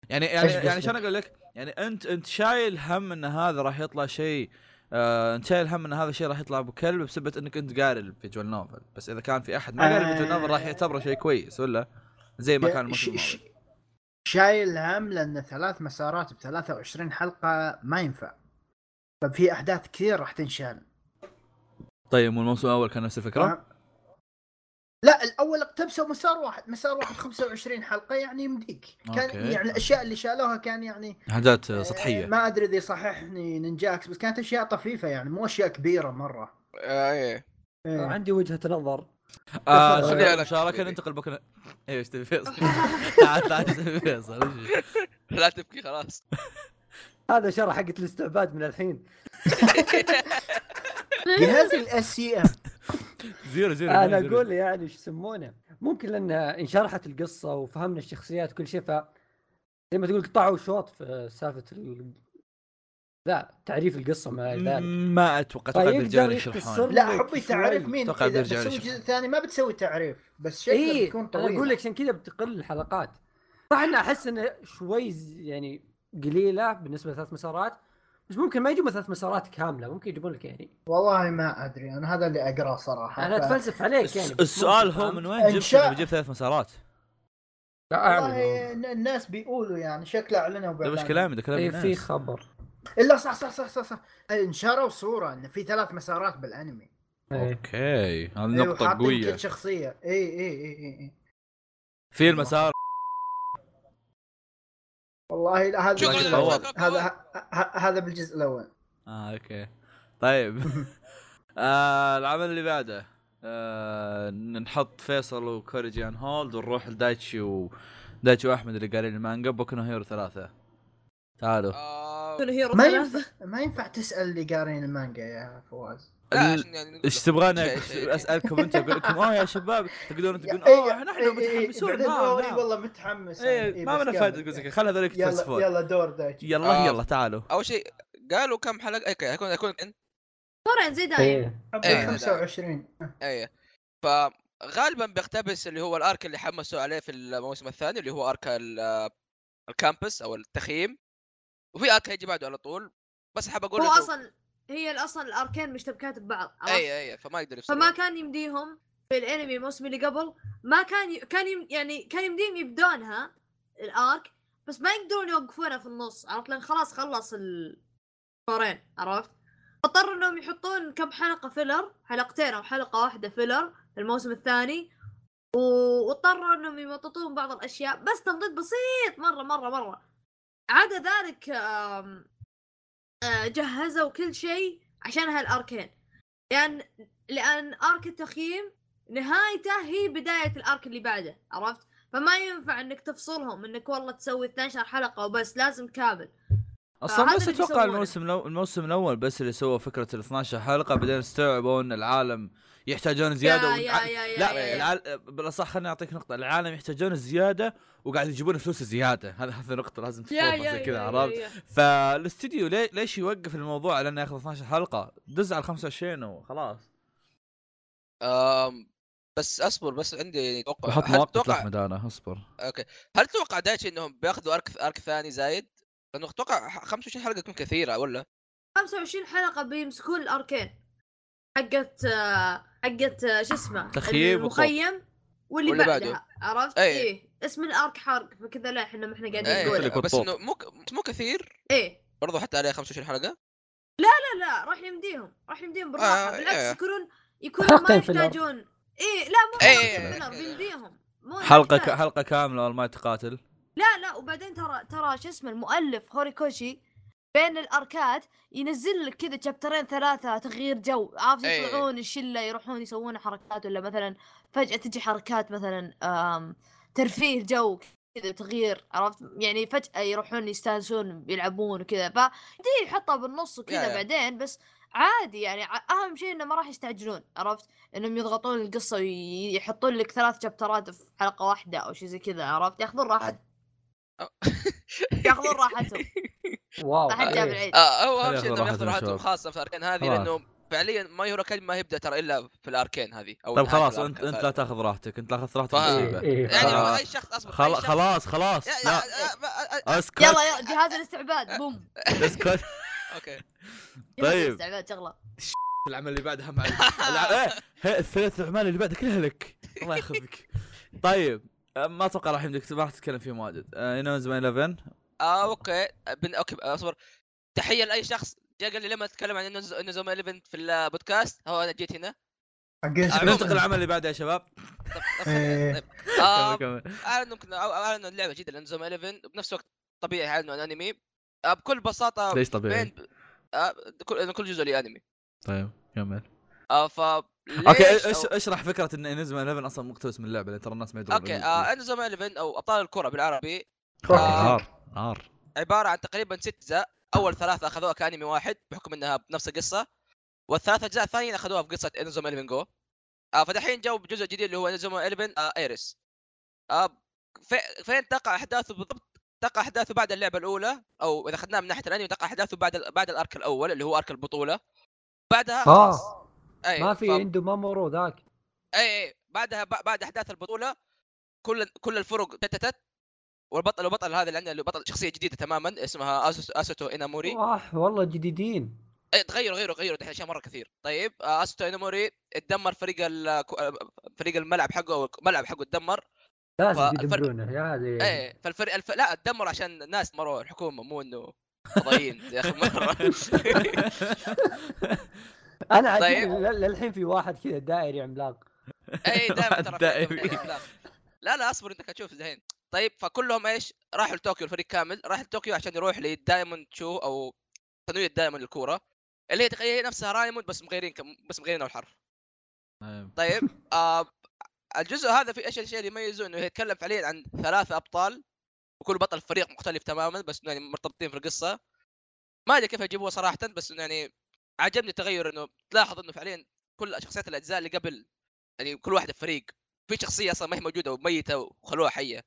A: يعني يعني
E: إيش قصدك؟
A: يعني شلون اقول لك؟ يعني انت انت شايل هم ان هذا راح يطلع شيء آه انت شايل هم ان هذا الشيء راح يطلع ابو كلب بسبب انك انت قاري الفيجوال نوفل بس اذا كان في احد ما قاري الفيجوال نوفل
E: آه.
A: راح يعتبره شيء كويس ولا؟ زي ما كان الموسم
E: ش-
A: الماضي
E: ش- شايل هم لان ثلاث مسارات ب 23 حلقه ما ينفع طب في احداث كثير راح تنشال
A: طيب والموسم الاول كان نفس الفكره؟
C: آه.
E: تمام؟ لا الاول اقتبسوا مسار واحد مسار واحد 25 حلقه يعني يمديك كان
A: أوكي.
E: يعني الاشياء اللي شالوها كان يعني
A: حاجات
E: آه،
A: سطحيه
E: ما ادري اذا يصححني نينجاكس بس كانت اشياء طفيفه يعني مو اشياء كبيره مره
B: ايه
C: آه،
F: إيه.
C: عندي وجهه نظر
A: آه،
F: تفضل.
A: شكرا
B: لك.
A: مشاركه ننتقل بكره ايش تبي فيصل؟ تعال تعال ايش تبي فيصل؟ وش-
B: لا تبكي خلاص
C: هذا شرح حقت الاستعباد من الحين
E: جهاز الاس سي ام
A: زيرو زيرو
C: انا
A: زيرو.
C: اقول يعني ايش يسمونه ممكن لان انشرحت القصه وفهمنا الشخصيات كل شيء ف زي ما تقول قطعوا شوط في سالفه ال... ذا تعريف القصه ما إلى ذلك
A: ما اتوقع اتوقع
C: طيب،
A: بيرجعون
C: يقدر
A: يشرحون
C: يختصر.
F: لا
C: لك
F: حبي
C: شوي.
F: تعرف مين
A: أتوقع
F: اذا
A: بيرجع
F: بتسوي
A: لي شوي.
F: جزء ثاني ما بتسوي تعريف بس شكله
C: اي
F: بيكون
C: انا
F: طويل
C: اقول إيه، لك عشان كذا بتقل الحلقات صح انها احس انه شوي ز- يعني قليله بالنسبه لثلاث مسارات بس ممكن ما يجيبون ثلاث مسارات كامله ممكن يجيبون لك يعني
F: والله ما ادري انا هذا اللي اقراه صراحه
C: انا
F: ف-
C: اتفلسف عليك يعني
A: الس-
C: بس
A: السؤال
C: ممكن
A: هو
C: فاهم.
A: من وين جبت
F: إنشاء.
A: إنه بجيب ثلاث مسارات؟
C: لا
F: والله
C: اعلن
F: إن- الناس بيقولوا يعني شكله اعلنوا
A: ده مش
F: بإعلان.
A: طيب، كلامي ده كلام
C: اي إيه، في
A: الناس
C: خبر
F: الا صح صح صح صح, صح. انشروا صوره ان في ثلاث مسارات بالانمي
C: إيه.
A: اوكي هذه
F: إيه،
A: نقطة
F: وحاطين
A: قوية
F: كل إيه، شخصيه اي اي اي اي, إي.
A: في المسار
F: والله لا هذا
A: شكراً
F: بالجزء
A: لك.
F: الأول.
B: شكراً.
F: هذا ه- ه- هذا بالجزء الاول
A: اه اوكي طيب آه العمل اللي بعده آه نحط فيصل وكوريجي ان هولد ونروح لدايتشي و دايتشي واحمد اللي قال لي المانجا بوكو نو هيرو ثلاثة تعالوا
B: آه،
D: هيرو
F: ما
D: ثلاثة.
F: ينفع ما ينفع تسال اللي قارين المانجا يا فواز
B: لا عشان يعني نقول
A: ايش
B: لك
A: تبغاني
B: شيء-
A: أقول-
B: شيء.
A: اسالكم انت اقول لكم اه يا شباب تقدرون تقولون
F: إيه،
A: اه
F: إيه،
A: نحن
F: إيه، إيه،
A: متحمسون
F: بعدين
A: نعم
F: أوه، إي
A: نعم.
F: والله متحمس إيه،
A: ايه ما من فائدة تقول زي كذا، خل هذولك
F: يلا
A: يتفلسفون
F: يلا دور دايتشي
A: يلا
B: آه.
A: يلا تعالوا
B: اول شيء قالوا كم حلقه اي كان- يكون يكون كان
D: فرع زي يعني. دايم
C: إيه.
B: إيه.
F: 25
B: اي فغالبا بيقتبس اللي هو الارك اللي حمسوا عليه في الموسم الثاني اللي هو ارك ال- الكامبس او التخييم وفي ارك هيجي بعده على طول بس حاب اقول
D: هو
B: إنه-
D: اصلا هي اصلا الاركين مشتبكات ببعض عرفت؟
B: اي اي فما يقدر يفصل
D: فما كان يمديهم في الانمي الموسم اللي قبل ما كان ي... كان يم... يعني كان يمديهم يبدونها الارك بس ما يقدرون يوقفونها في النص عرفت لان خلاص خلص الفورين عرفت فاضطروا انهم يحطون كم حلقه فيلر حلقتين او حلقه واحده فيلر في الموسم الثاني و... واضطروا انهم يمططون بعض الاشياء بس تمطيط بسيط مره مره مره عدا ذلك آم، آه، جهزوا كل شيء عشان هالاركين لان لان ارك التخييم نهايته هي بدايه الارك اللي بعده عرفت فما ينفع انك تفصلهم انك والله تسوي 12 حلقه وبس لازم كامل
A: اصلا
D: هذا
A: بس
D: اللي
A: اتوقع
D: بيسوونه.
A: الموسم لو الموسم الاول بس اللي سوى فكره ال 12 حلقه بعدين استوعبوا ان العالم يحتاجون زياده
D: يا
A: والع-
D: يا يا يا
A: لا
D: يا يا.
A: العال... بالاصح خليني اعطيك نقطه العالم يحتاجون زياده وقاعد يجيبون فلوس زياده هذا هذا نقطه لازم
D: يا
A: تتوضح
D: يا
A: زي كذا
D: يا
A: عرفت
D: يا-
A: فالاستديو لي... ليش يوقف الموضوع على انه ياخذ 12 حلقه دز على 25 وخلاص
B: آم، بس اصبر بس عندي توقع
A: بحط
B: هل
A: مواقف
B: تتوقع
A: احمد انا اصبر
B: اوكي هل تتوقع دايتشي انهم بياخذوا ارك ارك ثاني زايد؟ لانه اتوقع ح- 25 حلقه تكون كثيره ولا؟
D: 25 حلقه بيمسكون الاركين حقت آه، حقت آه، شو اسمه
A: تخييم
D: المخيم واللي,
B: واللي
D: بعدها
B: بعده.
D: عرفت؟
A: إيه.
B: أي.
D: ايه اسم الارك حرق فكذا لا احنا ما احنا قاعدين
B: إيه،
A: قلت لك
D: نقول
B: بس
A: والطوب.
B: انه مو ك- مو كثير
D: ايه
B: برضو حتى عليه 25 حلقه
D: لا لا راح يمديهم راح يمديهم بالراحه
B: آه،
D: بالعكس
B: إيه.
D: يكونون يكونون ما
C: حلقتين فيلر.
D: يحتاجون ايه لا مو
B: إيه،
D: حلقتين
B: إيه،
D: فيلر
B: إيه.
D: بيمديهم مو
A: حلقه ك...
D: يحتاج.
A: حلقه كامله والله ما تقاتل
D: لا لا وبعدين ترى ترى شو اسمه المؤلف هوريكوشي بين الاركات ينزل لك كذا شابترين ثلاثه تغيير جو عارف
B: إيه.
D: يطلعون الشله يروحون يسوون حركات ولا مثلا فجاه تجي حركات مثلا آم، ترفيه جو كذا تغيير عرفت يعني فجاه يروحون يستانسون يلعبون وكذا فدي يحطها بالنص
B: يا-
D: وكذا
B: يا.
D: بعدين بس عادي يعني ع- اهم شيء انه ما راح يستعجلون عرفت انهم يضغطون القصه ويحطون لك ثلاث شابترات في حلقه واحده او شيء زي كذا عرفت ياخذون راحتهم ياخذون راحتهم
C: واو إيه.
D: ما حد جاب العيد
B: آه هو
A: خليه
B: اهم شيء
A: ياخذ
B: انهم ياخذوا
A: راحتهم
B: راحتهم
A: شباب.
B: خاصه في الاركان هذه
A: خلاص.
B: لانه فعليا ما يورو كلمه ما يبدا ترى الا في الاركان هذه او
A: طيب
B: نهاية
A: خلاص
B: الأرك
A: انت انت لا
B: هذا.
A: تاخذ راحتك انت لا تاخذ راحتك
B: فاهم.
D: طيب.
C: إيه.
A: مصيبه
B: يعني
A: آه.
B: لو اي شخص اصبر أي
A: خلا-
B: شخص-
A: خلاص خلاص
B: يا-
A: لا
B: يا- يا- ما- آه، آه،
A: اسكت
D: يلا يلا جهاز الاستعباد بوم
A: اسكت
B: اوكي
D: جهاز
A: طيب.
D: الاستعباد شغله
A: العمل اللي بعدها مع الع- إيه، هي- الثلاث اعمال اللي بعدها كلها لك الله ياخذك طيب أه، ما اتوقع راح يمديك ما راح تتكلم فيهم واجد آه، انوز ماي 11
B: اه اوكي بن... اوكي اصبر تحيه لاي شخص جاء قال لي لما اتكلم عن انه انه زوما 11 في البودكاست هو انا جيت هنا
A: ننتقل العمل اللي بعده يا شباب
B: طب طب
F: إيه.
B: خلينا- طيب. آه،
A: كمل كمل
B: اعلنوا كنا- أو- اعلنوا اللعبه جديده لانزوما 11 وبنفس الوقت طبيعي اعلنوا عن انمي آه، بكل بساطه
A: ليش طبيعي
B: بين آه، كل إنه كل جزء لي انمي
A: طيب كمل
B: آه ف
A: اوكي ايش اشرح فكره ان انزما 11 اصلا مقتبس من اللعبه لان ترى الناس ما يدرون
B: اوكي آه انزوما 11 او ابطال الكره بالعربي
A: أوكي،
B: آه.
A: نار نار
B: عباره عن تقريبا ست اجزاء اول ثلاثه اخذوها كانمي واحد بحكم انها بنفس القصه والثلاث اجزاء الثانيين اخذوها بقصه انزوما 11 جو آه فدحين جو بجزء جديد اللي هو انزوما 11 آه ايريس آه في- فين تقع احداثه بالضبط تقع احداثه بعد اللعبه الاولى او اذا اخذناها من ناحيه الانمي تقع احداثه بعد ال- بعد الارك الاول اللي هو ارك البطوله بعدها خلاص
C: اه
B: أي،
C: ما في
B: ف-
C: عنده مامورو ذاك
B: اي اي إيه، بعدها ب- بعد احداث البطوله كل كل الفرق تتت والبطل البطل هذا اللي عندنا اللي بطل شخصيه جديده تماما اسمها أسوس- اسوتو اناموري
C: واه والله جديدين
B: اي إيه، تغيروا غيروا غيروا دحين اشياء مره كثير طيب آه، اسوتو اناموري اتدمر فريق ال- كو- آه، فريق الملعب حقه او الملعب حقه اتدمر
C: لازم
B: فالفرق-
C: يدمرونه يا
A: إيه.
C: هذه
B: اي فالفريق الف... لا اتدمر عشان الناس مروا الحكومه مو انه فضايين يا اخي مره
C: انا
B: طيب.
C: عجبني ل- للحين في واحد كذا دائري عملاق
B: اي دائما إيه، ترى في عندهم
A: دائمي.
B: أفلام. لا لا اصبر انت حتشوف زين طيب فكلهم ايش راحوا لطوكيو الفريق كامل راح لطوكيو عشان يروح للدايموند شو او تنويع الدايموند الكوره اللي هي تقريبا نفسها رايموند بس مغيرين كم بس مغيرين الحرف
A: أيوة.
B: طيب آه الجزء هذا في ايش الشيء اللي يميزه انه يتكلم فعليا عن ثلاثه ابطال وكل بطل فريق مختلف تماما بس يعني مرتبطين في القصه ما ادري كيف يجيبوها صراحه بس إنه يعني عجبني التغير انه تلاحظ انه فعليا كل شخصيات الاجزاء اللي قبل يعني كل واحده في فريق في شخصيه اصلا ما هي موجوده وميته وخلوها حيه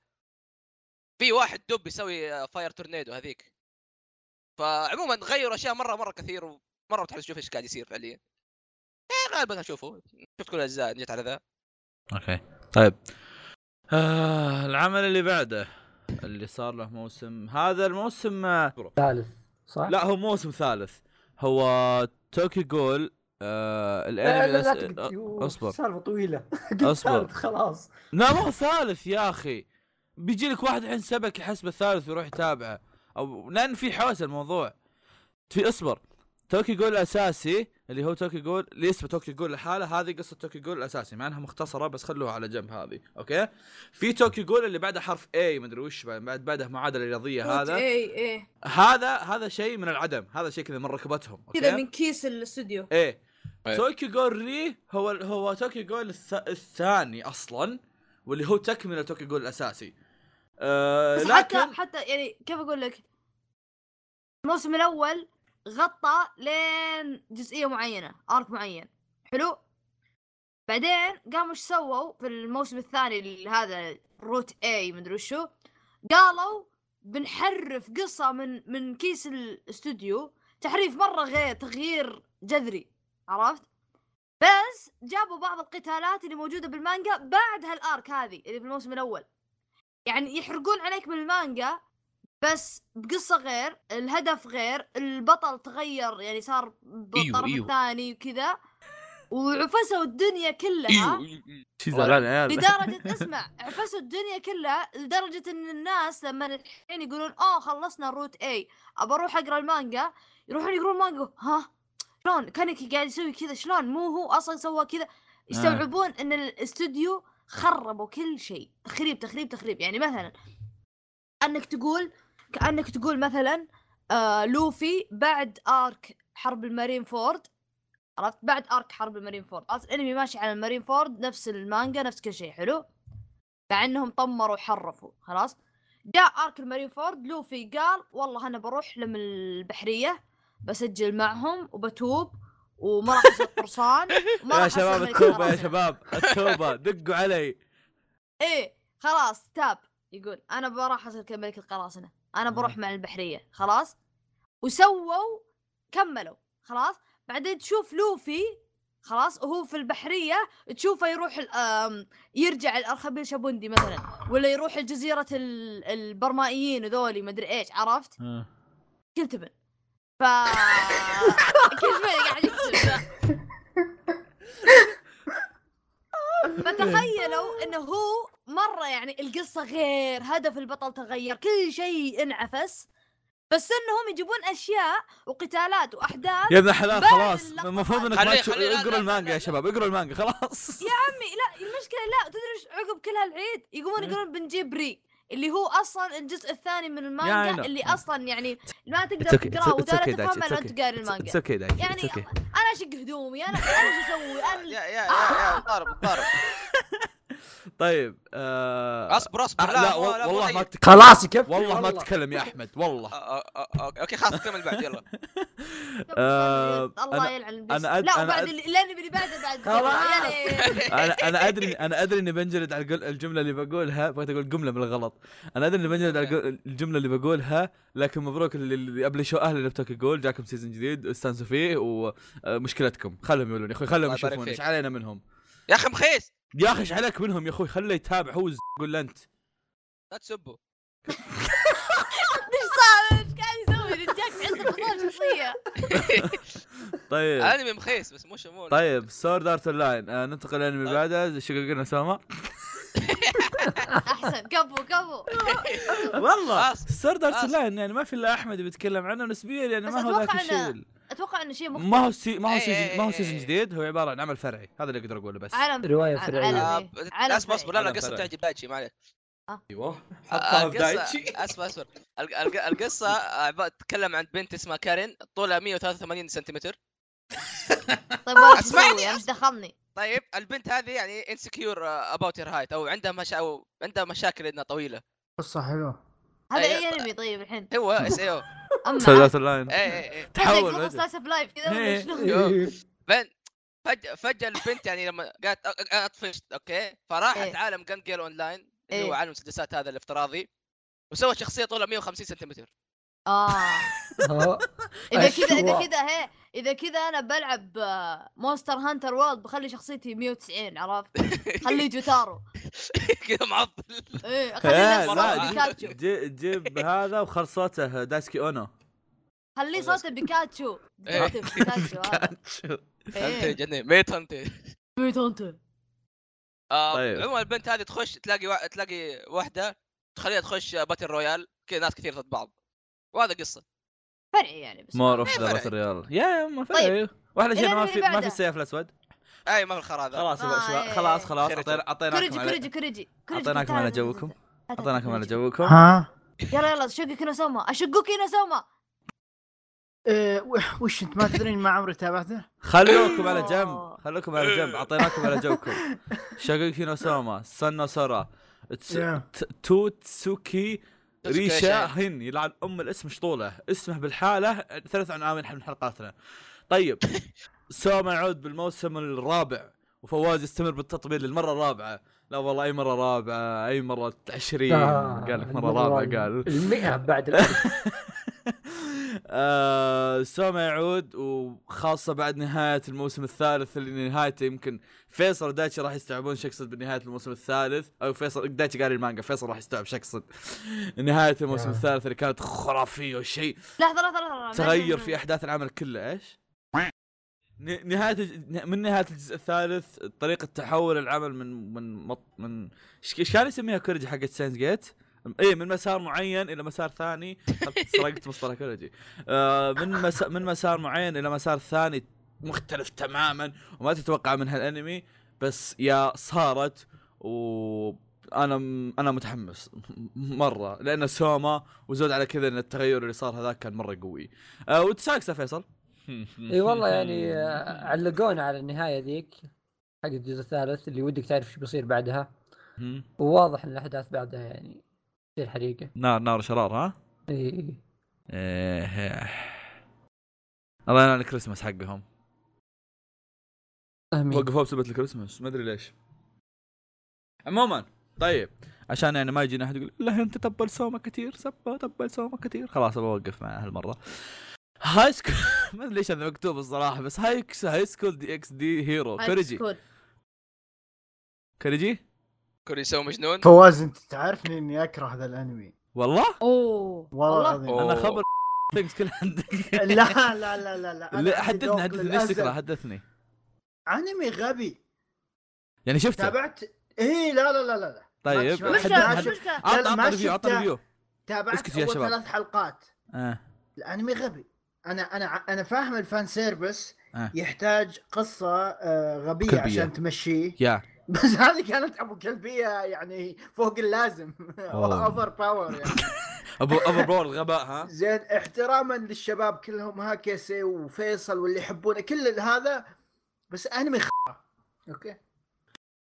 B: في واحد دب يسوي فاير تورنيدو هذيك فعموما غيروا اشياء مره مره كثير ومره متحمس اشوف ايش قاعد يصير فعليا إيه، غالبا هشوفه شفت كل الاجزاء إن جيت على ذا
A: اوكي طيب آه العمل اللي بعده اللي صار له موسم هذا الموسم آه،
C: ثالث صح؟
A: لا هو موسم ثالث هو توكي جول آه
C: لا
A: الانمي
C: لا, لا
A: الأس-
C: تقعد- يوه،
A: أصبر.
C: سالفه طويله قلت
A: أصبر.
C: ثالث خلاص
A: لا ما هو ثالث يا اخي بيجي لك واحد الحين سبك يحسبه ثالث ويروح يتابعه او لان في حوسه الموضوع في اصبر توكي جول الاساسي اللي هو توكي جول اللي اسمه توكي جول لحاله هذه قصه توكي جول الاساسي مع انها مختصره بس خلوها على جنب هذه اوكي في توكي جول اللي بعده حرف اي مدري وش بعد بعده معادله رياضيه هذا
D: اي اي
A: هذا هذا شيء من العدم هذا شيء كذا من ركبتهم أوكي؟
D: كذا من كيس الاستوديو
A: ايه
B: إيه.
A: توكيو جول ري هو هو توكيو جول الث... الثاني اصلا واللي هو تكمله توكيو جول الاساسي آه
D: بس
A: لكن
D: حتى حتى يعني كيف اقول لك الموسم الاول غطى لين جزئيه معينه ارك معين حلو بعدين قاموا ايش سووا في الموسم الثاني اللي هذا روت اي مدري وشو قالوا بنحرف قصه من من كيس الاستوديو تحريف مره غير تغيير جذري عرفت بس جابوا بعض القتالات اللي موجوده بالمانجا بعد هالارك هذه اللي في الموسم الاول يعني يحرقون عليك من المانجا بس بقصة غير الهدف غير البطل تغير يعني صار بالطرف
B: إيوه.
D: الثاني وكذا وعفسوا الدنيا كلها
B: إيوه.
A: شي
B: زعلان
A: عيال
D: لدرجة اسمع عفسوا الدنيا كلها لدرجة ان الناس لما الحين يقولون اوه خلصنا الروت اي ابى اروح اقرا المانجا يروحون يقرون مانجا ها شلون كانك قاعد يسوي كذا شلون مو هو اصلا سوى كذا يستوعبون ان الاستوديو خربوا كل شيء تخريب تخريب تخريب يعني مثلا كانك تقول كانك تقول مثلا آه لوفي بعد ارك حرب المارين فورد عرفت بعد ارك حرب المارين فورد عرفت الانمي ماشي على المارين فورد نفس المانجا نفس كل شيء حلو مع انهم طمروا وحرفوا خلاص جاء ارك المارين فورد لوفي قال والله انا بروح لم البحريه بسجل معهم وبتوب وما راح اصير قرصان وما راح
A: يا
D: أصير
A: شباب
D: ملك
A: التوبه يا
D: السلاطين.
A: شباب التوبه دقوا علي
D: ايه خلاص تاب يقول انا بروح اصير كملك القراصنه انا بروح مع البحريه خلاص وسووا كملوا خلاص بعدين تشوف لوفي خلاص وهو في البحريه تشوفه يروح ال- آم، يرجع الارخبيل شابوندي مثلا ولا يروح لجزيره ال- البرمائيين وذولي مدري ايش عرفت
A: آه.
D: كل تبن ف كل شوي قاعد يكتب ذا. فتخيلوا انه هو مره يعني القصه غير هدف البطل تغير كل شيء انعفس بس انهم يجيبون اشياء وقتالات واحداث
A: يا ابن الحلال
D: بعد
A: خلاص
D: اللقطة
A: المفروض انك ما
B: خليه-
A: تشوف
B: خليه- لا-
A: اقروا
B: لا-
A: المانجا
B: لا-
A: يا شباب اقروا المانجا خلاص
D: يا عمي لا المشكله لا تدري ايش عقب كل هالعيد يقومون
A: إيه.
D: يقولون بنجيب ري اللي هو اصلا الجزء الثاني من
A: I know.
D: المانجا اللي اصلا يعني ما تقدر
A: It's okay, it's-
D: تقراه
A: it's
D: ولا
A: okay, Dad,
D: تفهمه
A: it's
D: لو
A: okay.
D: انت قاري
A: اتس
D: المانجا
A: اوكي دايتشي
D: يعني
A: اتس اوكي
D: انا اشق هدومي انا انا شو اسوي انا
B: يا يا يا ضارب ضارب
A: طيب آه...
B: اصبر اصبر
A: لا, لا
B: مو-
A: وال-
B: مو
A: والله
B: زي-
A: ما تتكلم
C: خلاص يكفي
A: والله ما تتكلم يا احمد والله
B: آه، آه، آه، آه، اوكي خلاص كمل بعد يلا
A: آه،
D: الله
A: أنا-
D: يلعن
A: أنا
D: بس
A: أد-
D: لا
A: أنا
D: وبعد
A: أد-
D: اللي- لاني بني بعد بعد
C: خلاص.
D: يعني
A: انا انا ادري انا ادري اني بنجلد على القل- الجمله اللي بقولها بغيت اقول جمله بالغلط انا ادري اني بنجلد على القل- الجمله اللي بقولها لكن مبروك اللي- اللي قبل شو اهلا لبتوكي جول جاكم سيزون جديد استانسوا فيه ومشكلتكم خلهم يقولون يا اخوي خلهم
B: الله يبارك
A: يشوفون
B: فيك.
A: ايش علينا منهم
B: يا اخي مخيس
A: يا اخي ايش عليك منهم يا اخوي خله يتابع هو الز- قول له انت
B: لا تسبوا
D: ايش صار ايش قاعد يسوي رجاك عنده فضول شخصيه
A: طيب
B: انمي مخيس بس مو شمول
A: طيب سورد ارت اون لاين آه، ننتقل للانمي
B: طيب.
A: بعده شققنا سوما
D: احسن كفو كفو
A: والله
B: خلاص.
A: سورد ارت
B: خلاص.
A: اون لاين يعني ما في الا احمد بيتكلم عنه نسبيا يعني
D: بس
A: ما هو
D: أتوقع
A: ذاك
D: إنه-
A: الشيء
D: اتوقع انه شيء مختلف
A: ما هو سي... ما هو
B: إيه
A: سيزون
B: إيه
A: ما هو
B: إيه
A: سيزون
B: إيه.
A: جديد هو عباره عن عمل فرعي هذا اللي اقدر اقوله بس
D: عالم
C: روايه
D: ع-
C: فرعيه
D: عالم.
B: آه،
D: علمي. علم
B: اصبر اصبر لا لا
A: علم
B: القصه
A: فرعي.
B: بتعجب دايتشي ما عليك
A: ايوه
B: آه، القصة- اصبر اصبر الق- الق- القصه آه، تتكلم عن بنت اسمها كارين طولها 183 سنتيمتر
D: طيب وش
B: اسمعني،
D: اسوي ايش دخلني
B: طيب البنت هذه يعني انسكيور اباوت هير هايت او عندها مشا... أو عندها مشاكل انها طويله
F: قصه حلوه
D: هذا
B: أي-
D: اي انمي طيب الحين
B: هو إيه، اس اي او
A: سورد
D: اما
A: ارت اون لاين
B: اي
A: تحول
D: تحول
A: فجأة.
D: سلايس اوف لايف كذا ولا
A: إيه.
D: شلون؟
B: اي فجاه فجاه البنت يعني لما قالت أ- أ- أ- طفشت اوكي فراحت
D: إيه.
B: عالم جنجل اون لاين اللي هو
D: إيه.
B: عالم المسدسات هذا الافتراضي وسوت شخصيه طولها 150 سنتيمتر
D: اه
C: آه.
D: اذا كذا
C: أشوا.
A: أيوة.
D: اذا كذا هي اذا كذا انا بلعب آه، مونستر هانتر وورلد بخلي شخصيتي 190 عرفت؟ خليه جوتارو
B: كذا معضل
D: ايه
A: إيه،
D: خليه نفس
A: لا،
D: صوت بيكاتشو
A: جي- جيب هذا وخرصته دايسكي اونو
D: خليه صوت بيكاتشو
B: إيه.
D: ديتكتيف بيكاتشو هذا
B: انت
D: آه. إيه.
B: جنين ميت انت
D: ميت هانتر
B: آه،
A: طيب.
B: عموما البنت هذه تخش تلاقي وا... تلاقي واحده تخليها تخش باتل رويال كذا ناس كثير ضد بعض وهذا قصه
D: فرعي يعني بس
A: مور اوف
B: إيه،
A: ذا
B: فرعي.
A: ريال يا يا ما
D: طيب.
A: فرعي واحلى شيء
D: إلى
A: ما
D: اللي
A: في ما في
D: بعده.
A: السيف الاسود
B: اي ما في الخرا هذا
A: خلاص يا
D: آه،
A: شباب،
D: إيه.
A: خلاص خلاص
B: خير
A: أعطينا-
D: كوريجي
A: اعطيناكم
D: كوريجي
A: على
D: كوريجي كوريجي
A: اعطيناكم على جوكم اعطيناكم على جوكم
F: ها
D: يلا يلا شقك نسوما اشقك نسوما
F: إيه، و- وش انت ما تدرين ما عمري تابعته؟
A: خلوكم على جنب خلوكم على جنب اعطيناكم على جوكم شاقوكي نوسوما سنو سورا تس-
F: يا.
A: ت- توتسوكي
B: توتسوكي
A: ريشا
B: ريشا.
A: هن يلعن ام الاسم شطوله اسمه بالحاله ثلاث عناوين من حلقاتنا طيب سوما يعود بالموسم الرابع وفواز يستمر بالتطبيل للمره الرابعه لا والله اي مره رابعه اي مره عشرين
C: آه،
A: قال لك مره
C: المرة
A: رابعه قال
C: المئة بعد الألف.
A: آه، سوما يعود وخاصة بعد نهاية الموسم الثالث اللي نهايته يمكن فيصل ودايتشي راح يستوعبون شو اقصد بنهاية الموسم الثالث او فيصل دايتشي قاري المانجا فيصل راح يستوعب شو اقصد نهاية الموسم
C: آه.
A: الثالث اللي كانت خرافية وشيء
D: لحظه لحظه لحظه لحظة.
A: تغير في احداث العمل كله ايش؟ ن- نهاية الج- من نهاية الجزء الثالث طريقة تحول العمل من من مط من إيش- ايش كان يسميها كوريجي حقت ساينز جيت؟ ايه من مسار معين الى مسار ثاني سرقت مصطلح كوريجي آه من مس... من مسار معين الى مسار ثاني مختلف تماما وما تتوقع من هالانمي بس يا صارت وانا م... انا متحمس مره لان سوما وزود على كذا ان التغير اللي صار هذاك كان مره قوي آه وتساكسه فيصل
C: اي والله يعني آه، علقونا على النهايه ذيك حق الجزء الثالث اللي ودك تعرف شو بيصير بعدها وواضح ان الاحداث بعدها يعني تصير حريقه
A: نار نار شرار ها
C: اي
A: إيه. الله ينال الكريسماس حقهم
C: امين
A: وقفوه بسبة الكريسماس ما ادري ليش عموما طيب عشان يعني ما يجينا احد يقول لا انت تبل سوما كثير سبا تبل سوما كثير خلاص بوقف معه هالمره هاي سكول ما ادري ليش هذا مكتوب الصراحه بس هاي هاي سكول دي اكس دي هيرو
D: هاي
A: كوريجي
D: سكول.
A: كوريجي
B: كوريسو مجنون
F: فواز انت تعرفني اني اكره هذا الانمي
A: والله
D: اوه
F: والله
D: والله
F: العظيم
A: انا
B: أوه.
A: خبر ثينكس كل عندك
F: لا لا لا لا لا أنا
A: لا،
F: عندي
A: حدثني
F: ذوق
A: حدثني ليش
F: للأسف.
A: تكره حدثني
F: انمي غبي
A: يعني شفته
F: تابعت ايه لا لا لا لا لا
A: طيب
F: ما
D: وش
F: شفته. ما
A: حدثني-
D: مش
A: حد-
F: شفته. لا،
D: مشكله
A: عطنا
F: لا،
A: عطنا
F: ما
A: ريفيو عطنا
F: شفته.
A: ريفيو
F: تابعت
A: اسكتوا يا
F: اول
A: شباب.
F: ثلاث حلقات
A: آه.
F: الانمي غبي انا انا انا فاهم الفان سيرفس
A: آه.
F: يحتاج قصه آه، غبيه
A: قلبية.
F: عشان تمشيه
A: يا
E: بس هذه كانت ابو كلبيه يعني فوق اللازم
A: أوه.
E: اوفر باور يعني
A: ابو ابو باور الغباء ها
E: زين احتراما للشباب كلهم هاكيسي وفيصل واللي يحبونه كل هذا بس انمي خ... اوكي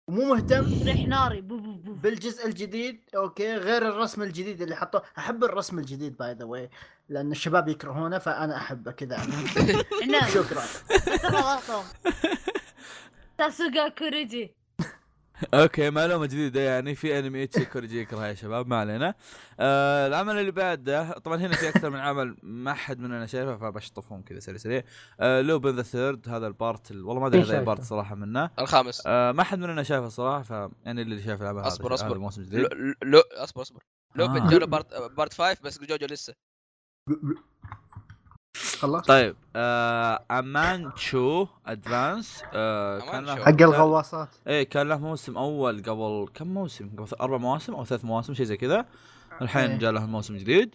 E: ومو مهتم
D: ريح ناري بو بو بو
E: بالجزء الجديد اوكي غير الرسم الجديد اللي حطوه احب الرسم الجديد باي ذا واي لان الشباب يكرهونه فانا احبه كذا
D: عناد
E: شكرا
D: ترى غلطهم تاسوغا كوريجي
A: اوكي معلومه جديده يعني في انمي اتش كوريجي يكره يا شباب ما علينا آه العمل اللي بعده طبعا هنا في اكثر من عمل ما حد مننا شايفه فبشطفهم كذا سريع سريع آه لوبن ذا ثيرد هذا البارت ال- والله ما ادري
C: مين
A: هذا أي
C: شايفه؟
A: بارت صراحه منه
B: الخامس
A: آه ما حد مننا شايفه صراحه فانا اللي شايف العمل هذا-
B: أصبر- أصبر.
A: هذا الموسم الجديد
B: لو, لو اصبر اصبر لو
A: آه.
B: بنجرب بارت بارت 5 بس جوجو لسه
E: خلاص
A: طيب آه امان تشو ادفانس آه كان له-
B: أمانشو.
E: حق الغواصات
A: ايه كان له موسم اول قبل كم موسم؟ قبل اربع مواسم او ثلاث مواسم شيء زي كذا الحين
E: إيه.
A: جاء له موسم جديد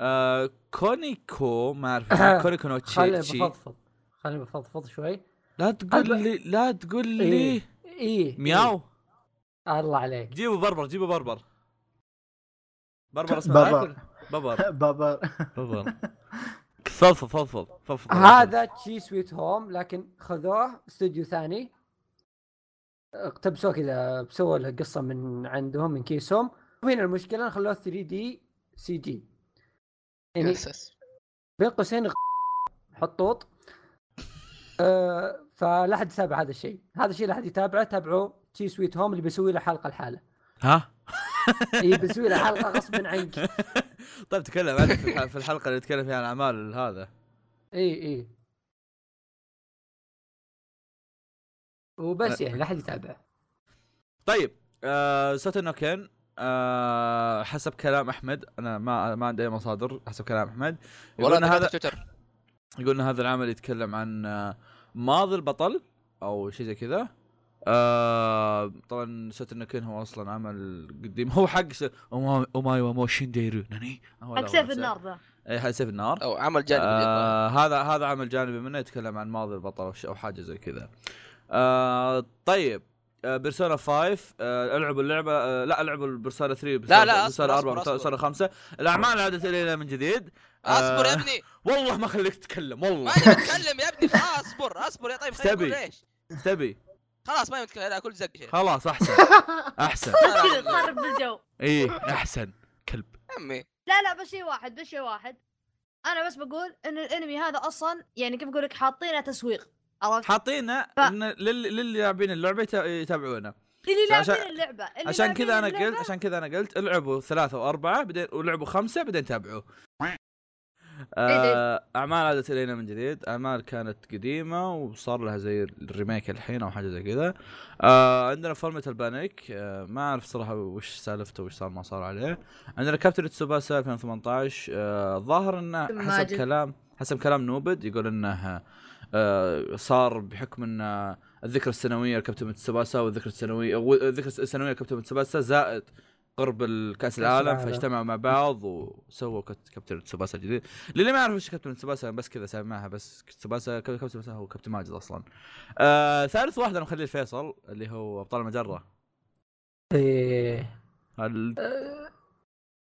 A: آه كونيكو ما اعرف كونيكو نو
C: خليني
A: تشي تشي
C: بفضفض خليني بفضفض شوي
A: لا
C: هلا.
A: تقول لي لا تقول لي
C: إيه. اي
A: مياو
C: الله عليك
A: جيبوا بربر جيبوا بربر بربر اسمه
E: بربر.
A: بربر بربر
E: بابا
A: بربر فضفض فضفض فضفض
C: هذا تشي سويت هوم لكن خذوه استوديو ثاني اقتبسوه كذا سووا له قصه من عندهم من كيسهم وهنا المشكله إن خلوه 3 دي سي جي يعني
B: اساس
C: بين قوسين غ- حطوط أه فلا حد يتابع هذا الشيء هذا الشيء لا حد يتابعه تابعوا تشي سويت هوم اللي بيسوي له حلقه لحاله
A: ها
C: اي بيسوي له حلقه غصب عنك
A: طيب تكلم عنه في الح- في الحلقه اللي نتكلم فيها عن اعمال هذا
C: اي اي وبس يعني لا حد يتابعه
A: طيب آه سوتن نوكن آه حسب كلام احمد انا ما ما عندي اي مصادر حسب كلام احمد يقول
B: والله
A: ان هذا
B: هذا تويتر
A: يقول ان هذا العمل يتكلم عن آه، ماضي البطل او شيء زي كذا آه طبعا سوتن نوكن هو اصلا عمل قديم هو حق س- أوما- اوماي وموشن ديرو ناني هو لا، هو
D: حق سيف
A: نفسه.
D: النار ذا
A: اي حق سيف النار
B: او عمل جانبي آه...
A: آه هذا هذا عمل جانبي منه يتكلم عن ماضي البطل أو ش- او حاجه زي كذا. آه طيب بيرسونا 5 آه العبوا اللعبه آه لا العبوا البرسونا 3
B: لا، لا،
A: بيرسونا
B: أصبر،
A: 4
B: أصبر،
A: بيرسونا 5 الاعمال عادت الينا من جديد
B: اصبر يا
A: آه.
B: ابني
A: والله ما خليك تتكلم والله
B: ماني بتكلم يا ابني اصبر اصبر يا طيب خليني
A: تبي.
B: اقول ليش
A: تبي
B: خلاص ما يمكن لا كل زق شيء
A: خلاص احسن احسن
D: بس كذا تخرب بالجو
A: ايه احسن كلب
B: عمي
D: لا لا بس شيء واحد بس شيء واحد انا بس بقول ان الانمي هذا اصلا يعني كيف اقول لك حاطينه تسويق عرفت؟
A: حاطينا
D: ف-
A: إن لل- للي لاعبين اللعبه يتا- يتابعونا
D: اللي
A: عشان-
D: لاعبين اللعبه اللي
A: عشان
D: لاعبين
A: كذا انا
D: اللعبة-
A: قلت عشان كذا انا قلت العبوا ثلاثة واربعة بعدين ولعبوا خمسة بعدين تابعوا. آه، اعمال عادت الينا من جديد، اعمال كانت قديمة وصار لها زي الريميك الحين او حاجة زي كذا. آه عندنا فورمة البانيك آه ما اعرف صراحة وش سالفته وش صار ما صار عليه. عندنا كابتن تسوباسا 2018 آه ظاهر انه حسب
D: ماجد.
A: كلام حسب كلام نوبد يقول انه آه صار بحكم انه الذكرى السنويه لكابتن متسباسا والذكرى السنويه والذكرى السنويه لكابتن متسباسا زائد قرب الكاس العالم
C: العالم.
A: فاجتمعوا مع بعض وسووا كت- كابتن تسوباسا الجديد للي ما يعرف ايش كابتن تسوباسا بس كذا سمعها بس تسوباسا كابتن تسوباسا هو كابتن ماجد اصلا آه ثالث واحد انا مخليه الفيصل اللي هو ابطال المجره
C: ايه
A: هل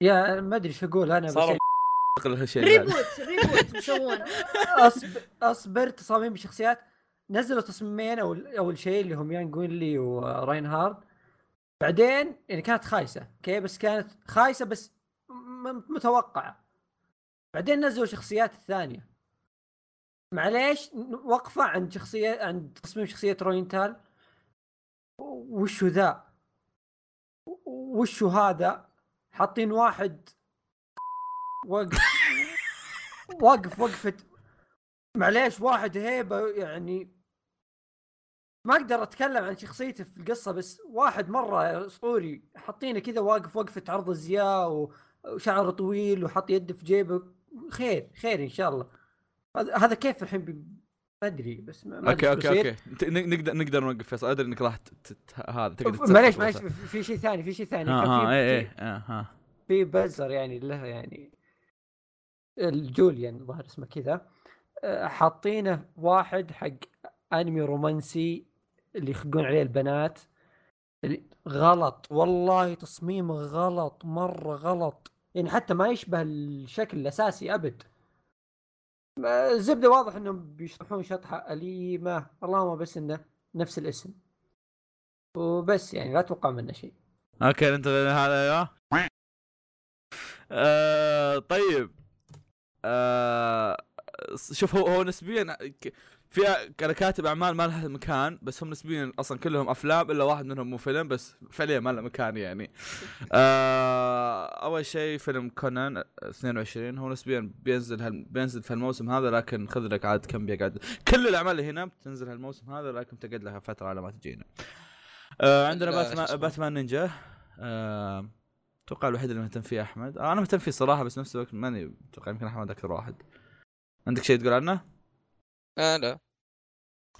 C: يا ما ادري شو اقول انا بس
A: صاروا
C: يعني
A: الشيء
D: ريبوت ريبوت بيسوون
C: أصبر, اصبر تصاميم شخصيات نزلوا تصميمين اول اول شيء اللي هم يان جوينلي وراينهارد بعدين يعني كانت خايسه اوكي بس كانت خايسه بس م- متوقعه بعدين نزلوا شخصيات الثانيه معليش ن- وقفه عند شخصيه عند تصميم شخصيه روينتال وشو ذا وشو هذا حاطين واحد وقف وقف وقفه معليش واحد هيبه يعني ما اقدر اتكلم عن شخصيته في القصه بس واحد مره اسطوري حاطينه كذا واقف وقفه عرض الزياء و- وشعره طويل وحاط يده في جيبه خير خير ان شاء الله هذا- هذا كيف الحين بي- ما ادري بس ما ما أدري
A: اوكي
C: شو
A: اوكي
C: بيصير.
A: اوكي ت- ن- نقدر نقدر نوقف فيصل ادري انك راح ت- ت- هذا تقدر تسولف
C: معليش
A: بس.
C: معليش في- في شيء ثاني في شيء ثاني
A: ها
C: كان في-
A: ها اي
C: في-
A: اي آه، ها
C: في بزر يعني له يعني الجوليان ظهر اسمه كذا أه، حاطينه واحد حق انمي رومانسي اللي يخقون عليه البنات ال- غلط والله تصميمه غلط مره غلط يعني حتى ما يشبه الشكل الاساسي ابد ما- الزبده واضح انهم بيشطحون شطحه اليمه اللهم بس انه نفس الاسم وبس يعني لا اتوقع منه شيء
A: اوكي انت هذا ايوه آه، طيب آه، شوف هو هو نسبيا ك- في انا كاتب اعمال ما لها مكان بس هم نسبيا اصلا كلهم افلام الا واحد منهم مو فيلم بس فعليا ما له مكان يعني. آه، اول شيء فيلم كونان 22 هو نسبيا بينزل هال بينزل في الموسم هذا لكن خذ لك عاد كم بيقعد كل الاعمال اللي هنا بتنزل هالموسم هذا لكن بتقعد لها فتره على ما تجينا. آه، عندنا
B: لا، شو
A: باتمان
B: اسمه؟
A: باتمان نينجا آه، اتوقع الوحيد اللي مهتم فيه احمد آه، انا مهتم فيه صراحه بس نفس الوقت ماني اتوقع يمكن احمد اكثر واحد عندك شيء تقول عنه؟
B: آه لا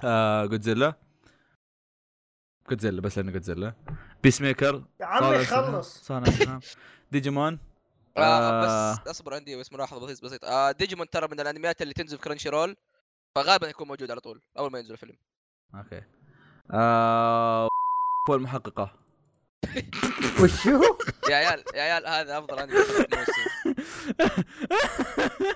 A: آه جودزيلا جودزيلا بس لانه جودزيلا بيس ميكر
F: يا عمي خلص
A: صانع سهام ديجيمون
B: آه بس اصبر عندي بس ملاحظه بسيط- بسيطه آه ديجيمون ترى من الانميات اللي تنزل في كرنشي رول فغالبا يكون موجود على طول اول ما ينزل الفيلم
A: اوكي آه هو المحققة
C: وشو؟
B: يا عيال يا عيال هذا افضل انمي في الموسم.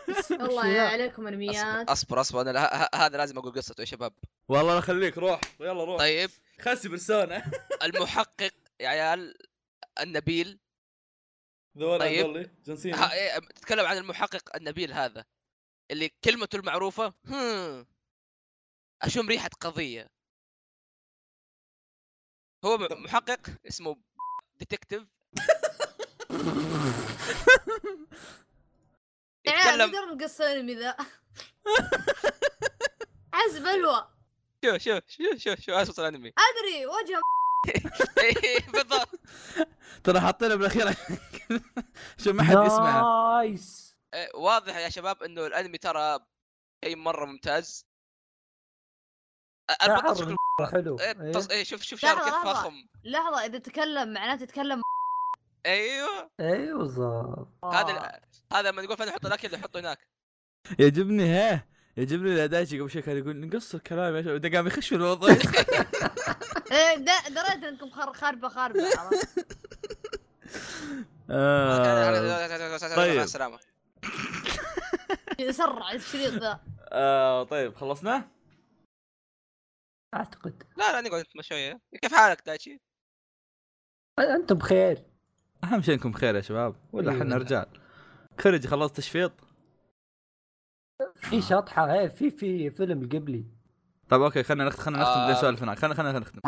C: وش
D: والله
C: ذا؟
D: يا عليكم انميات
B: اصبر اصبر, أصبر. أنا ه- ه- هذا لازم اقول قصته يا شباب
A: والله لا خليك روح يلا روح
B: طيب
A: خسي برسونا
B: المحقق يا عيال النبيل
A: ذولا
B: طيب.
A: ذولي جنسينا
B: ها- إيه، تتكلم عن المحقق النبيل هذا اللي كلمته المعروفه هم اشم ريحه قضيه هو م- محقق اسمه ديتكتيف
D: يا عيال
B: يتكلم
D: تقدر القصه انمي ذا عز بلوى
B: شوف شوف شوف شوف شوف اسوء الانمي
D: ادري وجه
B: إيه، بالضبط
A: ترى حاطينها بالاخير عشان ما حد يسمعها
C: نايس
B: إيه، واضح يا شباب انه الانمي ترى شيء مره ممتاز أ- البطل شكله
C: مرة حلو
B: إيه،
C: إيه.
B: تص- إيه، شوف شوف شعره
D: لحظة،
B: كيف
D: لحظة.
B: فخم
D: لحظه اذا تكلم معناته تكلم
B: ايوه
C: ايه بالضبط
D: آه.
B: هذا هذا لما نقول فين نحط الاكل نحطه هناك
A: يعجبني ها يعجبني الاداشي قبل شوي كان يقول نقصر كلام يا شباب ده قام يخش في الموضوع
D: إيه، دا- دريت انكم خر- خربه خربه عرفت؟
A: آه، طيب.
B: مع السلامه
D: يسرع الشريط ذا
A: آه، طيب خلصنا؟
C: اعتقد
B: لا لا نقعد نتمشى شويه كيف حالك دايتشي؟
C: انتم بخير
A: اهم شيء انكم بخير يا شباب ولا
C: أيوة.
A: احنا رجال كوريج خلصت تشفيط
C: في شطحه ايه في في فيلم قبلي
A: طيب اوكي خلينا نختم خلينا نختم
B: آه.
A: بدون سوالف هناك خلينا خلينا نختم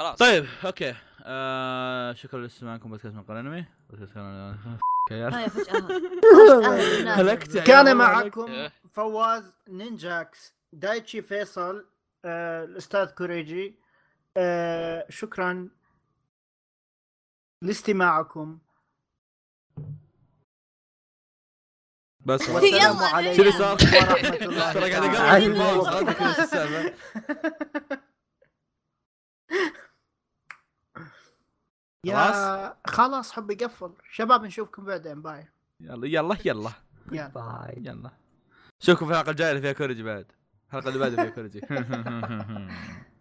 B: خلاص
A: طيب اوكي آه شكرا لاستماعكم بودكاست من قناه انمي بودكاست من قناة- يا عيال.
D: هاي فجاه آه.
A: هلكت يا عيال، والله
F: كان
A: هلكت.
F: معكم
B: إيه.
F: فواز نينجاكس دايتشي فيصل آه، الاستاذ كوريجي آه، شكرا لاستماعكم
A: بس
F: والسلام
D: يلا،
F: عليكم
A: شو اللي صار؟
F: ورحمه الله
A: ترى قاعد اقلب
F: تعالى
A: في الماوس،
E: أيوة.
F: وبركاته.
A: عندك إيش السالفة؟
F: يا خلاص حبي قفل شباب نشوفكم بعدين باي
A: يلا يلا يلا
F: يلا
C: باي
A: يلا شوفكم في الحلقه الجايه اللي فيها كوريجي بعد الحلقه اللي بعدها فيها كوريجي